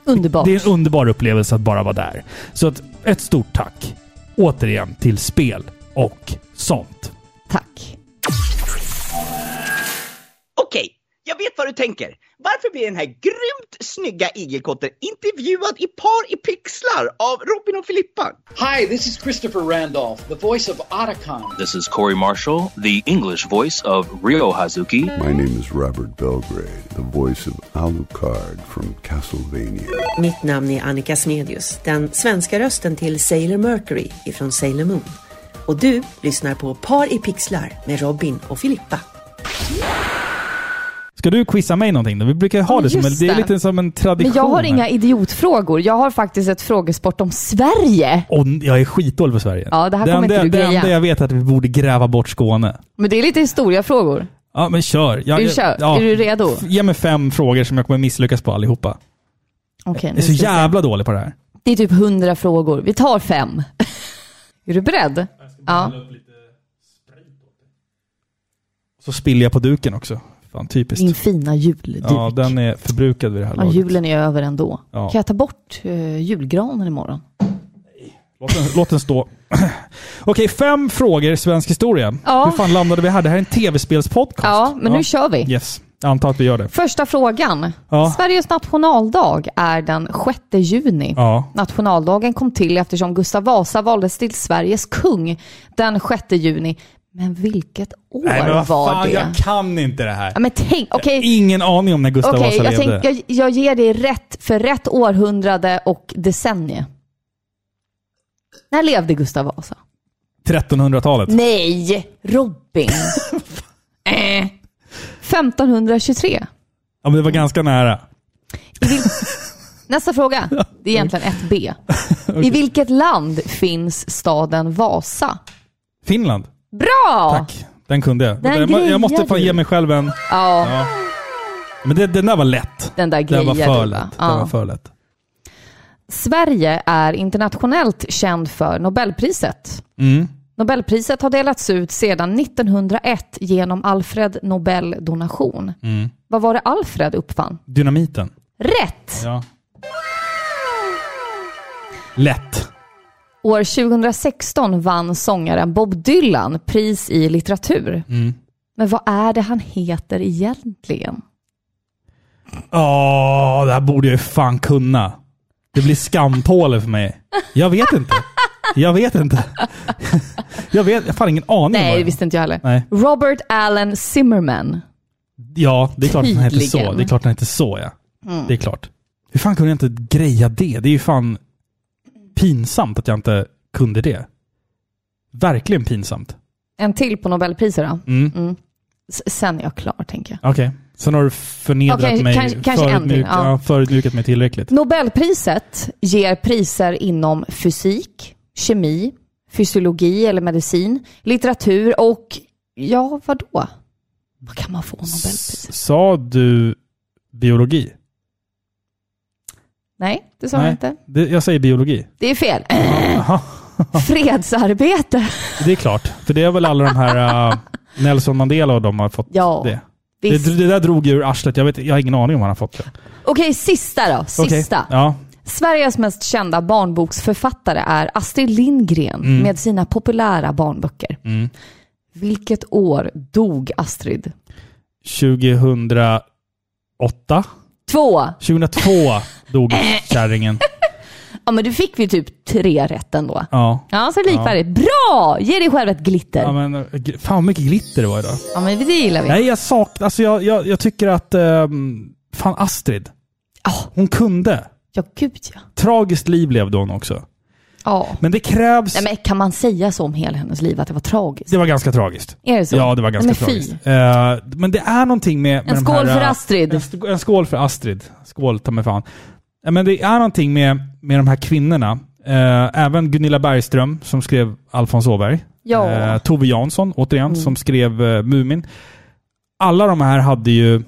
Speaker 1: Underbart.
Speaker 2: det är en underbar upplevelse att bara vara där. Så att, ett stort tack återigen till spel och sånt.
Speaker 1: Tack.
Speaker 11: Okej, jag vet vad du tänker. Varför blir den här grymt snygga igelkotten intervjuad i par i pixlar av Robin och Filippa?
Speaker 8: Hi, this is Christopher Randolph, the voice of Otacon.
Speaker 7: This is Corey Marshall, the English voice of Ryo Hazuki.
Speaker 10: My name is Robert Belgrade, the voice of Alucard from Castlevania.
Speaker 9: Mitt namn är Annika Smedius, den svenska rösten till Sailor Mercury ifrån Sailor Moon. Och du lyssnar på Par i pixlar med Robin och Filippa.
Speaker 2: Ska du quizza mig någonting då? Vi brukar ha det som en,
Speaker 1: Just
Speaker 2: det är
Speaker 1: det.
Speaker 2: lite som en tradition.
Speaker 1: Men jag har
Speaker 2: här.
Speaker 1: inga idiotfrågor. Jag har faktiskt ett frågesport om Sverige.
Speaker 2: Och jag är skitdålig på Sverige.
Speaker 1: Ja, det här
Speaker 2: det
Speaker 1: kommer
Speaker 2: enda,
Speaker 1: inte du
Speaker 2: det
Speaker 1: greja.
Speaker 2: enda jag vet är att vi borde gräva bort Skåne.
Speaker 1: Men det är lite historiafrågor.
Speaker 2: Ja, men kör. Jag,
Speaker 1: Vill du köra?
Speaker 2: Ja.
Speaker 1: Är du redo?
Speaker 2: Ge mig fem frågor som jag kommer misslyckas på allihopa.
Speaker 1: Okej,
Speaker 2: Jag
Speaker 1: nu
Speaker 2: är så
Speaker 1: ska vi se.
Speaker 2: jävla dålig på det här.
Speaker 1: Det är typ hundra frågor. Vi tar fem. [LAUGHS] är du beredd? Ja.
Speaker 2: Så spiller jag på duken också. Fan, typiskt.
Speaker 1: Din fina julduk.
Speaker 2: Ja, den är förbrukad vid det här
Speaker 1: Ja,
Speaker 2: laget.
Speaker 1: julen är över ändå.
Speaker 2: Ja.
Speaker 1: Kan jag ta bort eh, julgranen imorgon?
Speaker 2: Låt den, låt den stå. [CLEARS THROAT] Okej, fem frågor svensk historia.
Speaker 1: Ja.
Speaker 2: Hur fan landade vi här? Det här är en tv-spelspodcast.
Speaker 1: Ja, men nu kör vi.
Speaker 2: Yes, jag antar att vi gör det.
Speaker 1: Första frågan.
Speaker 2: Ja.
Speaker 1: Sveriges nationaldag är den 6 juni.
Speaker 2: Ja.
Speaker 1: Nationaldagen kom till eftersom Gustav Vasa valdes till Sveriges kung den 6 juni. Men vilket år
Speaker 2: Nej, men vad
Speaker 1: var
Speaker 2: fan,
Speaker 1: det?
Speaker 2: jag kan inte det här.
Speaker 1: Ja, men tänk, okej.
Speaker 2: Ingen aning om när Gustav
Speaker 1: Okej,
Speaker 2: Vasa
Speaker 1: jag,
Speaker 2: levde.
Speaker 1: tänk, jag, jag ger dig rätt för rätt århundrade och decennie. När levde Gustav Vasa?
Speaker 2: 1300-talet.
Speaker 1: Nej, Robin. [LAUGHS] eh. 1523.
Speaker 2: Ja, men det var ganska nära.
Speaker 1: Nästa
Speaker 2: [LAUGHS]
Speaker 1: fråga. Det är egentligen 1B. I vilket land finns staden Vasa?
Speaker 2: Finland.
Speaker 1: Bra!
Speaker 2: Tack. Den kunde jag.
Speaker 1: Den
Speaker 2: Men jag, jag måste
Speaker 1: grejar
Speaker 2: fan
Speaker 1: du.
Speaker 2: ge mig själv en...
Speaker 1: Ja,
Speaker 2: Ja. Men det, den där var lätt.
Speaker 1: den där
Speaker 2: Den
Speaker 1: grejen.
Speaker 2: var för lätt. Den var för lätt.
Speaker 1: Sverige är internationellt känd för Nobelpriset.
Speaker 2: Mm.
Speaker 1: Nobelpriset har delats ut sedan 1901 genom Alfred Nobel donation.
Speaker 2: Mm.
Speaker 1: Vad var det Alfred uppfann?
Speaker 2: Dynamiten.
Speaker 1: Rätt!
Speaker 2: Ja. Lätt.
Speaker 1: År 2016 vann sångaren Bob Dylan pris i litteratur.
Speaker 2: Mm.
Speaker 1: Men vad är det han heter egentligen?
Speaker 2: Ja, det här borde jag ju fan kunna. Det blir skampåle för mig. Jag vet inte. Jag vet inte. [LAUGHS] Jag vet, jag har fan ingen aning. om
Speaker 1: Nej,
Speaker 2: vad
Speaker 1: det
Speaker 2: jag-
Speaker 1: visste inte jag heller.
Speaker 2: Nej.
Speaker 1: Robert Allen Zimmerman.
Speaker 2: Ja, det är klart att den heter så.
Speaker 1: Tydligen. Mm.
Speaker 2: Det är klart att den heter så, ja. Det är klart. Hur fan kunde jag inte greja det? Det är ju fan pinsamt att jag inte kunde det. Verkligen pinsamt.
Speaker 1: En till på Nobelpriset då.
Speaker 2: Mm.
Speaker 1: S- sen är jag klar, tänker jag.
Speaker 2: Okej. Sen har du förnedrat
Speaker 1: Okej,
Speaker 2: mig.
Speaker 1: kanske- kanske en till,
Speaker 2: förödmjukat-
Speaker 1: ja. Mm.
Speaker 2: ja, förödmjukat mig tillräckligt.
Speaker 1: Nobelpriset ger priser inom fysik, kemi, fysiologi eller medicin, litteratur och, ja, vadå? Vad kan man få Nobelpris?
Speaker 2: Sa du biologi?
Speaker 1: Nej, det sa jag inte.
Speaker 2: Det, jag säger biologi.
Speaker 1: Det är
Speaker 2: [LAUGHS]
Speaker 1: fel.
Speaker 2: Jaha.
Speaker 1: Fredsarbete.
Speaker 2: Det är klart. För det är väl alla de här äh, Nelson Mandela och de har fått
Speaker 1: Ja,
Speaker 2: det. Det,
Speaker 1: Visst.
Speaker 2: det där drog ju ur arslet. Jag, vet, jag har ingen aning om han har fått det.
Speaker 1: Okej, sista då.
Speaker 2: Okej.
Speaker 1: Sista.
Speaker 2: Ja.
Speaker 1: Sveriges mest kända barnboksförfattare är Astrid Lindgren
Speaker 2: Mm.
Speaker 1: med sina populära barnböcker.
Speaker 2: Mm.
Speaker 1: Vilket år dog Astrid?
Speaker 2: 2008?
Speaker 1: Två.
Speaker 2: 2002 dog kärringen.
Speaker 1: Ja, men du fick vi typ tre rätt ändå.
Speaker 2: Ja.
Speaker 1: Ja, så är det likvärdigt. Bra! Ge dig själv ett glitter.
Speaker 2: ja men, äh, g- fan vad mycket glitter det var idag.
Speaker 1: Ja, men det gillar vi.
Speaker 2: Nej, jag saknar... Alltså jag, jag, jag tycker att... ehm, fan Astrid.
Speaker 1: Ah.
Speaker 2: Hon kunde.
Speaker 1: Ja, gud ja.
Speaker 2: Tragiskt liv levde hon också.
Speaker 1: ja.
Speaker 2: Men det krävs...
Speaker 1: Nej, men kan man säga så om hela hennes liv, att det var tragiskt?
Speaker 2: Det var ganska tragiskt.
Speaker 1: Är det så?
Speaker 2: Ja, det var ganska
Speaker 1: Nej, men fy.
Speaker 2: tragiskt. Eh, men det är någonting med, med
Speaker 1: En
Speaker 2: de
Speaker 1: skål
Speaker 2: här, eh,
Speaker 1: för Astrid.
Speaker 2: En, sk- en skål för Astrid. Skål, ta mig fan. Eh, men det är någonting med, med de här kvinnorna. Eh, även Gunilla Bergström som skrev Alfons Åberg.
Speaker 1: Ja. Mm.
Speaker 2: Eh, Tove Jansson, återigen, som skrev eh, Mumin. Alla de här hade ju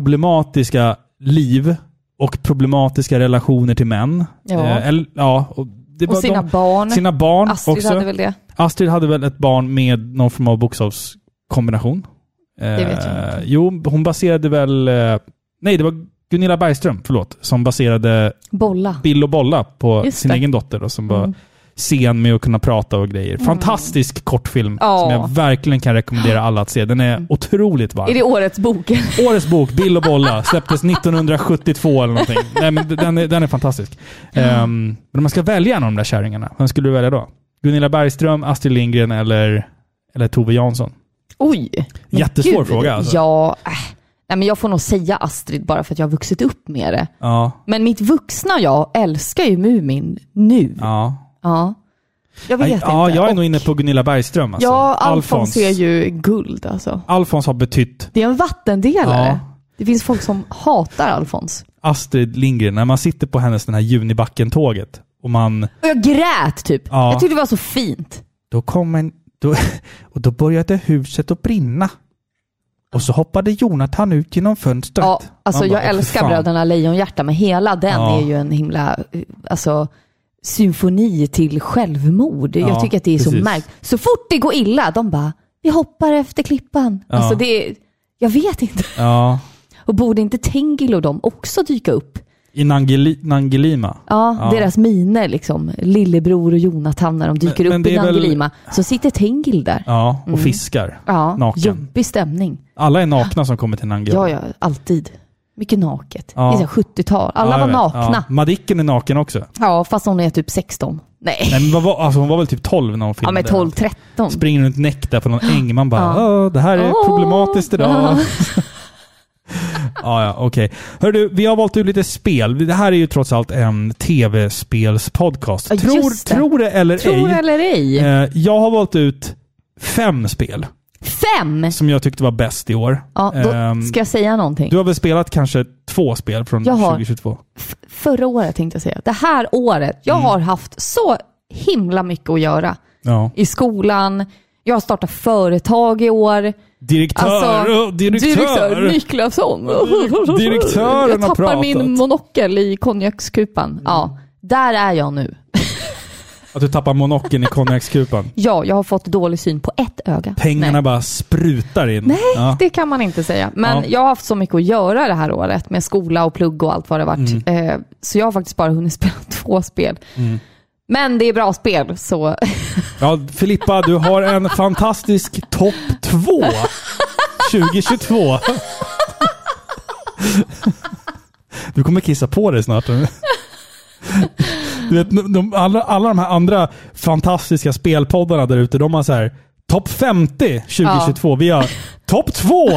Speaker 2: problematiska liv och problematiska relationer till män.
Speaker 1: Ja.
Speaker 2: Eh, eller, ja, och det
Speaker 1: Och
Speaker 2: var
Speaker 1: sina
Speaker 2: de,
Speaker 1: barn.
Speaker 2: Sina barn
Speaker 1: Astrid
Speaker 2: också.
Speaker 1: hade väl det?
Speaker 2: Astrid hade väl ett barn med någon form av bokstavskombination? Det
Speaker 1: vet jag inte.
Speaker 2: Jo, hon baserade väl... eh, Nej, det var Gunilla Bergström, förlåt, som baserade
Speaker 1: Bolla.
Speaker 2: Bill och Bolla på
Speaker 1: Just
Speaker 2: sin
Speaker 1: det.
Speaker 2: egen dotter och som var
Speaker 1: Mm.
Speaker 2: sen med att kunna prata och grejer. Fantastisk kortfilm
Speaker 1: Ja. Mm.
Speaker 2: som jag verkligen kan rekommendera alla att se. Den är otroligt varm.
Speaker 1: Är det årets bok? [LAUGHS]
Speaker 2: Årets bok, Bill och Bolla, släpptes 1972 eller någonting. Nej, men den, är, den är fantastisk. Ehm, men om man ska välja en av de där kärringarna, vem skulle du välja då? Gunilla Bergström, Astrid Lindgren eller, eller Tove Jansson?
Speaker 1: Oj. men
Speaker 2: Jättesvår fråga, alltså.
Speaker 1: Ja, äh. Nej, men jag får nog säga Astrid bara för att jag har vuxit upp med det.
Speaker 2: Ja,
Speaker 1: Men mitt vuxna jag älskar ju Mumin nu. Ja.
Speaker 2: ja.
Speaker 1: Jag vet inte.
Speaker 2: ja jag är
Speaker 1: Och-
Speaker 2: nog inne på Gunilla Bergström. Alltså.
Speaker 1: Ja, Alfons är ju guld alltså.
Speaker 2: Alfons har betytt
Speaker 1: Det är en vattendelare.
Speaker 2: Ja.
Speaker 1: Det finns folk som hatar Alfons.
Speaker 2: Astrid Lindgren. När man sitter på hennes den här Junibacken-tåget och man...
Speaker 1: Och jag grät typ.
Speaker 2: Ja.
Speaker 1: Jag tyckte det var så fint.
Speaker 2: Då kom en... Då, och då började huset att brinna. Och så hoppade Jonathan ut genom fönstret.
Speaker 1: Ja, alltså
Speaker 2: Man bara,
Speaker 1: jag
Speaker 2: "Åh, för
Speaker 1: älskar
Speaker 2: fan."
Speaker 1: Bröderna Lejonhjärta, men hela den
Speaker 2: Ja.
Speaker 1: är ju en himla eh, alltså, symfoni till självmord.
Speaker 2: Ja,
Speaker 1: jag tycker att det är så
Speaker 2: precis.
Speaker 1: märkt. Så fort det går illa, de bara, vi hoppar efter klippan.
Speaker 2: Ja.
Speaker 1: Alltså det är, jag vet inte.
Speaker 2: Ja.
Speaker 1: Och borde inte Tengil och dem också dyka upp?
Speaker 2: I Nangeli, Nangelima.
Speaker 1: Ja,
Speaker 2: Ja.
Speaker 1: deras miner liksom. Lillebror och Jonathan när de dyker
Speaker 2: Men-
Speaker 1: upp
Speaker 2: men det
Speaker 1: i
Speaker 2: är väl-
Speaker 1: Nangelima. Så sitter Tengil där.
Speaker 2: Ja, och
Speaker 1: Mm.
Speaker 2: fiskar.
Speaker 1: Ja,
Speaker 2: Naken.
Speaker 1: jobbig stämning.
Speaker 2: Alla är nakna som kommer till Nangeli.
Speaker 1: Ja, ja, alltid. Mycket naket.
Speaker 2: Ja.
Speaker 1: Det är så här 70-tal. Alla
Speaker 2: Ja, jag
Speaker 1: var
Speaker 2: vet.
Speaker 1: nakna.
Speaker 2: Ja. Madicken är naken också.
Speaker 1: Ja, fast hon är typ 16. Nej,
Speaker 2: Nej, men vad var, alltså hon var väl typ 12 när hon
Speaker 1: ja
Speaker 2: filmade.
Speaker 1: men 12-13.
Speaker 2: Springer runt näck där på någon äng. Man bara,
Speaker 1: Ja.
Speaker 2: "Åh, det här är
Speaker 1: Åh.
Speaker 2: problematiskt idag.
Speaker 1: [LAUGHS] Ja.
Speaker 2: ja, ja, okej. Hör du, vi har valt ut lite spel. Det här är ju trots allt en tv-spelspodcast.
Speaker 1: Ja,
Speaker 2: tror,
Speaker 1: just det.
Speaker 2: tror det eller
Speaker 1: Tror
Speaker 2: ej.
Speaker 1: eller ej.
Speaker 2: Eh, Jag har valt ut fem spel
Speaker 1: Fem!
Speaker 2: som jag tyckte var bäst i år.
Speaker 1: Ja, då
Speaker 2: Ehm,
Speaker 1: ska jag säga någonting.
Speaker 2: Du har väl spelat kanske två spel från
Speaker 1: Jag har.
Speaker 2: 2022?
Speaker 1: F- förra året tänkte jag säga. Det här året, jag
Speaker 2: Mm.
Speaker 1: har haft så himla mycket att göra.
Speaker 2: Ja.
Speaker 1: I skolan, jag har startat företag i år.
Speaker 2: Direktör, oh, direktör!
Speaker 1: Alltså, direktör Niklausson.
Speaker 2: direktören
Speaker 1: Jag
Speaker 2: har pratat. Mm.
Speaker 1: tappar min monokel i konjakskupan. Ja, där är jag nu.
Speaker 2: Att du tappar monocken i konjakskupan.
Speaker 1: Ja, jag har fått dålig syn på ett öga.
Speaker 2: Pengarna
Speaker 1: Nej.
Speaker 2: bara sprutar in.
Speaker 1: Nej,
Speaker 2: Ja.
Speaker 1: det kan man inte säga. Men
Speaker 2: Ja.
Speaker 1: jag har haft så mycket att göra det här året med skola och plugg och allt vad det har varit.
Speaker 2: Mm.
Speaker 1: Eh, Så jag har faktiskt bara hunnit [LAUGHS] spela två spel. Men det är bra spel, så [LAUGHS]
Speaker 2: Ja, Filippa, du har en fantastisk topp två 2022. Du kommer kissa på dig snart. Du vet, de, alla, alla de här andra fantastiska spelpoddarna där ute, de har så här topp 50 2022. Vi har topp två!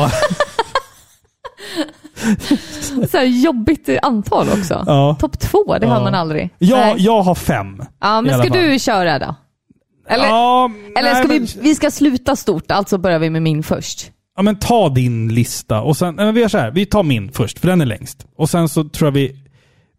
Speaker 1: så här jobbigt antal också.
Speaker 2: Ja.
Speaker 1: Topp två, det
Speaker 2: Ja.
Speaker 1: hör man aldrig.
Speaker 2: Ja,
Speaker 1: Nej.
Speaker 2: jag har fem.
Speaker 1: ja
Speaker 2: i
Speaker 1: men
Speaker 2: alla
Speaker 1: ska
Speaker 2: fall.
Speaker 1: du köra då? Eller,
Speaker 2: ja,
Speaker 1: eller
Speaker 2: nej,
Speaker 1: ska vi,
Speaker 2: men-
Speaker 1: vi ska sluta stort, alltså börjar vi med min först.
Speaker 2: Ja men ta din lista och sen, nej, men vi gör så här, vi tar min först för den är längst. Och sen så tror jag vi,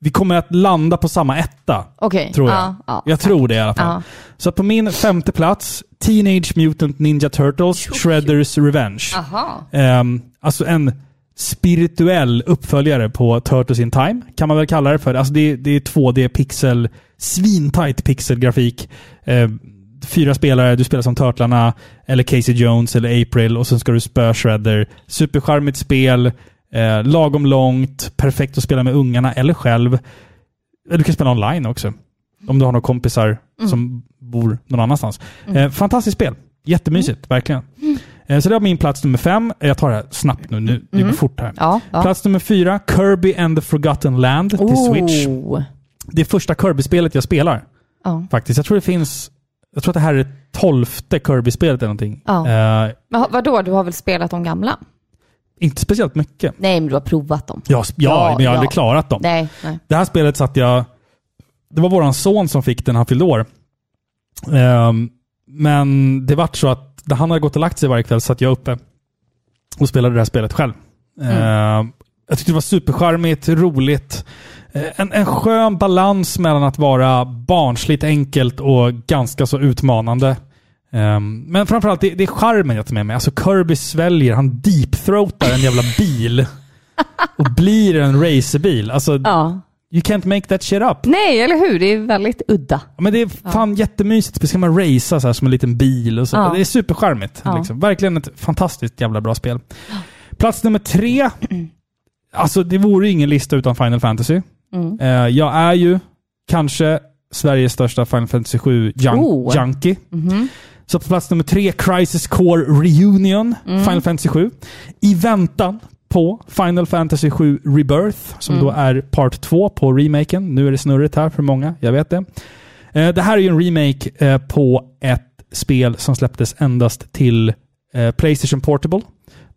Speaker 2: vi kommer att landa på samma etta.
Speaker 1: Okej.
Speaker 2: Tror jag.
Speaker 1: Ja, ja,
Speaker 2: jag
Speaker 1: tack.
Speaker 2: tror det i alla fall.
Speaker 1: Ja.
Speaker 2: Så på min femte plats, Teenage Mutant Ninja Turtles, Shredders Revenge.
Speaker 1: Aha.
Speaker 2: Ehm, alltså en spirituell uppföljare på Turtles in Time, kan man väl kalla det för. Alltså det, är- det är 2D-pixel, svintajt pixelgrafik. Ehm, fyra spelare, du spelar som Turtlarna, eller Casey Jones, eller April, och sen ska du spöa Shredder. Supercharmigt spel, eh, lagom långt, perfekt att spela med ungarna eller själv. Eh, Du kan spela online också, om du har några kompisar som bor någon annanstans. Eh, fantastiskt spel. Jättemysigt, verkligen. Eh, Så det var min plats nummer fem. Eh, Jag tar det här snabbt nu. Nu det går fort här.
Speaker 1: Ja, ja.
Speaker 2: Plats nummer fyra, Kirby and the Forgotten Land till Switch.
Speaker 1: Oh.
Speaker 2: Det är första Kirby-spelet jag spelar.
Speaker 1: Ja.
Speaker 2: Faktiskt. Jag tror det finns... Jag tror att det här är det tolfte Kirby-spelet eller någonting.
Speaker 1: Ja.
Speaker 2: Eh,
Speaker 1: Men ha- vadå, du har väl spelat de gamla?
Speaker 2: inte speciellt mycket.
Speaker 1: Nej, men du har provat dem.
Speaker 2: Jag, ja,
Speaker 1: Ja,
Speaker 2: men jag har
Speaker 1: ja.
Speaker 2: aldrig klarat dem.
Speaker 1: Nej, nej.
Speaker 2: Det här spelet satt jag... Det var våran son som fick den när han fyllde år. Ehm, men det vart så att när han hade gått och lagt sig varje kväll satt jag uppe och spelade det här spelet själv. Ehm, jag tyckte det var supercharmigt, roligt. Eh, En, en skön balans mellan att vara barnsligt enkelt och ganska så utmanande. Ehm, men framförallt, det, det är charmen jag tar med mig. Alltså Kirby sväljer, han deepthroatar en jävla bil och blir en racerbil. Alltså,
Speaker 1: Ja.
Speaker 2: You can't make that shit up.
Speaker 1: Nej, eller hur? Det är väldigt udda.
Speaker 2: Ja, Men det är fan jättemysigt. Speciellt när man racea så här som en liten bil och så.
Speaker 1: Ja.
Speaker 2: Det är supercharmigt.
Speaker 1: Ja.
Speaker 2: Liksom. Verkligen ett fantastiskt jävla bra spel. Plats nummer tre.
Speaker 1: [CLEARS THROAT]
Speaker 2: Alltså det vore ju ingen lista utan Final Fantasy.
Speaker 1: Mm.
Speaker 2: Eh, jag är ju kanske Sveriges största Final Fantasy 7 junk-
Speaker 1: Oh.
Speaker 2: junkie.
Speaker 1: Mhm.
Speaker 2: Så på plats nummer tre, Crisis Core Reunion,
Speaker 1: Mm.
Speaker 2: Final Fantasy 7. I väntan på Final Fantasy 7 Rebirth, som då är part 2 på remaken. Nu är det snurrigt här för många, jag vet det. Eh, Det här är ju en remake eh, på ett spel som släpptes endast till eh, Playstation Portable,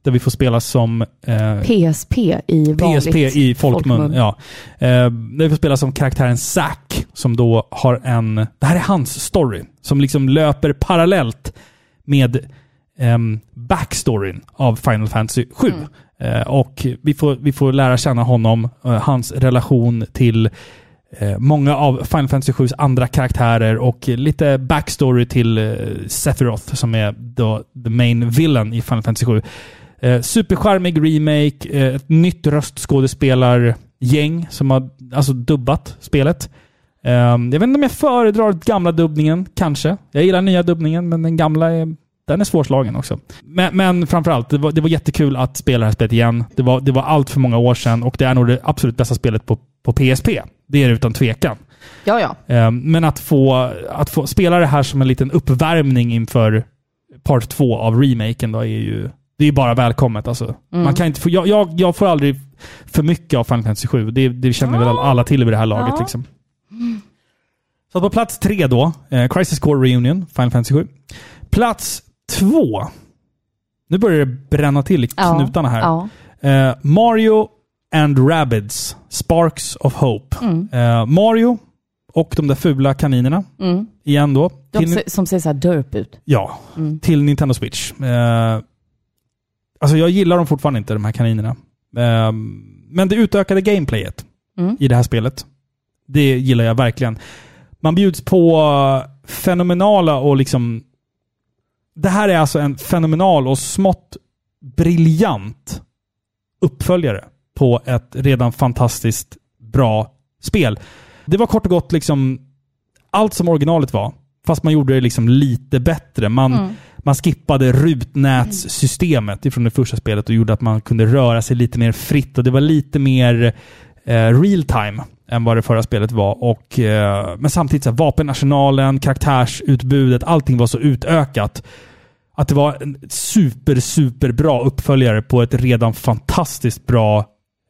Speaker 2: där vi får spela som eh,
Speaker 1: PSP i vanligt
Speaker 2: PSP i folkmun. Ja. Eh, där vi får spela som karaktären Zack, som då har en... Det här är hans story, som liksom löper parallellt med ehm, backstoryn av Final Fantasy 7. Eh, och vi får, vi får lära känna honom, eh, hans relation till eh, många av Final Fantasy 7s andra karaktärer och eh, lite backstory till eh, Sephiroth som är då the main villain i Final Fantasy 7. Eh, supercharmig remake, eh, ett nytt röstskådespelargäng som har alltså dubbat spelet. Eh, jag vet inte om jag föredrar gamla dubbningen, kanske. Jag gillar nya dubbningen, men den gamla är, den är svårslagen också. Men, men framförallt, det var, det var jättekul att spela det här spelet igen. Det var, det var allt för många år sedan och det är nog det absolut bästa spelet på, på PSP. Det är det utan tvekan.
Speaker 1: Ja, ja.
Speaker 2: Eh, Men att få, att få spela det här som en liten uppvärmning inför part två av remaken då är ju det är ju bara välkommet alltså.
Speaker 1: Mm.
Speaker 2: Man kan inte få, jag, jag, jag får aldrig för mycket av Final Fantasy 7. Det, det känner väl alla till vid det här laget.
Speaker 1: Ja.
Speaker 2: Liksom. Så på plats tre då, eh, Crisis Core Reunion, Final Fantasy 7. Plats två. Nu börjar det bränna till i
Speaker 1: Ja.
Speaker 2: knutarna här.
Speaker 1: Ja.
Speaker 2: Eh, Mario and Rabbids, Sparks of Hope.
Speaker 1: Mm.
Speaker 2: Eh, Mario och de där fula kaninerna,
Speaker 1: Mm.
Speaker 2: igen då.
Speaker 1: De
Speaker 2: Till,
Speaker 1: se, som ser så här derp ut.
Speaker 2: ja,
Speaker 1: Mm.
Speaker 2: till Nintendo Switch. Eh, alltså jag gillar dem fortfarande inte, de här kaninerna. Eh, men det utökade gameplayet
Speaker 1: Mm.
Speaker 2: i det här spelet, det gillar jag verkligen. Man bjuds på fenomenala och liksom... Det här är alltså en fenomenal och smått briljant uppföljare på ett redan fantastiskt bra spel. Det var kort och gott liksom allt som originalet var, fast man gjorde det liksom lite bättre. Man,
Speaker 1: Mm.
Speaker 2: man skippade rutnätssystemet ifrån det första spelet och gjorde att man kunde röra sig lite mer fritt och det var lite mer eh, real time än vad det förra spelet var. Och, eh, men samtidigt, så här, vapenarsenalen, karaktärsutbudet, allting var så utökat. Att det var en super, super bra uppföljare på ett redan fantastiskt bra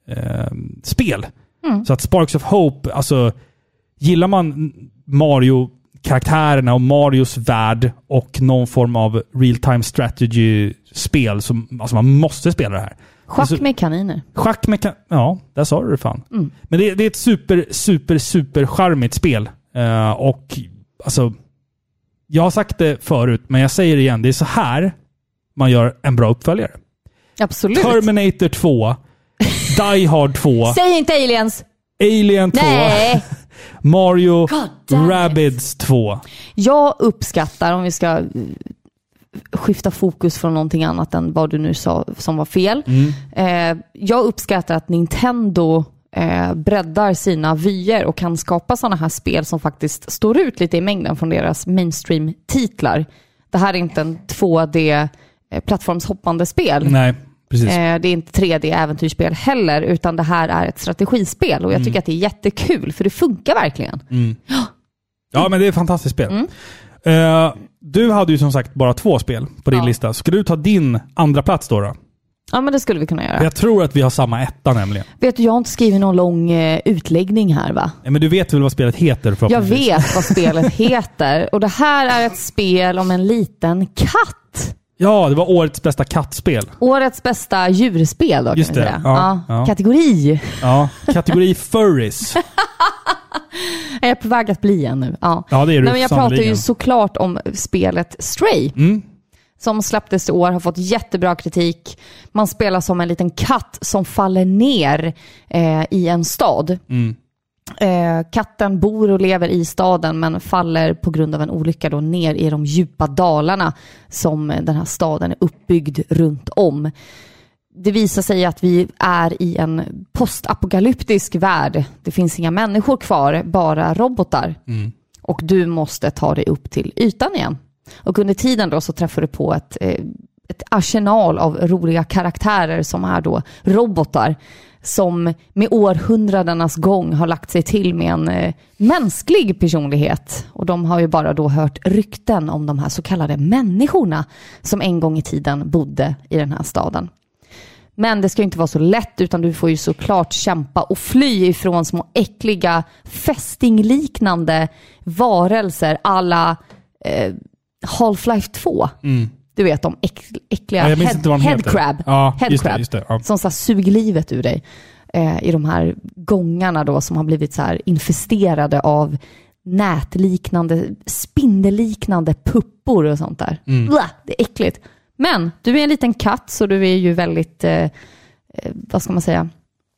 Speaker 2: eh, spel.
Speaker 1: Mm.
Speaker 2: Så att Sparks of Hope, alltså gillar man Mario-karaktärerna och Marios värld och någon form av real-time strategy-spel, som, alltså man måste spela det här.
Speaker 1: Schack
Speaker 2: Alltså-
Speaker 1: med kaniner.
Speaker 2: Schack med kan- Ja, där sa du det fan.
Speaker 1: Mm.
Speaker 2: Men det, det är ett super, super, super charmigt spel. Eh, och alltså, jag har sagt det förut, men jag säger det igen. Det är så här man gör en bra uppföljare.
Speaker 1: Absolut.
Speaker 2: Terminator 2, Die
Speaker 1: [LAUGHS]
Speaker 2: Hard 2,
Speaker 1: Säg inte aliens!
Speaker 2: Alien 2,
Speaker 1: Nej!
Speaker 2: Mario
Speaker 1: God damn it.
Speaker 2: Rabbids 2.
Speaker 1: Jag uppskattar, om vi ska eh, skifta fokus från någonting annat än vad du nu sa som var fel.
Speaker 2: Mm.
Speaker 1: Eh, jag uppskattar att Nintendo eh, breddar sina vyer och kan skapa sådana här spel som faktiskt står ut lite i mängden från deras mainstream-titlar. Det här är inte en 2D-plattformshoppande spel.
Speaker 2: Nej, precis.
Speaker 1: Eh, Det är inte 3D-äventyrsspel heller, utan det här är ett strategispel. Och
Speaker 2: Mm.
Speaker 1: jag tycker att det är jättekul, för det funkar verkligen.
Speaker 2: Ja, men det är ett fantastiskt spel.
Speaker 1: Mm.
Speaker 2: Eh, du hade ju som sagt bara två spel på din
Speaker 1: Ja.
Speaker 2: lista. Ska du ta din andra plats då? då?
Speaker 1: Ja, men det skulle vi kunna göra.
Speaker 2: Jag tror att vi har samma etta nämligen.
Speaker 1: Vet du, jag har inte skrivit någon lång eh, utläggning här va?
Speaker 2: Eh, Men du vet väl vad spelet heter
Speaker 1: Jag
Speaker 2: förhoppningsvis?
Speaker 1: vet vad
Speaker 2: [LAUGHS]
Speaker 1: spelet heter och det här är ett spel om en liten katt.
Speaker 2: Ja, det var årets bästa kattspel.
Speaker 1: Årets bästa djurspel då
Speaker 2: Just
Speaker 1: kan vi
Speaker 2: det,
Speaker 1: säga.
Speaker 2: ja, ja.
Speaker 1: Kategori.
Speaker 2: Ja, kategori furries.
Speaker 1: Jag är på väg att bli en nu. Ja.
Speaker 2: Ja, det är du
Speaker 1: Nej, men jag pratar ju
Speaker 2: sannerligen.
Speaker 1: såklart om spelet Stray.
Speaker 2: Mm.
Speaker 1: Som släpptes i år, har fått jättebra kritik. Man spelar som en liten katt som faller ner eh, i en stad.
Speaker 2: Mm.
Speaker 1: Eh, katten bor och lever i staden men faller på grund av en olycka då ner i de djupa dalarna som den här staden är uppbyggd runt om det visar sig att vi är i en postapokalyptisk värld. Det finns inga människor kvar, bara robotar. Och du måste ta dig upp till ytan igen. Och under tiden då så träffar du på ett, eh, ett arsenal av roliga karaktärer som är då robotar som med århundradenas gång har lagt sig till med en eh, mänsklig personlighet. Och de har ju bara då hört rykten om de här så kallade människorna som en gång i tiden bodde i den här staden. Men det ska ju inte vara så lätt utan du får ju såklart kämpa och fly ifrån små äckliga fästingliknande varelser alla eh, Half-Life 2. Du vet de äck, äckliga
Speaker 2: Mm. Ja, jag minns inte vad de heter.
Speaker 1: headcrab.
Speaker 2: Ja, just det,
Speaker 1: headcrab
Speaker 2: just det, ja.
Speaker 1: Som så här suger livet ur dig eh, i de här gångarna då som har blivit så här infesterade av nätliknande, spindelliknande puppor och sånt där.
Speaker 2: Mm.
Speaker 1: Blah, det är äckligt. Men du är en liten katt så du är ju väldigt, eh, eh, vad ska man säga,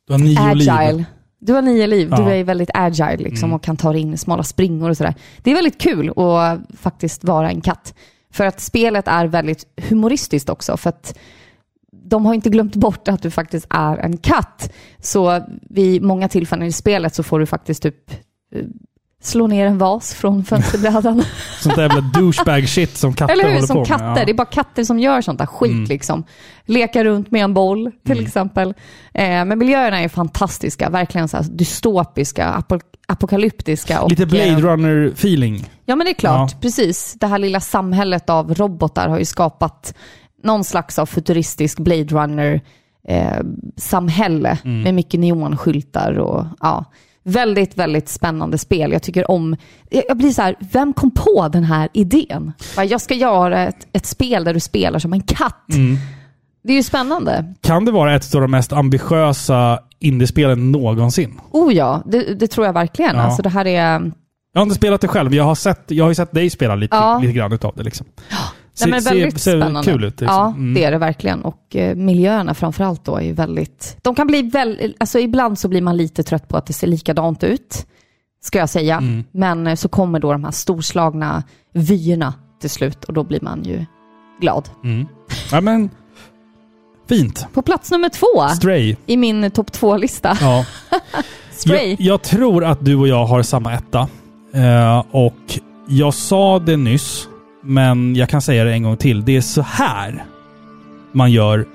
Speaker 2: Du har nio liv.
Speaker 1: agile. Du har nio liv,
Speaker 2: Ja. Mm.
Speaker 1: du är väldigt agile liksom, och kan ta dig in i smala springor och sådär. Det är väldigt kul att faktiskt vara en katt. För att spelet är väldigt humoristiskt också. För att de har inte glömt bort att du faktiskt är en katt. Så vid många tillfällen i spelet så får du faktiskt typ eh, slå ner en vas från
Speaker 2: [LAUGHS]
Speaker 1: fönsterbrädan.
Speaker 2: Sånt där jävla douchebag-shit som katter
Speaker 1: Eller hur?
Speaker 2: håller
Speaker 1: Som
Speaker 2: på
Speaker 1: katter.
Speaker 2: med.
Speaker 1: Det är bara katter som gör sånt där skit.
Speaker 2: Mm.
Speaker 1: Liksom. Leka runt med en boll till exempel. Eh, men miljöerna är fantastiska. Verkligen så här dystopiska, apo- apokalyptiska. Och,
Speaker 2: Lite
Speaker 1: eh,
Speaker 2: Blade Runner-feeling.
Speaker 1: Ja men det är klart,
Speaker 2: Ja.
Speaker 1: precis. Det här lilla samhället av robotar har ju skapat någon slags av futuristisk Blade Runner-samhälle
Speaker 2: Mm.
Speaker 1: med mycket neonskyltar och ja. Väldigt, väldigt spännande spel. Jag tycker om... jag- Jag blir så här, vem kom på den här idén? Va, Jag ska göra ett, ett spel där du spelar som en katt.
Speaker 2: Mm.
Speaker 1: Det är ju spännande.
Speaker 2: Kan det vara ett av de mest ambitiösa indiespelen någonsin?
Speaker 1: Oh ja, det, det tror jag verkligen.
Speaker 2: Ja.
Speaker 1: Alltså det här är...
Speaker 2: Jag har inte spelat det själv, jag har, sett, jag har ju sett dig spela lite,
Speaker 1: Ja.
Speaker 2: lite grann utav det. Liksom.
Speaker 1: Nej, men väldigt spännande.
Speaker 2: kul ut. Liksom.
Speaker 1: Ja,
Speaker 2: Mm.
Speaker 1: det är det verkligen. Och eh, miljöerna framförallt då är ju väldigt... De kan bli väldigt... Alltså ibland så blir man lite trött på att det ser likadant ut, ska jag säga.
Speaker 2: Mm.
Speaker 1: Men eh, så kommer då de här storslagna vyerna till slut och då blir man ju glad.
Speaker 2: Mm. Ja, men, fint.
Speaker 1: På plats nummer två
Speaker 2: Stray.
Speaker 1: i min topp två-lista,
Speaker 2: Ja.
Speaker 1: Stray.
Speaker 2: Jag, jag tror att du och jag har samma etta. Eh, och jag sa det nyss, men jag kan säga det en gång till. Det är så här man gör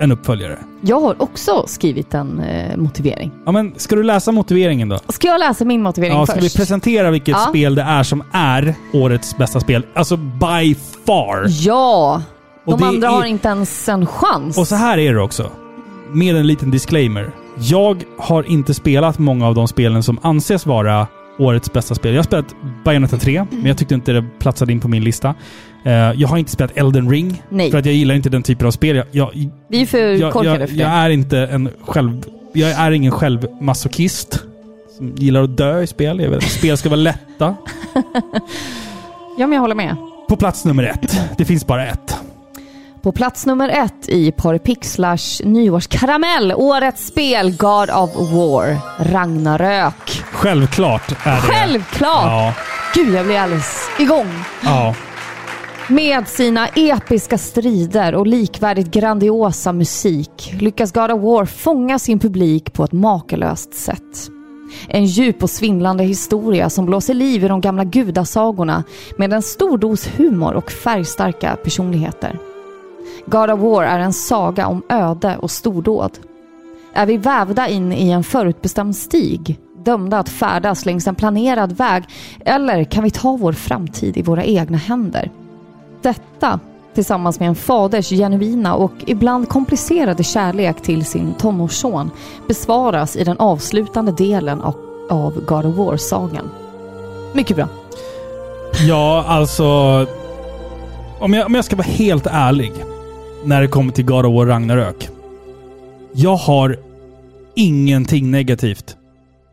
Speaker 2: en uppföljare.
Speaker 1: Jag har också skrivit en eh, motivering.
Speaker 2: Ja, men ska du läsa motiveringen då?
Speaker 1: Ska jag läsa min motivering
Speaker 2: Ja, ska vi
Speaker 1: först?
Speaker 2: presentera vilket
Speaker 1: Ja.
Speaker 2: spel det är som är årets bästa spel? Alltså by far.
Speaker 1: ja!
Speaker 2: Och
Speaker 1: De
Speaker 2: det
Speaker 1: andra
Speaker 2: är-
Speaker 1: har inte ens en chans.
Speaker 2: Och så här är det också. Med en liten disclaimer. Jag har inte spelat många av de spelen som anses vara årets bästa spel. Jag har spelat Bayonetta 3,
Speaker 1: Mm.
Speaker 2: men jag tyckte inte det platsade in på min lista. Eh, jag har inte spelat Elden Ring,
Speaker 1: Nej.
Speaker 2: för att jag gillar inte den typen av spel. Jag, jag,
Speaker 1: Vi är för
Speaker 2: jag,
Speaker 1: korkade
Speaker 2: jag,
Speaker 1: för det.
Speaker 2: jag är inte en själv... Jag är ingen självmasochist. Som gillar att dö i spel. Jag vill att spel ska vara lätta.
Speaker 1: Ja, men jag håller med.
Speaker 2: På plats nummer ett. Det finns bara ett.
Speaker 1: På plats nummer ett i Parapixlars nyårskaramell, årets spel God of War, Ragnarök.
Speaker 2: Självklart är det...
Speaker 1: Självklart!
Speaker 2: Ja.
Speaker 1: Gud, jag blir alldeles igång.
Speaker 2: Ja.
Speaker 1: Med sina episka strider och likvärdigt grandiosa musik lyckas God of War fånga sin publik på ett makalöst sätt. En djup och svindlande historia som blåser liv i de gamla gudasagorna med en stor dos humor och färgstarka personligheter. God of War är en saga om öde och stordåd. Är vi vävda in i en förutbestämd stig, dömda att färdas längs en planerad väg, eller kan vi ta vår framtid i våra egna händer? Detta tillsammans med en faders genuina och ibland komplicerade kärlek till sin tonårsson besvaras i den avslutande delen av, av God of War-sagan. Mycket bra.
Speaker 2: Ja, alltså... Om jag, om jag ska vara helt ärlig när det kommer till God of War Ragnarök. Jag har ingenting negativt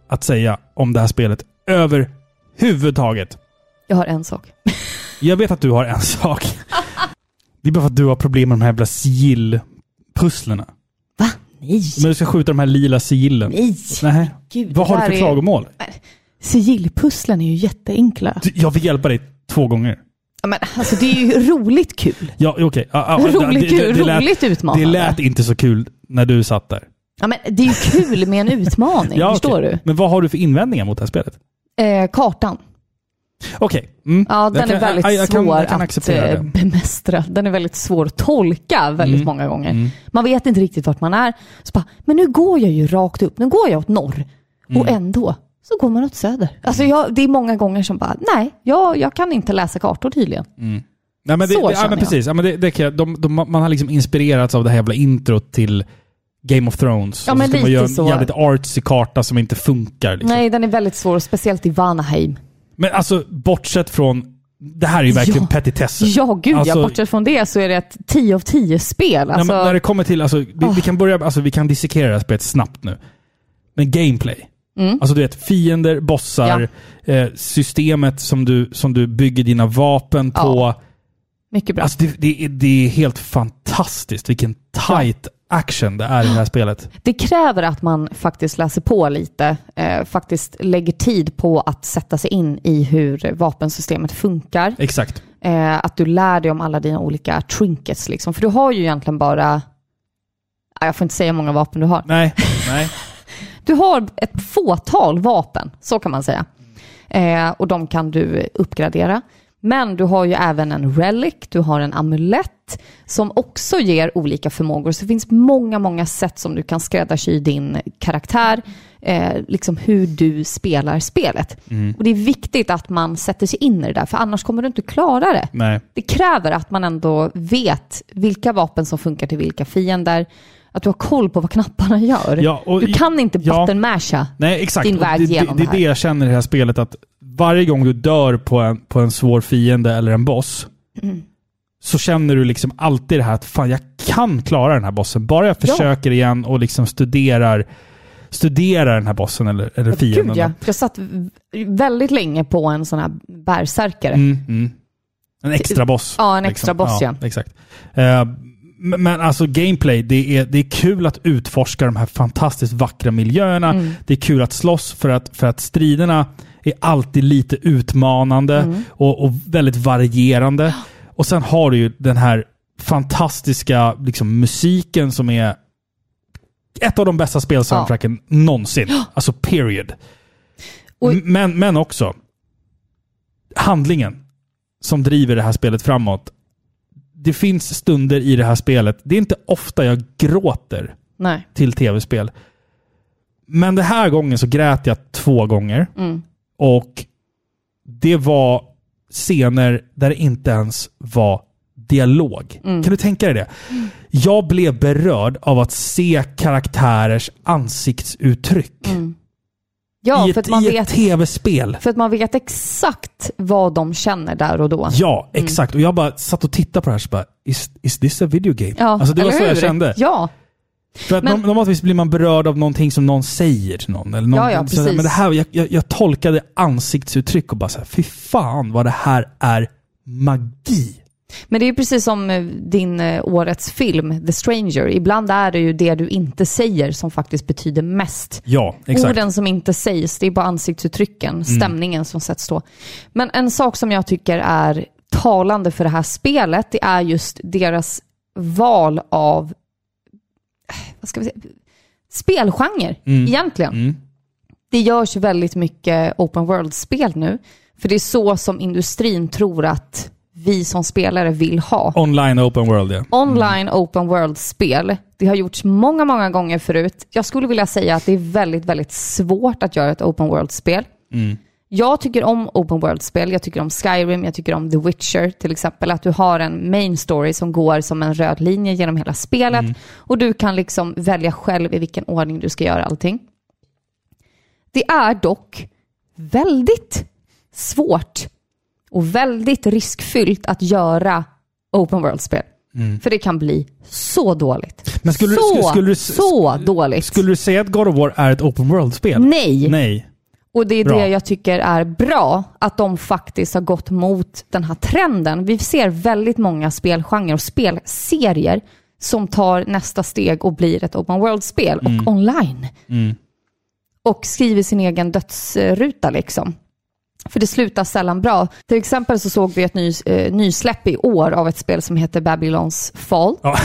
Speaker 2: att säga om det här spelet överhuvudtaget.
Speaker 1: Jag har en sak.
Speaker 2: Jag vet att du har en [LAUGHS] sak. Det är bara för att du har problem med de här jävla sigill-pusslerna.
Speaker 1: Nej,
Speaker 2: Men du ska skjuta de här lila sigillen.
Speaker 1: nej,
Speaker 2: Nej.
Speaker 1: gud.
Speaker 2: Vad har
Speaker 1: det
Speaker 2: du
Speaker 1: där
Speaker 2: för
Speaker 1: är-
Speaker 2: klagomål?
Speaker 1: Sigillpusslen är ju jätteenkla.
Speaker 2: Du, Jag fick hjälpa dig två gånger.
Speaker 1: Ja, Men, alltså, det är ju roligt kul.
Speaker 2: Ja, okej. Ja, ja,
Speaker 1: [LAUGHS] Roligt,
Speaker 2: det- det- det lät-
Speaker 1: roligt
Speaker 2: Det
Speaker 1: utmanande.
Speaker 2: lät inte så kul när du satt där.
Speaker 1: Ja, men det är ju kul
Speaker 2: [LAUGHS]
Speaker 1: med en utmaning,
Speaker 2: Ja,
Speaker 1: förstår
Speaker 2: okej. Men vad har du för invändningar mot det här spelet?
Speaker 1: du? Eh, kartan.
Speaker 2: Okej. Mm.
Speaker 1: Ja,
Speaker 2: Jag
Speaker 1: den är
Speaker 2: kan-
Speaker 1: väldigt
Speaker 2: jag- jag kan-
Speaker 1: svår
Speaker 2: jag kan
Speaker 1: att
Speaker 2: acceptera
Speaker 1: eh,
Speaker 2: det.
Speaker 1: bemästra. Den är väldigt svår att tolka väldigt
Speaker 2: Mm.
Speaker 1: många gånger.
Speaker 2: Mm.
Speaker 1: Man vet inte riktigt vart man är. Så bara, men nu går jag ju rakt upp. Nu går jag åt norr.
Speaker 2: Mm.
Speaker 1: Och ändå så går man åt söder. Alltså jag, det är många gånger som bara, nej, jag, jag kan inte läsa kartor tydligen.
Speaker 2: Nej, men det,
Speaker 1: Så
Speaker 2: det, ja,
Speaker 1: känner
Speaker 2: men
Speaker 1: jag.
Speaker 2: precis. Ja, men det, det kan jag, de, de, man har liksom inspirerats av det här jävla introt till Game of Thrones.
Speaker 1: Ja,
Speaker 2: Och
Speaker 1: men
Speaker 2: ska
Speaker 1: lite
Speaker 2: man göra
Speaker 1: så.
Speaker 2: en jävligt artsy karta som inte funkar. Liksom.
Speaker 1: Nej, den är väldigt svår, och speciellt i Vanaheim.
Speaker 2: Men alltså, bortsett från... Det här är ju verkligen
Speaker 1: Ja.
Speaker 2: petitesser.
Speaker 1: Ja, gud
Speaker 2: Alltså,
Speaker 1: ja. Bortsett från det så är det ett 10 av 10-spel.
Speaker 2: Ja,
Speaker 1: Alltså,
Speaker 2: men när det kommer till, alltså, vi, vi kan börja, alltså, vi kan dissekera det här spelet snabbt nu. Men gameplay.
Speaker 1: Mm.
Speaker 2: Alltså du vet, fiender, bossar, eh, systemet som du, som du bygger dina vapen
Speaker 1: Ja.
Speaker 2: på.
Speaker 1: mycket bra.
Speaker 2: Alltså det, det, är, det är helt fantastiskt vilken tight action det är i det här spelet.
Speaker 1: Det kräver att man faktiskt läser på lite, eh, faktiskt lägger tid på att sätta sig in i hur vapensystemet funkar.
Speaker 2: Exakt.
Speaker 1: Eh, att du lär dig om alla dina olika trinkets. Liksom. För du har ju egentligen bara Ja, Jag får inte säga hur många vapen du har.
Speaker 2: Nej, nej.
Speaker 1: Du har ett fåtal vapen, så kan man säga. Eh, och de kan du uppgradera. Men du har ju även en relic, du har en amulett som också ger olika förmågor. Så det finns många, många sätt som du kan skräddarsy din karaktär, eh, liksom hur du spelar spelet. Och det är viktigt att man sätter sig in i det där, för annars kommer du inte klara det.
Speaker 2: nej.
Speaker 1: Det kräver att man ändå vet vilka vapen som funkar till vilka fiender. Att du har koll på vad knapparna gör.
Speaker 2: Ja, och-
Speaker 1: du kan inte
Speaker 2: ja.
Speaker 1: button masha.
Speaker 2: Nej, exakt.
Speaker 1: Din
Speaker 2: Och
Speaker 1: väg
Speaker 2: det,
Speaker 1: genom
Speaker 2: det,
Speaker 1: det
Speaker 2: det är
Speaker 1: här.
Speaker 2: det jag känner i det här spelet, att varje gång du dör på en, på en svår fiende eller en boss,
Speaker 1: Mm.
Speaker 2: så känner du liksom alltid det här att fan, jag kan klara den här bossen. Bara jag
Speaker 1: Ja.
Speaker 2: försöker igen och liksom studerar, studerar den här bossen eller, eller fienden.
Speaker 1: Gud ja. Jag satt v- väldigt länge på en sån här bärsärkare.
Speaker 2: Mm, Liksom, mm. En extra boss.
Speaker 1: Ja, en extra boss, ja.
Speaker 2: Exakt. Eh, m- men alltså gameplay, det är, det är kul att utforska de här fantastiskt vackra miljöerna. Det är kul att slåss för att, för att striderna är alltid lite utmanande och, och väldigt varierande. Och sen har du ju den här fantastiska liksom, musiken som är ett av de bästa spelsoundtracken någonsin. Alltså period.
Speaker 1: Och-
Speaker 2: M- Men, men också handlingen som driver det här spelet framåt. Det finns stunder i det här spelet. Det är inte ofta jag gråter
Speaker 1: Nej.
Speaker 2: till tv-spel. Men den här gången så grät jag två gånger.
Speaker 1: Mm.
Speaker 2: Och det var scener där det inte ens var dialog.
Speaker 1: Mm.
Speaker 2: Kan du tänka dig det? Jag blev berörd av att se karaktärers ansiktsuttryck
Speaker 1: Mm. Ja,
Speaker 2: i
Speaker 1: för att,
Speaker 2: ett,
Speaker 1: man
Speaker 2: i ett
Speaker 1: vet,
Speaker 2: tv-spel.
Speaker 1: för att man vet exakt vad de känner där och då.
Speaker 2: Ja, exakt. Och jag bara satt och tittade på det här så bara, is, is this a video game?
Speaker 1: Ja,
Speaker 2: alltså det var
Speaker 1: eller
Speaker 2: så jag
Speaker 1: hur?
Speaker 2: kände.
Speaker 1: Ja,
Speaker 2: För att
Speaker 1: Men-
Speaker 2: men, normaltvis blir man berörd av någonting som någon säger till någon. Eller någon
Speaker 1: Ja, ja,
Speaker 2: så här,
Speaker 1: precis.
Speaker 2: men det här, jag, jag, jag tolkade ansiktsuttryck och bara så här, fy fan vad det här är magi.
Speaker 1: Men det är ju precis som eh, din eh, årets film, The Stranger. Ibland är det ju det du inte säger som faktiskt betyder mest.
Speaker 2: Ja, exakt.
Speaker 1: Orden som inte sägs, det är bara ansiktsuttrycken, stämningen som sätts då. Men en sak som jag tycker är talande för det här spelet, det är just deras val av, eh, vad ska vi säga, spelgenre egentligen. Det görs ju väldigt mycket open world-spel nu, för det är så som industrin tror att vi som spelare vill ha.
Speaker 2: Online open world, ja.
Speaker 1: Online open world-spel, det har gjorts många, många gånger förut. Jag skulle vilja säga att det är väldigt, väldigt svårt att göra ett open world-spel. Jag tycker om open world-spel. Jag tycker om Skyrim, jag tycker om The Witcher till exempel. Att du har en main story som går som en röd linje genom hela spelet.
Speaker 2: Mm.
Speaker 1: Och du kan liksom välja själv i vilken ordning du ska göra allting. Det är dock väldigt svårt och väldigt riskfyllt att göra open world-spel. För det kan bli så dåligt.
Speaker 2: Mm. Men skulle du-
Speaker 1: så,
Speaker 2: skulle- skulle du-
Speaker 1: så dåligt.
Speaker 2: Skulle du säga att God of War är ett open world-spel?
Speaker 1: Nej.
Speaker 2: Nej.
Speaker 1: Och det är
Speaker 2: Bra.
Speaker 1: det jag tycker är bra, att de faktiskt har gått mot den här trenden. Vi ser väldigt många spelgenrer och spelserier som tar nästa steg och blir ett open world-spel och online. Och skriver sin egen dödsruta liksom. För det slutar sällan bra. Till exempel så såg vi ett ny, eh, nysläpp i år av ett spel som heter Babylons Fall
Speaker 2: Ja.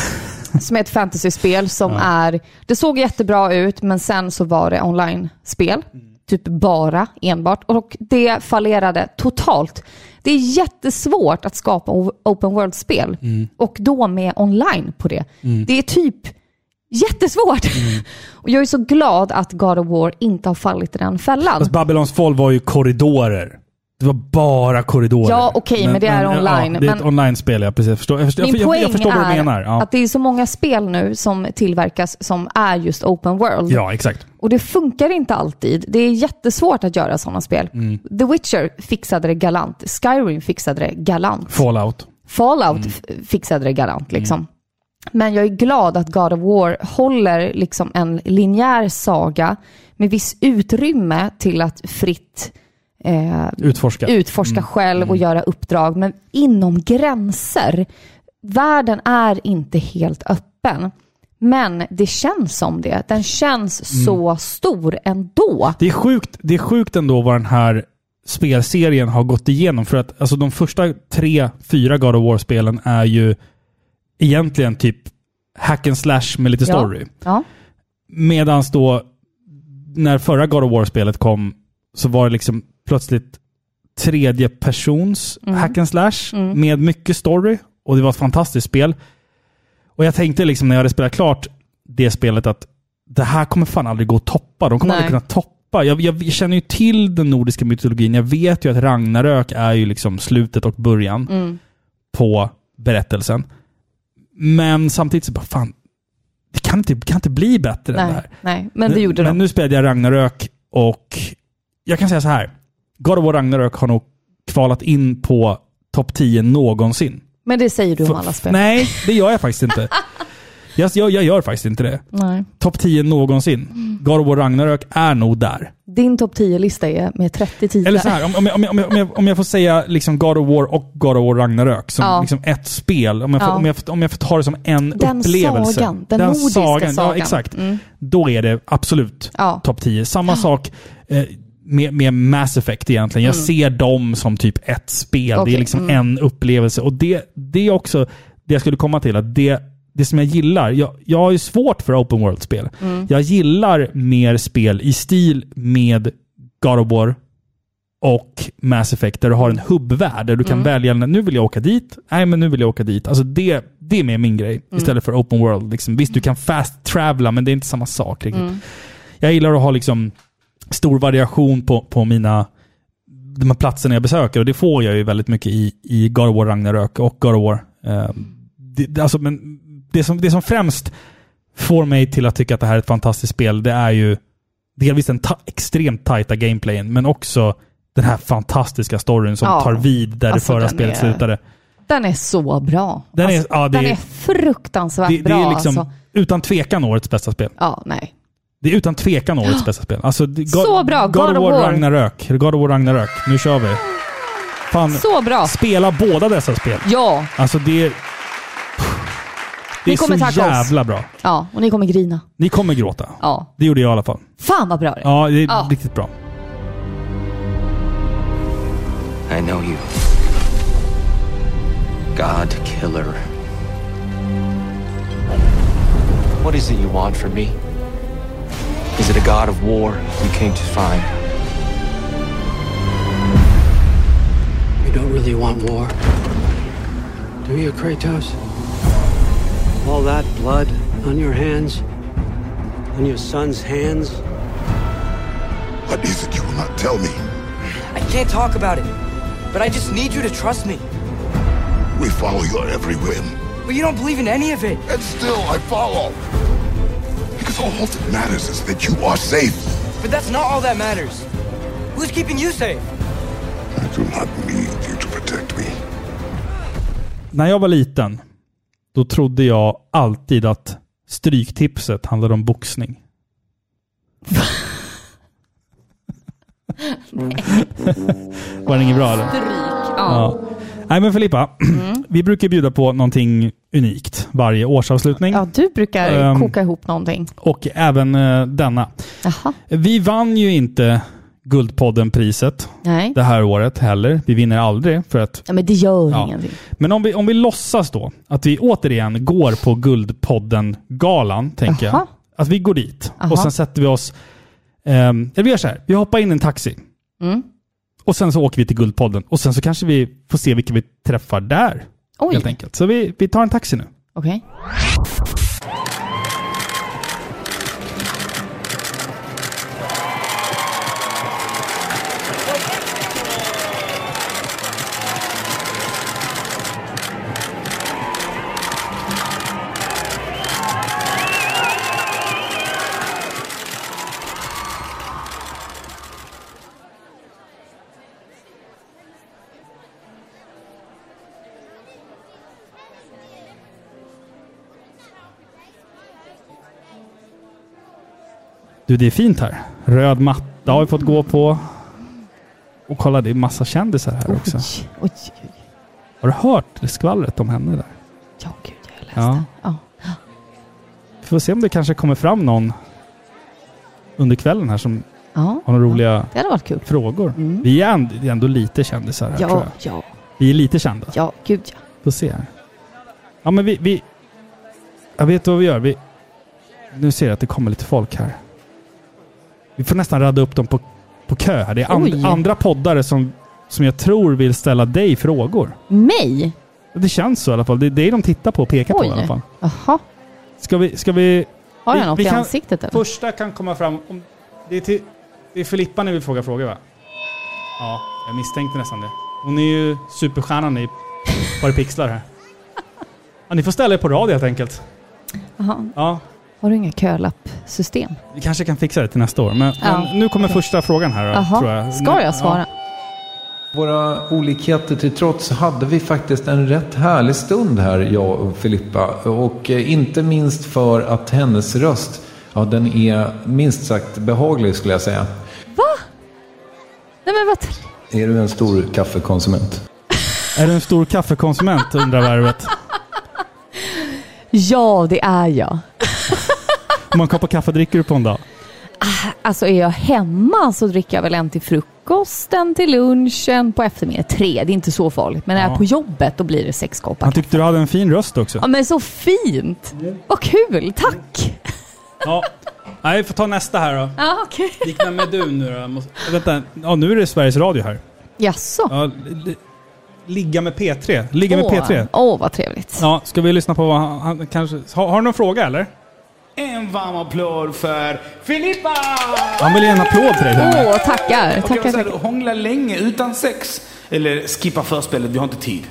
Speaker 1: som är ett fantasyspel som är... Det såg jättebra ut, men sen så var det online-spel.
Speaker 2: Mm.
Speaker 1: Typ bara, enbart. Och det fallerade totalt. Det är jättesvårt att skapa o- open world-spel
Speaker 2: Mm.
Speaker 1: och då med online på det. Det är typ jättesvårt.
Speaker 2: Mm.
Speaker 1: [LAUGHS] och jag är så glad att God of War inte har fallit i den fällan.
Speaker 2: Fast Alltså, Babylons fall var ju korridorer. Det var bara korridorer.
Speaker 1: Ja, okej, men det är online,
Speaker 2: Ja, det är ett
Speaker 1: men-
Speaker 2: online-spel, jag precis. Jag förstår, jag förstår, jag, jag, jag förstår vad du menar. Ja.
Speaker 1: att det är så många spel nu som tillverkas som är just open world.
Speaker 2: ja, exakt.
Speaker 1: Och det funkar inte alltid. Det är jättesvårt att göra sådana spel. The Witcher fixade det galant. Skyrim fixade det galant.
Speaker 2: Fallout.
Speaker 1: Fallout f- fixade det galant. Liksom. Men jag är glad att God of War håller liksom en linjär saga med viss utrymme till att fritt eh,
Speaker 2: Utforska.
Speaker 1: utforska
Speaker 2: Mm.
Speaker 1: själv och göra uppdrag, men inom gränser. Världen är inte helt öppen, men det känns som det. Den känns
Speaker 2: Mm.
Speaker 1: så stor ändå.
Speaker 2: Det är sjukt, det är sjukt ändå vad den här spelserien har gått igenom. För att alltså, de första tre, fyra God of War-spelen är ju egentligen typ hack and slash med lite
Speaker 1: Ja.
Speaker 2: story.
Speaker 1: Ja.
Speaker 2: Medans då, när förra God of War-spelet kom, så var det liksom plötsligt tredje persons
Speaker 12: Mm.
Speaker 2: hack and slash med mycket story. Och det var ett fantastiskt spel. Och jag tänkte liksom när jag hade spelat klart det spelet att det här kommer fan aldrig gå att toppa. De kommer
Speaker 12: Nej.
Speaker 2: aldrig kunna toppa. Jag, jag känner ju till den nordiska mytologin. Jag vet ju att Ragnarök är ju liksom slutet och början
Speaker 12: Mm.
Speaker 2: på berättelsen. Men samtidigt så bara, fan, det kan inte, kan inte bli bättre än det
Speaker 1: Nej,
Speaker 2: här.
Speaker 1: nej, men det gjorde de.
Speaker 2: Men nu spelade jag Ragnarök och jag kan säga så här. God of War Ragnarök har nog kvalat in på topp 10 någonsin.
Speaker 1: Men det säger du om
Speaker 2: För-
Speaker 1: alla spel.
Speaker 2: Nej, det gör jag
Speaker 1: [LAUGHS]
Speaker 2: faktiskt inte. Jag, jag, jag gör faktiskt inte det.
Speaker 1: Nej.
Speaker 2: Topp 10 någonsin.
Speaker 1: Mm.
Speaker 2: God of War Ragnarök är nog där.
Speaker 1: Din topp 10-lista är med 30 titlar.
Speaker 2: Eller så här, om, om, jag- om, jag- om, jag- om, jag, om jag får säga liksom God of War och God of War Ragnarök som
Speaker 1: Ja.
Speaker 2: liksom ett spel. Om jag, får,
Speaker 1: Ja.
Speaker 2: om, jag, får- om jag får ta det som en
Speaker 1: Den
Speaker 2: upplevelse.
Speaker 1: sagan, den nordiska
Speaker 2: Ja,
Speaker 1: sagan.
Speaker 2: exakt.
Speaker 1: Mm.
Speaker 2: Då är det absolut
Speaker 1: Ja.
Speaker 2: topp 10. Samma sak eh, med, med Mass Effect egentligen. Jag
Speaker 12: Mm.
Speaker 2: ser dem som typ ett spel. Det
Speaker 12: Okej,
Speaker 2: är liksom
Speaker 12: mm.
Speaker 2: en upplevelse. Och det, det är också det jag skulle komma till. Att det, det som jag gillar, jag, jag har ju svårt för open world-spel.
Speaker 12: Mm.
Speaker 2: Jag gillar mer spel i stil med God of War och Mass Effect där du har en hubbvärld där du kan
Speaker 12: Mm.
Speaker 2: välja, nu vill jag åka dit, nej men nu vill jag åka dit. Alltså det, det är mer min grej
Speaker 12: Mm.
Speaker 2: istället för open world. Liksom. Visst, du kan fast travela men det är inte samma sak riktigt.
Speaker 12: Mm.
Speaker 2: Jag gillar att ha liksom stor variation på, på mina de här platserna jag besöker och det får jag ju väldigt mycket i, i God of War Ragnarök och God of War. Eh, det, det- alltså, men det, som, det som främst får mig till att tycka att det här är ett fantastiskt spel, det är ju delvis den ta- extremt tajta gameplayen, men också den här fantastiska storyn som
Speaker 1: Ja.
Speaker 2: tar vid där
Speaker 1: Alltså,
Speaker 2: det förra
Speaker 1: den
Speaker 2: spelet
Speaker 1: är-
Speaker 2: slutade.
Speaker 1: Den är så bra. Alltså,
Speaker 2: Den är- ja, det
Speaker 1: den
Speaker 2: är-
Speaker 1: är fruktansvärt
Speaker 2: Det, det
Speaker 1: bra.
Speaker 2: är liksom
Speaker 1: alltså.
Speaker 2: utan tvekan årets bästa spel.
Speaker 1: Ja, nej.
Speaker 2: Det är utan tvekan årets bästa spel. Alltså, det- God,
Speaker 1: Så bra,
Speaker 2: God, of War Ragnarök. God of War Ragnarök. Nu kör vi. Fan,
Speaker 1: Så bra.
Speaker 2: spela båda dessa spel.
Speaker 1: Ja.
Speaker 2: Alltså det... är- Det
Speaker 1: Ni
Speaker 2: är
Speaker 1: kommer
Speaker 2: så
Speaker 1: tacka oss.
Speaker 2: jävla bra.
Speaker 1: Ja, och ni kommer grina.
Speaker 2: Ni kommer gråta.
Speaker 1: Ja.
Speaker 2: Det gjorde jag i alla fall.
Speaker 1: Fan vad bra det är.
Speaker 2: Ja, det är
Speaker 1: Ja.
Speaker 2: riktigt bra.
Speaker 13: I know you. God killer. What is it you want from me? Is it a god of war you came to find?
Speaker 14: You don't really want war. Do you, Kratos? All that blood on your hands? On your son's hands?
Speaker 15: What is it you will not tell me?
Speaker 14: I can't talk about it, but I just need you to trust me.
Speaker 15: We follow your every whim,
Speaker 14: But you don't believe in any of it.
Speaker 15: and still I follow. Because all that matters is that you are safe.
Speaker 14: But that's not all that matters. Who's keeping you safe?
Speaker 15: I do not need you to protect me.
Speaker 2: När jag var liten, då trodde jag alltid att stryktipset handlade om boxning.
Speaker 1: [LAUGHS]
Speaker 2: Var det inget bra eller?
Speaker 1: Stryk, ja.
Speaker 2: Nej men Filippa, [CLEARS THROAT]
Speaker 1: Mm.
Speaker 2: vi brukar bjuda på någonting unikt varje årsavslutning.
Speaker 1: Ja, du brukar
Speaker 2: Ehm,
Speaker 1: koka ihop någonting.
Speaker 2: Och även eh, denna. Vi vann ju inte Guldpodden-priset
Speaker 1: Nej.
Speaker 2: det här året heller. Vi vinner aldrig för att...
Speaker 1: Ja, men det gör
Speaker 2: Ja.
Speaker 1: ingenting.
Speaker 2: Men om vi, om vi låtsas då att vi återigen går på Guldpodden-galan, tänker
Speaker 1: Jaha.
Speaker 2: jag. Att vi går dit
Speaker 1: Jaha.
Speaker 2: och sen sätter vi oss... ehm, eller vi gör så här, vi hoppar in i en taxi.
Speaker 1: Mm.
Speaker 2: Och sen så åker vi till Guldpodden och sen så kanske vi får se vilka vi träffar där.
Speaker 1: Oj.
Speaker 2: Helt enkelt. Så vi, vi tar en taxi nu.
Speaker 1: Okej.
Speaker 2: Du, det är fint här. Röd matta har vi fått gå på. Och kolla, det är massa kändisar här också.
Speaker 1: Oj,
Speaker 2: Har du hört skvallret om henne där?
Speaker 1: Ja, gud, jag
Speaker 2: läste. Ja.
Speaker 1: Ja.
Speaker 2: Vi får se om det kanske kommer fram någon under kvällen här som
Speaker 1: Ja.
Speaker 2: har några roliga
Speaker 1: Det hade varit kul.
Speaker 2: frågor. Vi är änd- det är ändå lite kändisar här tror
Speaker 1: Mm. Ja,
Speaker 2: jag.
Speaker 1: ja.
Speaker 2: Vi är lite kända.
Speaker 1: Ja, gud ja.
Speaker 2: Får se här. Ja, men vi... vi Jag vet vad vi gör. Vi... Nu ser jag att det kommer lite folk här. Vi får nästan radda upp dem på, på kö här. Det är and,
Speaker 1: Oj.
Speaker 2: andra poddare som, som jag tror vill ställa dig frågor.
Speaker 1: Mig?
Speaker 2: Det känns så i alla fall. Det är det de tittar på och pekar på i alla fall.
Speaker 1: Jaha.
Speaker 2: Ska vi... Ska vi
Speaker 1: Har
Speaker 2: vi-
Speaker 1: jag något
Speaker 2: vi
Speaker 1: i
Speaker 2: kan-
Speaker 1: ansiktet eller?
Speaker 2: Första kan komma fram... Om, det, är till, det är Filippa ni vill fråga frågor va? Ja, jag misstänkte nästan det. Hon är ju superstjärnan i Par pixlar här. Ja, ni får ställa er på rad helt enkelt.
Speaker 1: Jaha.
Speaker 2: Ja,
Speaker 1: Har du inga kölappsystem?
Speaker 2: vi kanske kan fixa det till nästa år. Men,
Speaker 1: Ja,
Speaker 2: men nu kommer
Speaker 1: okej.
Speaker 2: första frågan här då, tror
Speaker 1: Jaha.
Speaker 2: jag.
Speaker 1: Ska jag svara?
Speaker 12: Våra olikheter till trots så hade vi faktiskt en rätt härlig stund här, jag och Filippa. Och eh, inte minst för att hennes röst, ja den är minst sagt behaglig skulle jag säga.
Speaker 1: Va? Nej men vad tr-
Speaker 12: Är du en stor kaffekonsument?
Speaker 2: Är du en stor kaffekonsument undrar värvet.
Speaker 1: Ja, det är jag.
Speaker 2: Hur många koppar kaffe dricker du på en dag?
Speaker 1: Alltså är jag hemma så dricker jag väl en till frukost, en till lunchen, på eftermiddagen tre. Det är inte så farligt. Men är
Speaker 2: Ja.
Speaker 1: jag på jobbet då blir det sex koppar.
Speaker 2: Han tyckte du hade en fin röst också.
Speaker 1: Ja men så fint! Vad kul, tack!
Speaker 2: Ja. Nej, vi får ta nästa här då.
Speaker 1: Ja, okej.
Speaker 2: Vilken är du nu då? Jag måste- Vänta, ja, nu är det Sveriges Radio här.
Speaker 1: Jaså?
Speaker 2: Ja, li- ligga med P3. Ligga med
Speaker 1: Åh,
Speaker 2: P3.
Speaker 1: Åh, vad trevligt.
Speaker 2: Ja, ska vi lyssna på vad han, han kanske... Har, har du någon fråga eller?
Speaker 16: En varm applåd för Filippa!
Speaker 2: Han vill ge en applåd till dig.
Speaker 1: Åh,
Speaker 2: Henrik.
Speaker 1: tackar.
Speaker 16: Och jag
Speaker 1: tackar,
Speaker 16: säger
Speaker 1: tackar.
Speaker 16: hångla länge utan sex. Eller skippa förspelet, vi har inte tid.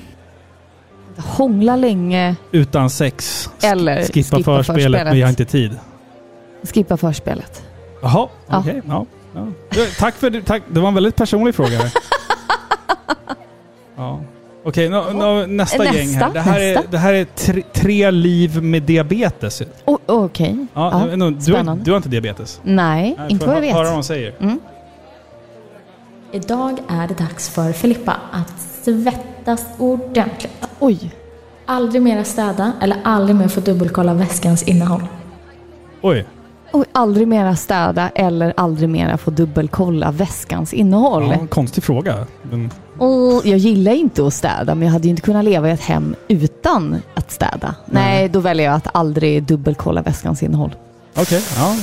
Speaker 1: Hångla länge,
Speaker 2: Utan sex. Sk-
Speaker 1: Eller
Speaker 2: skippa,
Speaker 1: skippa
Speaker 2: förspelet,
Speaker 1: förspelet.
Speaker 2: men jag har inte tid.
Speaker 1: skippa förspelet.
Speaker 2: Jaha,
Speaker 1: Ja.
Speaker 2: okej. Ja. Ja. Du, Tack för det. Tack. Det var en väldigt personlig fråga. här. Ja. Okej, nå- nå- nästa,
Speaker 1: Nästa,
Speaker 2: gäng här. Det här är,
Speaker 1: nästa.
Speaker 2: det här är tre, tre liv med diabetes.
Speaker 1: Åh, Okej.
Speaker 2: Ja,
Speaker 1: Ja,
Speaker 2: jag vet inte, du, har,
Speaker 1: spännande.
Speaker 2: du har inte diabetes?
Speaker 1: Nej,
Speaker 2: Nej,
Speaker 1: inte
Speaker 2: får
Speaker 1: vad jag
Speaker 2: hö-
Speaker 1: vet. Mm.
Speaker 2: Höra vad de säger.
Speaker 17: Idag är det dags för Filippa att svettas ordentligt.
Speaker 1: Oj!
Speaker 17: Aldrig mera städa eller aldrig mer få dubbelkolla väskans innehåll.
Speaker 2: Oj.
Speaker 1: Och aldrig mera städa eller aldrig mera få dubbelkolla väskans innehåll.
Speaker 2: Ja, konstig fråga. Men,
Speaker 1: Och jag gillar inte att städa, men jag hade ju inte kunnat leva i ett hem utan att städa. Nej, då väljer jag att aldrig dubbelkolla väskans innehåll.
Speaker 2: Okej, ja. mm.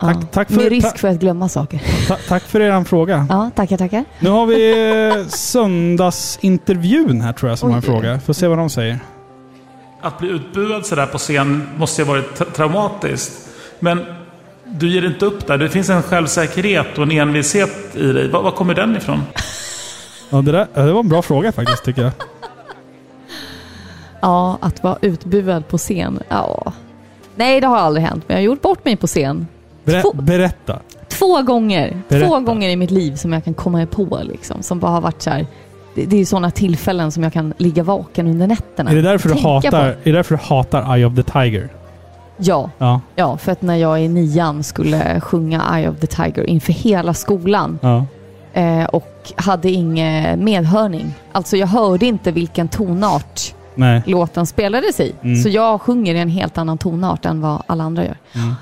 Speaker 2: Tack, tack,
Speaker 1: Med
Speaker 2: för,
Speaker 1: risk
Speaker 2: ta,
Speaker 1: för att glömma saker.
Speaker 2: ta, tack för er fråga.
Speaker 1: Ja, tackar, tackar.
Speaker 2: Nu har vi eh, söndagsintervjun här tror jag som har en
Speaker 1: Oj.
Speaker 2: fråga. Får se vad de säger.
Speaker 18: Att bli utbuad sådär på scen måste ju ha varit tra- traumatiskt. Men du ger inte upp där. Det finns en självsäkerhet och en envishet i dig. Var, var kommer den ifrån?
Speaker 2: Ja, det, där, ja, det var en bra fråga faktiskt tycker jag.
Speaker 1: Ja, att vara utbuad på scen. Ja. Nej, det har aldrig hänt, men jag har gjort bort mig på scen.
Speaker 2: Berä, berätta.
Speaker 1: Två gånger.
Speaker 2: Berätta.
Speaker 1: Två gånger i mitt liv som jag kan komma på liksom. Som bara har varit så här. Det, det är sådana tillfällen som jag kan ligga vaken under nätterna.
Speaker 2: Är det därför du,
Speaker 1: Tänka
Speaker 2: hatar,
Speaker 1: på.
Speaker 2: är det därför du hatar Eye of the Tiger?
Speaker 1: Ja.
Speaker 2: Ja.
Speaker 1: Ja, för att när jag i nian skulle sjunga Eye of the Tiger inför hela skolan
Speaker 2: ja.
Speaker 1: eh, och hade ingen medhörning. Alltså jag hörde inte vilken tonart [LAUGHS]
Speaker 2: Nej.
Speaker 1: låten spelades i.
Speaker 2: Mm.
Speaker 1: Så jag sjunger i en helt annan tonart än vad alla andra gör. [GASPS]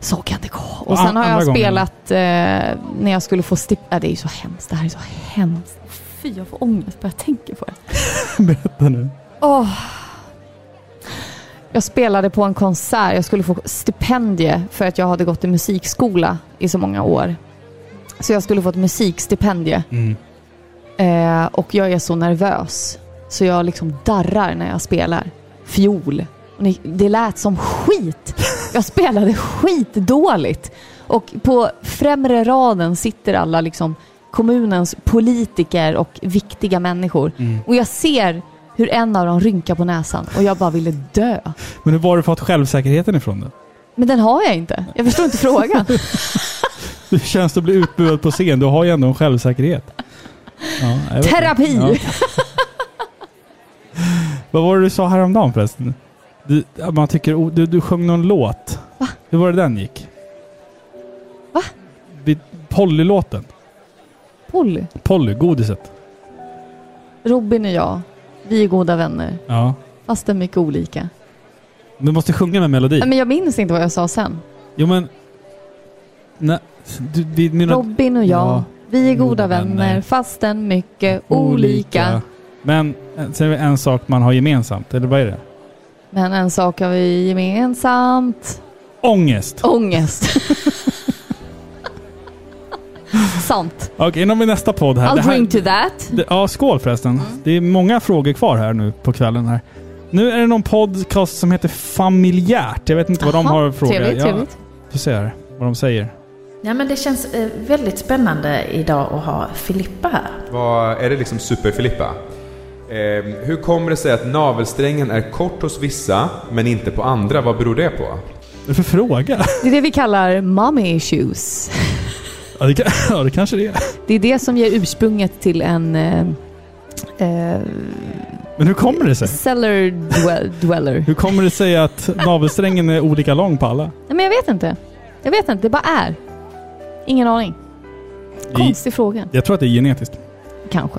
Speaker 1: Så kan det gå. Och sen
Speaker 2: an-
Speaker 1: har jag
Speaker 2: Mm. andra gången.
Speaker 1: spelat eh, när jag skulle få stipendium. Ja, det är ju så hemskt. Det här är så hemskt. Fy, jag får ångest bara jag tänker på det.
Speaker 2: Berätta nu.
Speaker 1: Åh. Jag spelade på en konsert. Jag skulle få stipendie för att jag hade gått i musikskola i så många år. Så jag skulle få ett musikstipendie. Eh, och jag är så nervös. Så jag liksom darrar när jag spelar fiol. Och ni- det lät som skit. Jag spelade skitdåligt. Och på främre raden sitter alla liksom kommunens politiker och viktiga människor.
Speaker 2: Mm.
Speaker 1: Och jag ser hur en av dem rynkar på näsan och jag bara ville dö.
Speaker 2: Men hur var du fått självsäkerheten ifrån det?
Speaker 1: Men den har jag inte. Jag förstår inte frågan.
Speaker 2: [LAUGHS] Hur känns det att bli utbuad på scen? Du har ju ändå en självsäkerhet. Ja, jag vet
Speaker 1: Terapi!
Speaker 2: inte. Ja. Vad var det du sa häromdagen förresten? Du, ja, man tycker, oh, du, du sjöng någon låt. Va? Hur var det den gick? Va? Vid Polly-låten.
Speaker 1: Polly,
Speaker 2: Polly, godiset.
Speaker 1: Robin och jag, vi är goda vänner.
Speaker 2: Ja.
Speaker 1: Fastän mycket olika.
Speaker 2: Du måste sjunga med melodi.
Speaker 1: Men jag minns inte vad jag sa sen.
Speaker 2: Jo men... Nej, du, vi menar...
Speaker 1: Robin och jag,
Speaker 2: Ja.
Speaker 1: vi är goda vänner fastän mycket olika.
Speaker 2: Men eh, sen är det en sak man har gemensamt, eller vad är det?
Speaker 1: Men en sak har vi gemensamt.
Speaker 2: Ångest. [LAUGHS]
Speaker 1: Ångest. Sant.
Speaker 2: Okej, nu har vi nästa podd här.
Speaker 1: I'll
Speaker 2: Det här-
Speaker 1: drink to Mm. that.
Speaker 2: Det- Ja, skål förresten. Det är många frågor kvar här nu på kvällen här. Nu är det någon podcast som heter Familjärt. Jag vet inte vad de
Speaker 17: Jaha,
Speaker 2: har för frågor.
Speaker 17: trevligt,
Speaker 2: Jag
Speaker 17: trevligt.
Speaker 2: Får se här vad de säger.
Speaker 17: Nej, men det känns eh, väldigt spännande idag att ha Filippa här.
Speaker 19: Vad är det liksom superfilippa? Eh, hur kommer det sig att navelsträngen är kort hos vissa men inte på andra? Vad beror det på?
Speaker 2: Vad är det för fråga? [LAUGHS]
Speaker 1: Det är det vi kallar mommy issues.
Speaker 2: Ja, det, kan, ja, det kanske det är.
Speaker 1: Det är det som ger ursprunget till en eh, eh,
Speaker 2: Men hur kommer det sig?
Speaker 1: cellar dwell- dweller.
Speaker 2: Hur kommer det sig att navelsträngen är olika lång på alla?
Speaker 1: Nej, men jag vet inte. Jag vet inte, det bara är. Ingen aning. Konstig fråga.
Speaker 2: Jag tror att det är genetiskt.
Speaker 1: Kanske.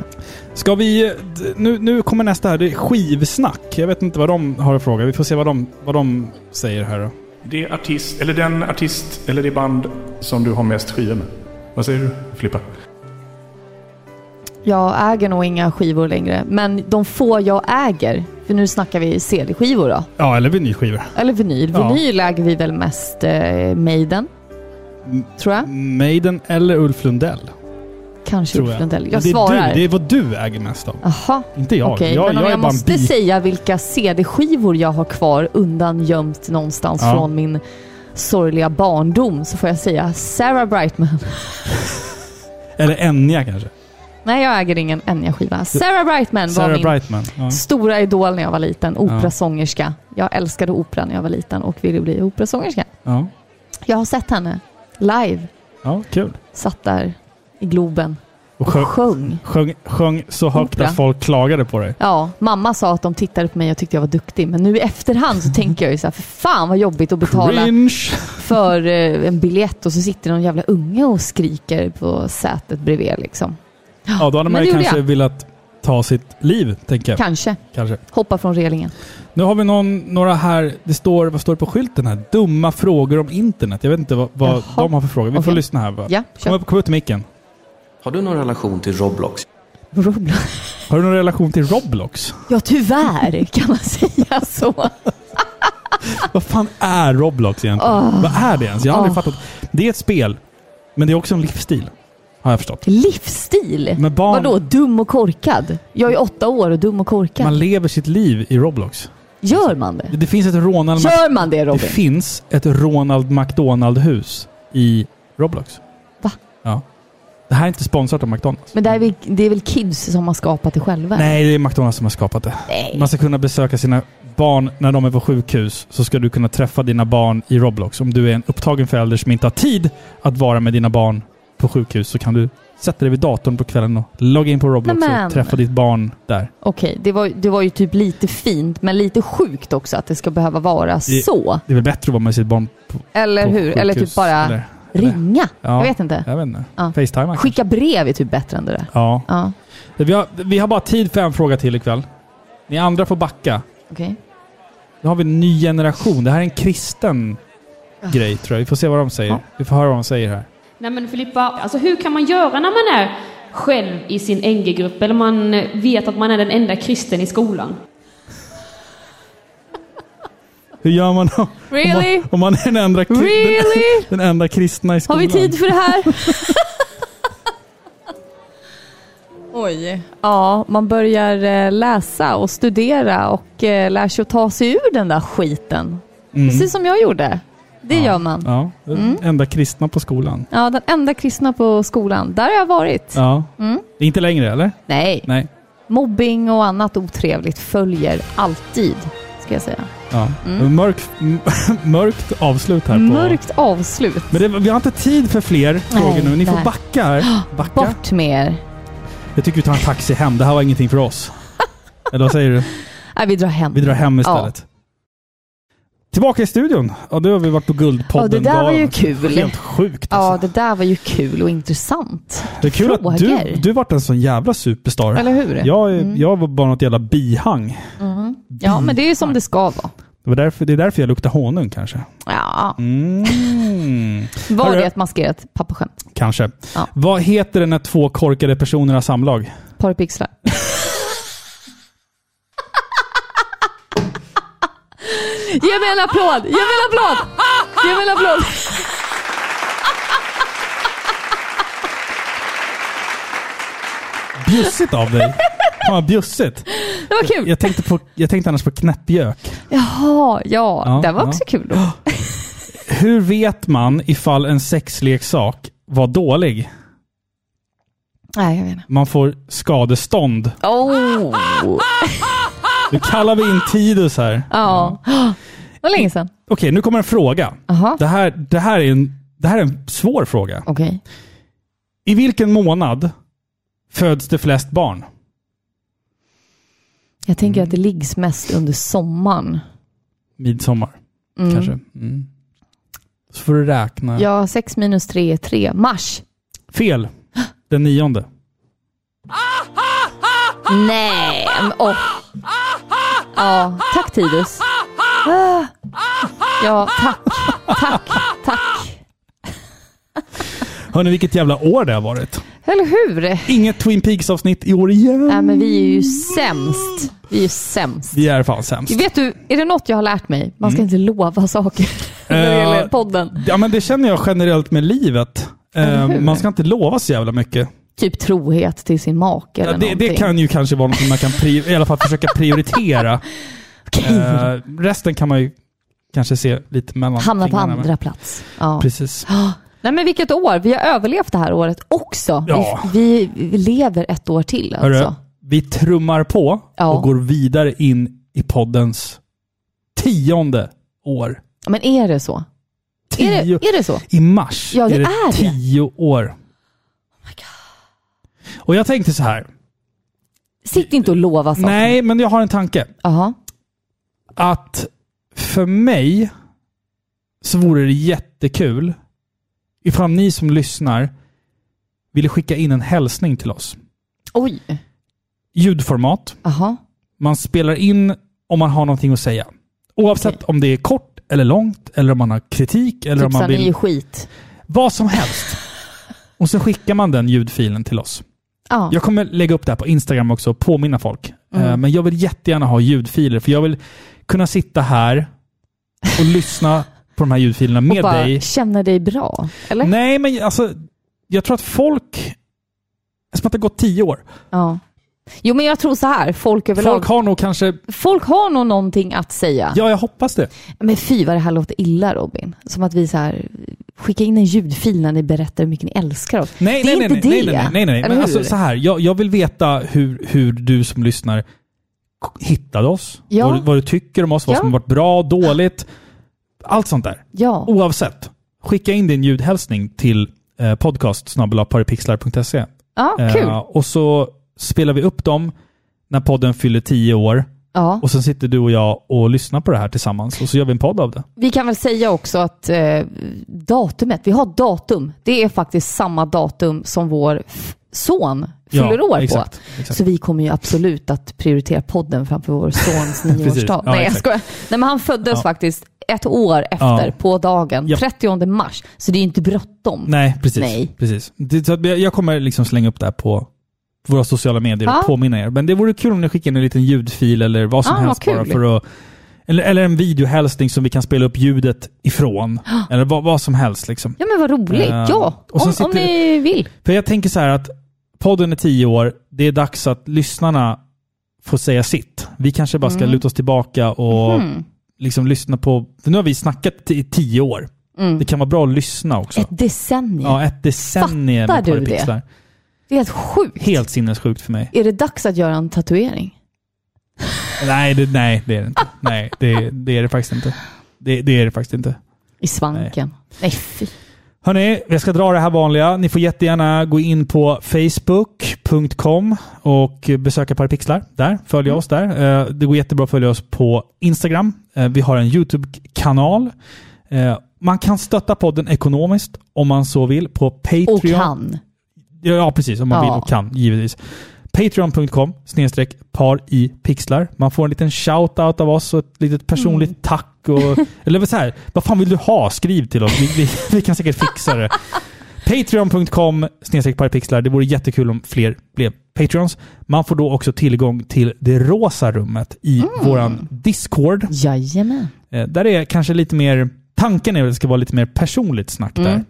Speaker 2: Ska vi... d- Nu, nu kommer nästa här. Det är skivsnack. Jag vet inte vad de har att fråga. Vi får se vad de, vad de säger här då.
Speaker 18: Det artist, eller den artist, eller det band som du har mest skivor med. Vad säger du, Filippa?
Speaker 1: Jag äger nog inga skivor längre, men de få jag äger, för nu snackar vi CD-skivor då,
Speaker 2: Ja, eller vinylskivor.
Speaker 1: eller vinyl.
Speaker 2: Ja.
Speaker 1: Vinyl äger vi väl mest eh, Maiden,
Speaker 2: Mm.
Speaker 1: tror jag.
Speaker 2: Maiden eller Ulf Lundell.
Speaker 1: Kanske
Speaker 2: tror
Speaker 1: Ulf Lundell. Jag
Speaker 2: det är
Speaker 1: svarar.
Speaker 2: Du, det är vad du äger mest av.
Speaker 1: Jaha.
Speaker 2: Inte jag.
Speaker 1: Okej,
Speaker 2: jag,
Speaker 1: men om
Speaker 2: jag
Speaker 1: jag,
Speaker 2: är bara en
Speaker 1: måste
Speaker 2: bi.
Speaker 1: säga vilka CD-skivor jag har kvar undan gömt någonstans
Speaker 2: Ja.
Speaker 1: från min sorgliga barndom så får jag säga Sarah Brightman. [LAUGHS]
Speaker 2: Eller Enya kanske.
Speaker 1: Nej, jag äger ingen Enya-skiva. Sarah Brightman var
Speaker 2: Sarah
Speaker 1: min
Speaker 2: Brightman. Ja.
Speaker 1: stora idol när jag var liten. Operasångerska. Jag älskade opera när jag var liten och ville bli operasångerska.
Speaker 2: Ja.
Speaker 1: Jag har sett henne live.
Speaker 2: ja, kul.
Speaker 1: Satt där i Globen.
Speaker 2: Och sjö-
Speaker 1: sjöng.
Speaker 2: Sjöng, sjöng så högt
Speaker 1: Opera.
Speaker 2: att folk klagade på dig.
Speaker 1: Ja, mamma sa att de tittade på mig och tyckte jag var duktig. Men nu i efterhand så tänker jag ju så här, för fan vad jobbigt att betala
Speaker 2: Cringe.
Speaker 1: för eh, en biljett och så sitter någon jävla unge och skriker på sätet bredvid liksom.
Speaker 2: Ja, då hade
Speaker 1: Men
Speaker 2: man
Speaker 1: det
Speaker 2: ju
Speaker 1: gjorde
Speaker 2: kanske
Speaker 1: jag.
Speaker 2: velat ta sitt liv, tänker jag.
Speaker 1: Kanske.
Speaker 2: Kanske.
Speaker 1: Hoppa från relingen.
Speaker 2: Nu har vi någon, några här, det står, vad står det på skylten här? Dumma frågor om internet. Jag vet inte vad, vad
Speaker 1: Jaha.
Speaker 2: de har för frågor. Vi får
Speaker 1: Okej.
Speaker 2: lyssna här. va?
Speaker 1: Ja, kör.
Speaker 2: kom, upp, kom upp till micken.
Speaker 13: Har du någon relation till Roblox?
Speaker 2: Har du någon relation till
Speaker 1: [LAUGHS]
Speaker 2: Roblox?
Speaker 1: Ja, tyvärr kan man säga så.
Speaker 2: Vad fan är Roblox egentligen?
Speaker 1: Åh.
Speaker 2: Vad är det ens? Jag har aldrig
Speaker 1: Åh.
Speaker 2: fattat. Det är ett spel, men det är också en livsstil. Har jag förstått.
Speaker 1: Livsstil?
Speaker 2: Men barn,
Speaker 1: Vadå, dum och korkad? Jag är åtta år och dum och korkad.
Speaker 2: man lever sitt liv i Roblox.
Speaker 1: Gör man det?
Speaker 2: Det finns ett Ronald... Mac-
Speaker 1: Gör man det Robin?
Speaker 2: Det finns ett Ronald McDonald-hus i Roblox.
Speaker 1: Va?
Speaker 2: Ja. Det här är inte sponsrat av McDonalds.
Speaker 1: Men det är, väl, det är väl kids som har skapat det själva?
Speaker 2: Nej, det är McDonalds som har skapat det.
Speaker 1: Nej.
Speaker 2: Man ska kunna besöka sina barn när de är på sjukhus. Så ska du kunna träffa dina barn i Roblox. Om du är en upptagen förälder som inte har tid att vara med dina barn på sjukhus så kan du sätta dig vid datorn på kvällen och logga in på Roblox
Speaker 1: Nämen.
Speaker 2: och träffa ditt barn där.
Speaker 1: Okej, det var, det var ju typ lite fint, men lite sjukt också att det ska behöva vara
Speaker 2: Det-
Speaker 1: så.
Speaker 2: Det är väl bättre att vara med sitt barn på,
Speaker 1: Eller
Speaker 2: på
Speaker 1: hur? Eller
Speaker 2: sjukhus,
Speaker 1: typ bara
Speaker 2: eller-
Speaker 1: ringa.
Speaker 2: Ja,
Speaker 1: jag vet inte.
Speaker 2: Jag vet inte.
Speaker 1: Ja.
Speaker 2: Facetime kanske.
Speaker 1: Skicka brev är typ bättre än det där.
Speaker 2: Ja.
Speaker 1: Ja.
Speaker 2: Vi, har, vi har bara tid för en fråga till ikväll. Ni andra får backa.
Speaker 1: Okej.
Speaker 2: Nu har vi en ny generation. Det här är en kristen
Speaker 1: Ah.
Speaker 2: grej tror jag. Vi får se vad de säger. Vi får höra vad de säger här.
Speaker 20: Nej men Filippa, alltså hur kan man göra när man är själv i sin NG-grupp eller man eh, vet att man är den enda kristen i skolan?
Speaker 2: Hur gör man då?
Speaker 1: Really?
Speaker 2: Om man, om man är den enda, kri-
Speaker 1: Really?
Speaker 2: den, den enda kristna
Speaker 1: [LAUGHS]
Speaker 2: i
Speaker 1: Har
Speaker 2: skolan.
Speaker 1: vi tid för det här? [LAUGHS] Oj. Ja, man börjar eh, läsa och studera och eh, lär sig att ta sig ur den där skiten.
Speaker 2: Mm.
Speaker 1: Precis som jag gjorde. Det gör man.
Speaker 2: Ja, den
Speaker 1: Mm.
Speaker 2: enda kristna på skolan.
Speaker 1: Ja, den enda kristna på skolan. Där har jag varit.
Speaker 2: Ja.
Speaker 1: Mm.
Speaker 2: Inte längre eller?
Speaker 1: Nej.
Speaker 2: Nej.
Speaker 1: Mobbing och annat otrevligt följer alltid, ska jag säga.
Speaker 2: Ja.
Speaker 1: Mm.
Speaker 2: Mörkt, [LAUGHS] mörkt avslut här. På.
Speaker 1: Mörkt avslut.
Speaker 2: Men det, vi har inte tid för fler frågor nu. Ni får
Speaker 1: nej. [GASPS]
Speaker 2: backa här. Backa.
Speaker 1: Bort med er.
Speaker 2: Jag tycker vi tar en taxi hem. Det här var ingenting
Speaker 1: [LAUGHS]
Speaker 2: för oss. Eller vad säger du?
Speaker 1: Nej, vi drar hem.
Speaker 2: Vi drar hem
Speaker 1: Ja.
Speaker 2: istället. Tillbaka i studion. Ja, då har vi varit på Guldpodden.
Speaker 1: Ja, det där var ju kul.
Speaker 2: Helt sjukt. alltså.
Speaker 1: Ja, det där var ju kul och intressant.
Speaker 2: Det är kul att du,
Speaker 1: Frågor.
Speaker 2: du vart en sån jävla superstar.
Speaker 1: Eller hur?
Speaker 2: Jag, är-
Speaker 1: Mm.
Speaker 2: jag var bara något jävla bihang.
Speaker 1: Mm. Ja, men det är ju som det ska vara.
Speaker 2: Det, var därför, det är därför jag luktar honung kanske.
Speaker 1: Ja. [LAUGHS]
Speaker 2: Mm.
Speaker 1: Var
Speaker 2: Hörru,
Speaker 1: det ett maskerat pappaskämt?
Speaker 2: Kanske. Vad heter det när två korkade personer har samlag? [LAUGHS]
Speaker 1: Parpixlar. Ge mig en applåd! Ge mig en applåd! Ge mig en applåd!
Speaker 2: Bjussigt
Speaker 1: [LAUGHS]
Speaker 2: av dig. Fan vad bjussigt.
Speaker 1: Det var kul.
Speaker 2: Jag tänkte, på, jag tänkte annars på knäppjök.
Speaker 1: Jaha, ja.
Speaker 2: Ja,
Speaker 1: den var
Speaker 2: ja.
Speaker 1: också kul då.
Speaker 2: Hur vet man ifall en sexleksak var dålig?
Speaker 1: Nej, jag vet inte.
Speaker 2: Man får skadestånd.
Speaker 1: Oh.
Speaker 2: Nu kallar vi in Tidus här.
Speaker 1: [LAUGHS] Ja. Det var länge sedan.
Speaker 2: Okej, nu kommer en fråga. Det här, det, här är en, det här är en svår fråga.
Speaker 1: Okej.
Speaker 2: I vilken månad föds det flest barn?
Speaker 1: Jag tänker att det liggs mest under sommaren.
Speaker 2: Midsommar,
Speaker 1: Mm.
Speaker 2: kanske. Mm. Så får du räkna.
Speaker 1: Ja, 6 minus 3 är 3. Mars.
Speaker 2: Fel. Den nionde.
Speaker 1: Nej, men åh. Ja, tack Tidus. Ah. Ja, tack. Tack, tack.
Speaker 2: Hörni, vilket jävla år det har varit.
Speaker 1: Eller hur?
Speaker 2: Inget Twin Peaks-avsnitt i år igen.
Speaker 1: Nej, men vi är ju sämst. Vi är ju sämst.
Speaker 2: Vi är fan sämst.
Speaker 1: Vet du, är det något jag har lärt mig? Man ska
Speaker 2: Mm.
Speaker 1: inte lova
Speaker 2: [LAUGHS]
Speaker 1: saker när det
Speaker 2: Eh,
Speaker 1: gäller podden.
Speaker 2: Ja, men det känner jag generellt med livet.
Speaker 1: Eller
Speaker 2: Eh,
Speaker 1: hur?
Speaker 2: man ska inte lova så jävla mycket.
Speaker 1: Typ trohet till sin make eller
Speaker 2: Ja, det, det
Speaker 1: någonting.
Speaker 2: kan ju kanske vara något man kan pri- i alla fall försöka
Speaker 1: [LAUGHS]
Speaker 2: prioritera. Eh, resten kan man ju kanske se lite mellan
Speaker 1: Hamna på
Speaker 2: fingrarna med.
Speaker 1: andra plats. Ja.
Speaker 2: Precis.
Speaker 1: Ah, Nej men vilket år! Vi har överlevt det här året också.
Speaker 2: Ja.
Speaker 1: Vi, vi lever ett år till
Speaker 2: Hörru,
Speaker 1: alltså.
Speaker 2: vi trummar på
Speaker 1: Ja.
Speaker 2: och går vidare in i poddens tionde år.
Speaker 1: Ja, Men är det så? Är det,
Speaker 2: Tio-
Speaker 1: är det så?
Speaker 2: I mars
Speaker 1: Ja, det
Speaker 2: är det
Speaker 1: är det. Oh
Speaker 2: tio år. Och jag tänkte så här.
Speaker 1: Sitt inte och lova saker.
Speaker 2: Nej, men jag har en tanke.
Speaker 1: Aha.
Speaker 2: Att för mig så vore det jättekul ifall ni som lyssnar ville skicka in en hälsning till oss.
Speaker 1: Oj.
Speaker 2: Ljudformat. Man spelar in om man har någonting att säga. Oavsett om det är kort eller långt, eller om man har kritik, eller om
Speaker 1: Tipsa,
Speaker 2: man
Speaker 1: ni är
Speaker 2: vill...
Speaker 1: Typ skit.
Speaker 2: Vad som
Speaker 1: [LAUGHS]
Speaker 2: helst. Och så skickar man den ljudfilen till oss.
Speaker 1: Ja.
Speaker 2: Jag kommer lägga upp det här på Instagram också och påminna folk.
Speaker 1: Mm.
Speaker 2: Eh, Men jag vill jättegärna ha ljudfiler, för jag vill kunna sitta här och lyssna på de här ljudfilerna med
Speaker 1: och bara
Speaker 2: dig.
Speaker 1: känna dig bra. Eller?
Speaker 2: Nej, men alltså, jag tror att folk... Som att det har gått tio år.
Speaker 1: Ja. Jo men jag tror så här, folk överlag.
Speaker 2: Folk har nog kanske...
Speaker 1: Folk har nog någonting att säga.
Speaker 2: Ja, jag hoppas det.
Speaker 1: Men fy vad det här låter illa Robin. Som att vi så här, skicka in en ljudfil när ni berättar hur mycket ni älskar oss.
Speaker 2: Nej,
Speaker 1: det är
Speaker 2: nej,
Speaker 1: inte
Speaker 2: nej,
Speaker 1: det.
Speaker 2: nej, nej, nej, nej, nej.
Speaker 1: eller
Speaker 2: Men alltså
Speaker 1: hur?
Speaker 2: så här, jag, jag vill veta hur, hur du som lyssnar k- hittade oss.
Speaker 1: Ja.
Speaker 2: Vad, du- vad du tycker om oss, vad
Speaker 1: Ja.
Speaker 2: som har varit bra, dåligt. Allt sånt där.
Speaker 1: Ja.
Speaker 2: Oavsett. Skicka in din ljudhälsning till eh, podcast
Speaker 1: Ja, kul.
Speaker 2: Eh, Och så spelar vi upp dem när podden fyller tio år.
Speaker 1: Ja.
Speaker 2: Och sen sitter du och jag och lyssnar på det här tillsammans och så gör vi en podd av det.
Speaker 1: Vi kan väl säga också att eh, datumet, vi har datum. Det är faktiskt samma datum som vår f- son
Speaker 2: Ja,
Speaker 1: fyller år
Speaker 2: exakt,
Speaker 1: på.
Speaker 2: exakt.
Speaker 1: Så vi kommer ju absolut att prioritera podden framför vår
Speaker 2: [LAUGHS]
Speaker 1: sons nioårsdag.
Speaker 2: Ja,
Speaker 1: Nej, jag
Speaker 2: exakt.
Speaker 1: skojar. Nej, men han föddes
Speaker 2: Ja.
Speaker 1: faktiskt ett år efter
Speaker 2: Ja.
Speaker 1: på dagen,
Speaker 2: Japp.
Speaker 1: 30 mars. Så det är ju inte bråttom.
Speaker 2: Nej, precis.
Speaker 1: Nej.
Speaker 2: precis. Det, så att jag jag kommer liksom slänga upp det här på våra sociala medier och
Speaker 1: Ja.
Speaker 2: påminna er. Men det vore kul om ni skickar in en liten ljudfil eller vad som
Speaker 1: Ah,
Speaker 2: helst
Speaker 1: vad
Speaker 2: bara
Speaker 1: kul.
Speaker 2: för att... Eller, eller en videohälsning som vi kan spela upp ljudet
Speaker 1: [GASPS]
Speaker 2: ifrån. Eller vad, vad som helst liksom.
Speaker 1: Ja men vad roligt.
Speaker 2: Eh,
Speaker 1: ja,
Speaker 2: och sen
Speaker 1: om, om
Speaker 2: sitter-
Speaker 1: ni vill.
Speaker 2: För jag tänker så här att podden är tio år. Det är dags att lyssnarna får säga sitt. Vi kanske bara ska
Speaker 1: Mm.
Speaker 2: luta oss tillbaka och
Speaker 1: Mhm.
Speaker 2: liksom lyssna på... För nu har vi snackat i tio år.
Speaker 1: Mm.
Speaker 2: Det kan vara bra att lyssna också.
Speaker 1: Ett decennium.
Speaker 2: ja, ett decennium
Speaker 1: Fattar
Speaker 2: med
Speaker 1: du det?
Speaker 2: Parapixlar.
Speaker 1: Det är helt sjukt.
Speaker 2: Helt sinnessjukt för mig.
Speaker 1: Är det dags att göra en tatuering?
Speaker 2: Nej, det, nej, det är det inte. Nej, det, det är det faktiskt inte. Det, det är det faktiskt inte.
Speaker 1: I svanken? Nej, fy.
Speaker 2: Hörni, jag ska dra det här vanliga. Ni får jättegärna gå in på facebook.com och besöka Parapixlar. Där, följ
Speaker 1: Mm.
Speaker 2: oss där. Eh, Det går jättebra att följa oss på Instagram. Eh, Vi har en YouTube-kanal. Eh, Man kan stötta podden ekonomiskt om man så vill på Patreon.
Speaker 1: Och kan.
Speaker 2: Ja, Ja, precis. Om man
Speaker 1: Ja.
Speaker 2: vill och kan, givetvis. Patreon.com snedstreck par i pixlar. Man får en liten shout-out av oss och ett litet personligt tack. Och, eller så här, vad fan vill du ha? Skriv till oss. Vi, vi, vi kan säkert fixa det. Patreon.com parapixlar. Det vore jättekul om fler blev Patreons. Man får då också tillgång till det rosa rummet i våran Discord.
Speaker 1: Jajamän.
Speaker 2: Eh, Där är kanske lite mer... Tanken är väl att det ska vara lite mer personligt snack där.
Speaker 1: Mm.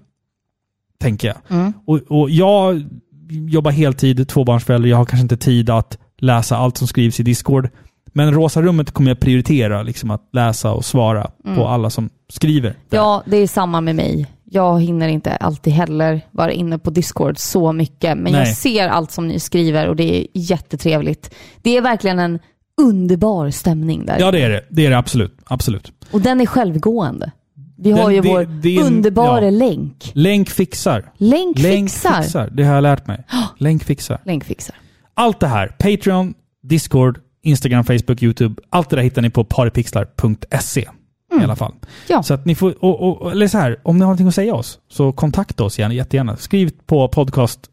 Speaker 2: Tänker jag.
Speaker 1: Mm.
Speaker 2: Och, och jag jobbar heltid, tvåbarnsförälder, jag har kanske inte tid att läsa allt som skrivs i Discord. Men Rosa rummet kommer jag prioritera, liksom att läsa och svara
Speaker 1: Mm.
Speaker 2: på alla som skriver.
Speaker 1: Ja, det är samma med mig. Jag hinner inte alltid heller vara inne på Discord så mycket, men
Speaker 2: Nej.
Speaker 1: jag ser allt som ni skriver och det är jättetrevligt. Det är verkligen en underbar stämning där.
Speaker 2: Ja, det är det. Det är det absolut. absolut.
Speaker 1: Och den är självgående. Vi
Speaker 2: Den-
Speaker 1: har ju
Speaker 2: det-
Speaker 1: vår
Speaker 2: det är en-
Speaker 1: underbara
Speaker 2: ja.
Speaker 1: länk.
Speaker 2: Länk fixar.
Speaker 1: Länk fixar.
Speaker 2: Det har jag
Speaker 1: [GASPS]
Speaker 2: lärt mig. Länk fixar.
Speaker 1: Länk fixar.
Speaker 2: Allt det här, Patreon, Discord, Instagram, Facebook, YouTube. Allt det där hittar ni på paripixlar.se
Speaker 1: Mm.
Speaker 2: i alla fall. Så att ni får, och, och- och, eller så här, om ni har någonting att säga oss så kontakta oss gärna, jättegärna. Skriv på podcast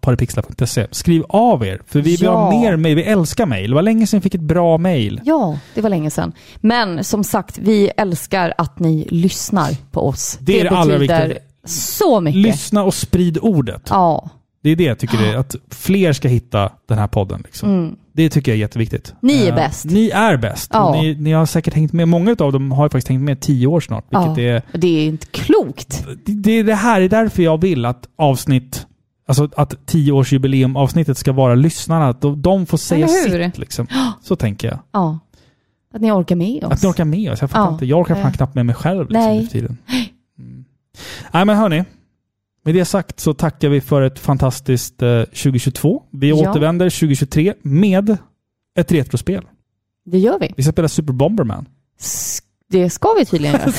Speaker 2: paripixlar.se. Skriv av er, för vi vill ha
Speaker 1: Ja.
Speaker 2: mer mejl. Vi älskar mejl. Det var länge sedan vi fick ett bra mejl.
Speaker 1: Ja, det var länge sedan. Men som sagt, vi älskar att ni lyssnar på oss.
Speaker 2: Det är det allra
Speaker 1: betyder
Speaker 2: viktigaste.
Speaker 1: så mycket.
Speaker 2: Lyssna och sprid ordet.
Speaker 1: Ja.
Speaker 2: Det är det jag tycker, är, att fler ska hitta den här podden. Liksom.
Speaker 1: Mm.
Speaker 2: Det tycker jag är jätteviktigt.
Speaker 1: Ni är
Speaker 2: Eh,
Speaker 1: bäst.
Speaker 2: Ni är bäst.
Speaker 1: Ja.
Speaker 2: Och Ni, ni har säkert hängt med. Många av dem har ju faktiskt hängt med i tio år snart. Vilket
Speaker 1: ja.
Speaker 2: är,
Speaker 1: Det är inte klokt.
Speaker 2: det, det är det här är därför jag vill att avsnitt, alltså att tioårsjubileumavsnittet ska vara lyssnarna. Att de, de får säga
Speaker 1: Eller hur?
Speaker 2: sitt. Liksom. Så tänker jag.
Speaker 1: Ja. Att ni orkar med oss.
Speaker 2: Att ni orkar med oss. Jag, fattar
Speaker 1: Ja.
Speaker 2: inte. jag orkar fan
Speaker 1: Ja.
Speaker 2: knappt med mig själv liksom,
Speaker 1: Nej.
Speaker 2: nu för tiden. Mm. Nej men hörni. Med det sagt så tackar vi för ett fantastiskt eh, 2022. Vi
Speaker 1: Ja.
Speaker 2: återvänder 2023 med ett retrospel.
Speaker 1: Det gör vi.
Speaker 2: Vi ska spela Super Bomberman.
Speaker 1: Det ska vi tydligen
Speaker 2: [LAUGHS]
Speaker 1: göra.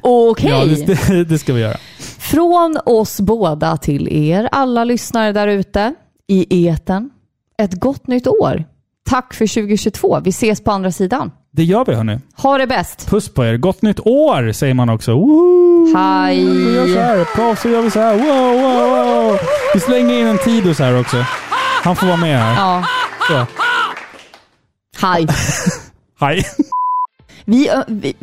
Speaker 1: Okej.
Speaker 2: Ja, det, det, det ska vi göra.
Speaker 1: Från oss båda till er alla lyssnare där ute i eten. Ett gott nytt år. Tack för 2022. Vi ses på andra sidan.
Speaker 2: Det gör vi hörni.
Speaker 1: Ha det bäst.
Speaker 2: Puss på er. Gott nytt år säger man också. Woho!
Speaker 1: Hej.
Speaker 2: Vi gör så här. Paus så gör vi så här. Wow, wow, wow. Vi slänger in en Tidus här också. Han får vara med här.
Speaker 1: Ja.
Speaker 2: Så.
Speaker 1: Hej.
Speaker 2: Hej.
Speaker 1: Vi, ö- vi...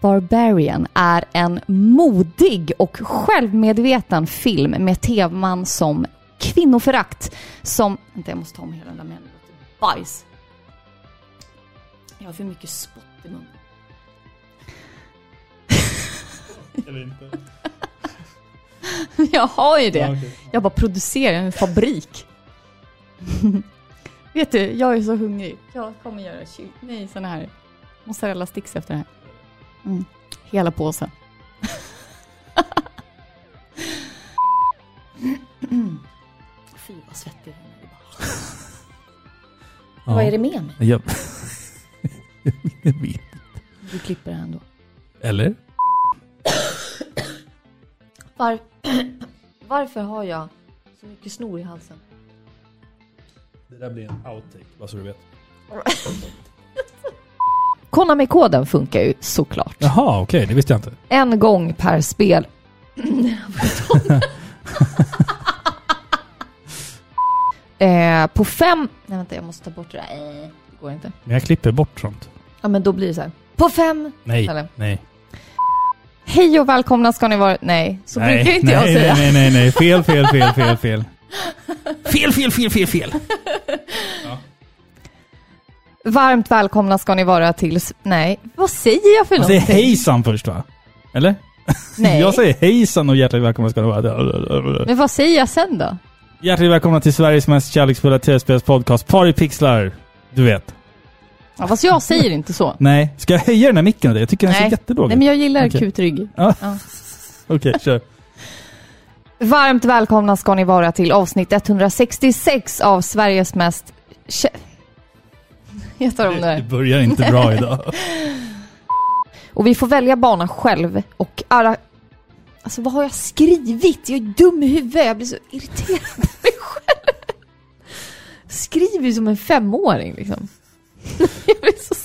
Speaker 1: Barbarian är en modig och självmedveten film med teman som kvinnoförakt som... Vänta, jag måste ta om hela den där meningen. Bajs. Jag har för mycket spott i munnen. [LAUGHS] Jag har ju det.
Speaker 3: Ja, okej.
Speaker 1: Jag bara producerar en fabrik. [LAUGHS] Vet du, jag är så hungrig. Jag kommer göra kyl- nej, sån här mozzarella sticks efter det här. Mm. Hela påsen. [LAUGHS] Fy vad svettig jag är. [LAUGHS] Vad är det med mig?
Speaker 2: Jag, [LAUGHS] jag vet inte.
Speaker 1: Du klipper det här ändå.
Speaker 2: Eller?
Speaker 1: Var, [CLEARS THROAT] varför har jag så mycket snor i halsen?
Speaker 2: Det där blir en outtake, bara så du vet.
Speaker 1: Kolla med koden funkar ju såklart.
Speaker 2: Jaha, okej. Det visste jag inte.
Speaker 1: En gång per [LAUGHS] spel. eh, på fem... Nej vänta, jag måste ta bort det där. Eh, det går inte.
Speaker 2: Men jag klipper bort sånt.
Speaker 1: Ja men då blir det så här. På fem...
Speaker 2: Nej.
Speaker 1: Eller,
Speaker 2: Nej.
Speaker 1: Hej och välkomna ska ni vara... Nej, så
Speaker 2: nej,
Speaker 1: brukar ju inte
Speaker 2: nej,
Speaker 1: jag säga.
Speaker 2: Nej, nej, nej, nej. Fel, fel, fel, fel,
Speaker 1: [LAUGHS]
Speaker 2: fel. Alltså, Fel, fel, fel, fel, fel.
Speaker 1: Varmt välkomna ska ni vara till... s- Nej, vad säger jag för
Speaker 2: Man
Speaker 1: någonting?
Speaker 2: säger hejsan först va? Eller?
Speaker 1: Nej.
Speaker 2: Jag säger hejsan och hjärtligt välkomna ska ni vara.
Speaker 1: Men vad säger jag sen då?
Speaker 2: Hjärtligt välkomna till Sveriges mest kärleksfulla tv-spelspodcast, Paripixlar. Du vet.
Speaker 1: Ja, fast jag säger inte så.
Speaker 2: Nej. Ska jag höja den här micken? Jag tycker den ser jättelåg
Speaker 1: nej men jag gillar
Speaker 2: Okej.
Speaker 1: kutrygg.
Speaker 2: Ja.
Speaker 1: Ja.
Speaker 2: Okej, kör.
Speaker 1: Varmt välkomna ska ni vara till avsnitt 166 av Sveriges mest... kä- [LAUGHS] Jag tar om det
Speaker 2: Det
Speaker 1: här.
Speaker 2: börjar inte bra idag.
Speaker 1: Och vi får välja bana själv och alla... Alltså vad har jag skrivit? Jag är dum i huvudet, jag blir så irriterad på mig [LAUGHS] själv. Skriver ju som en femåring liksom. Jag blir så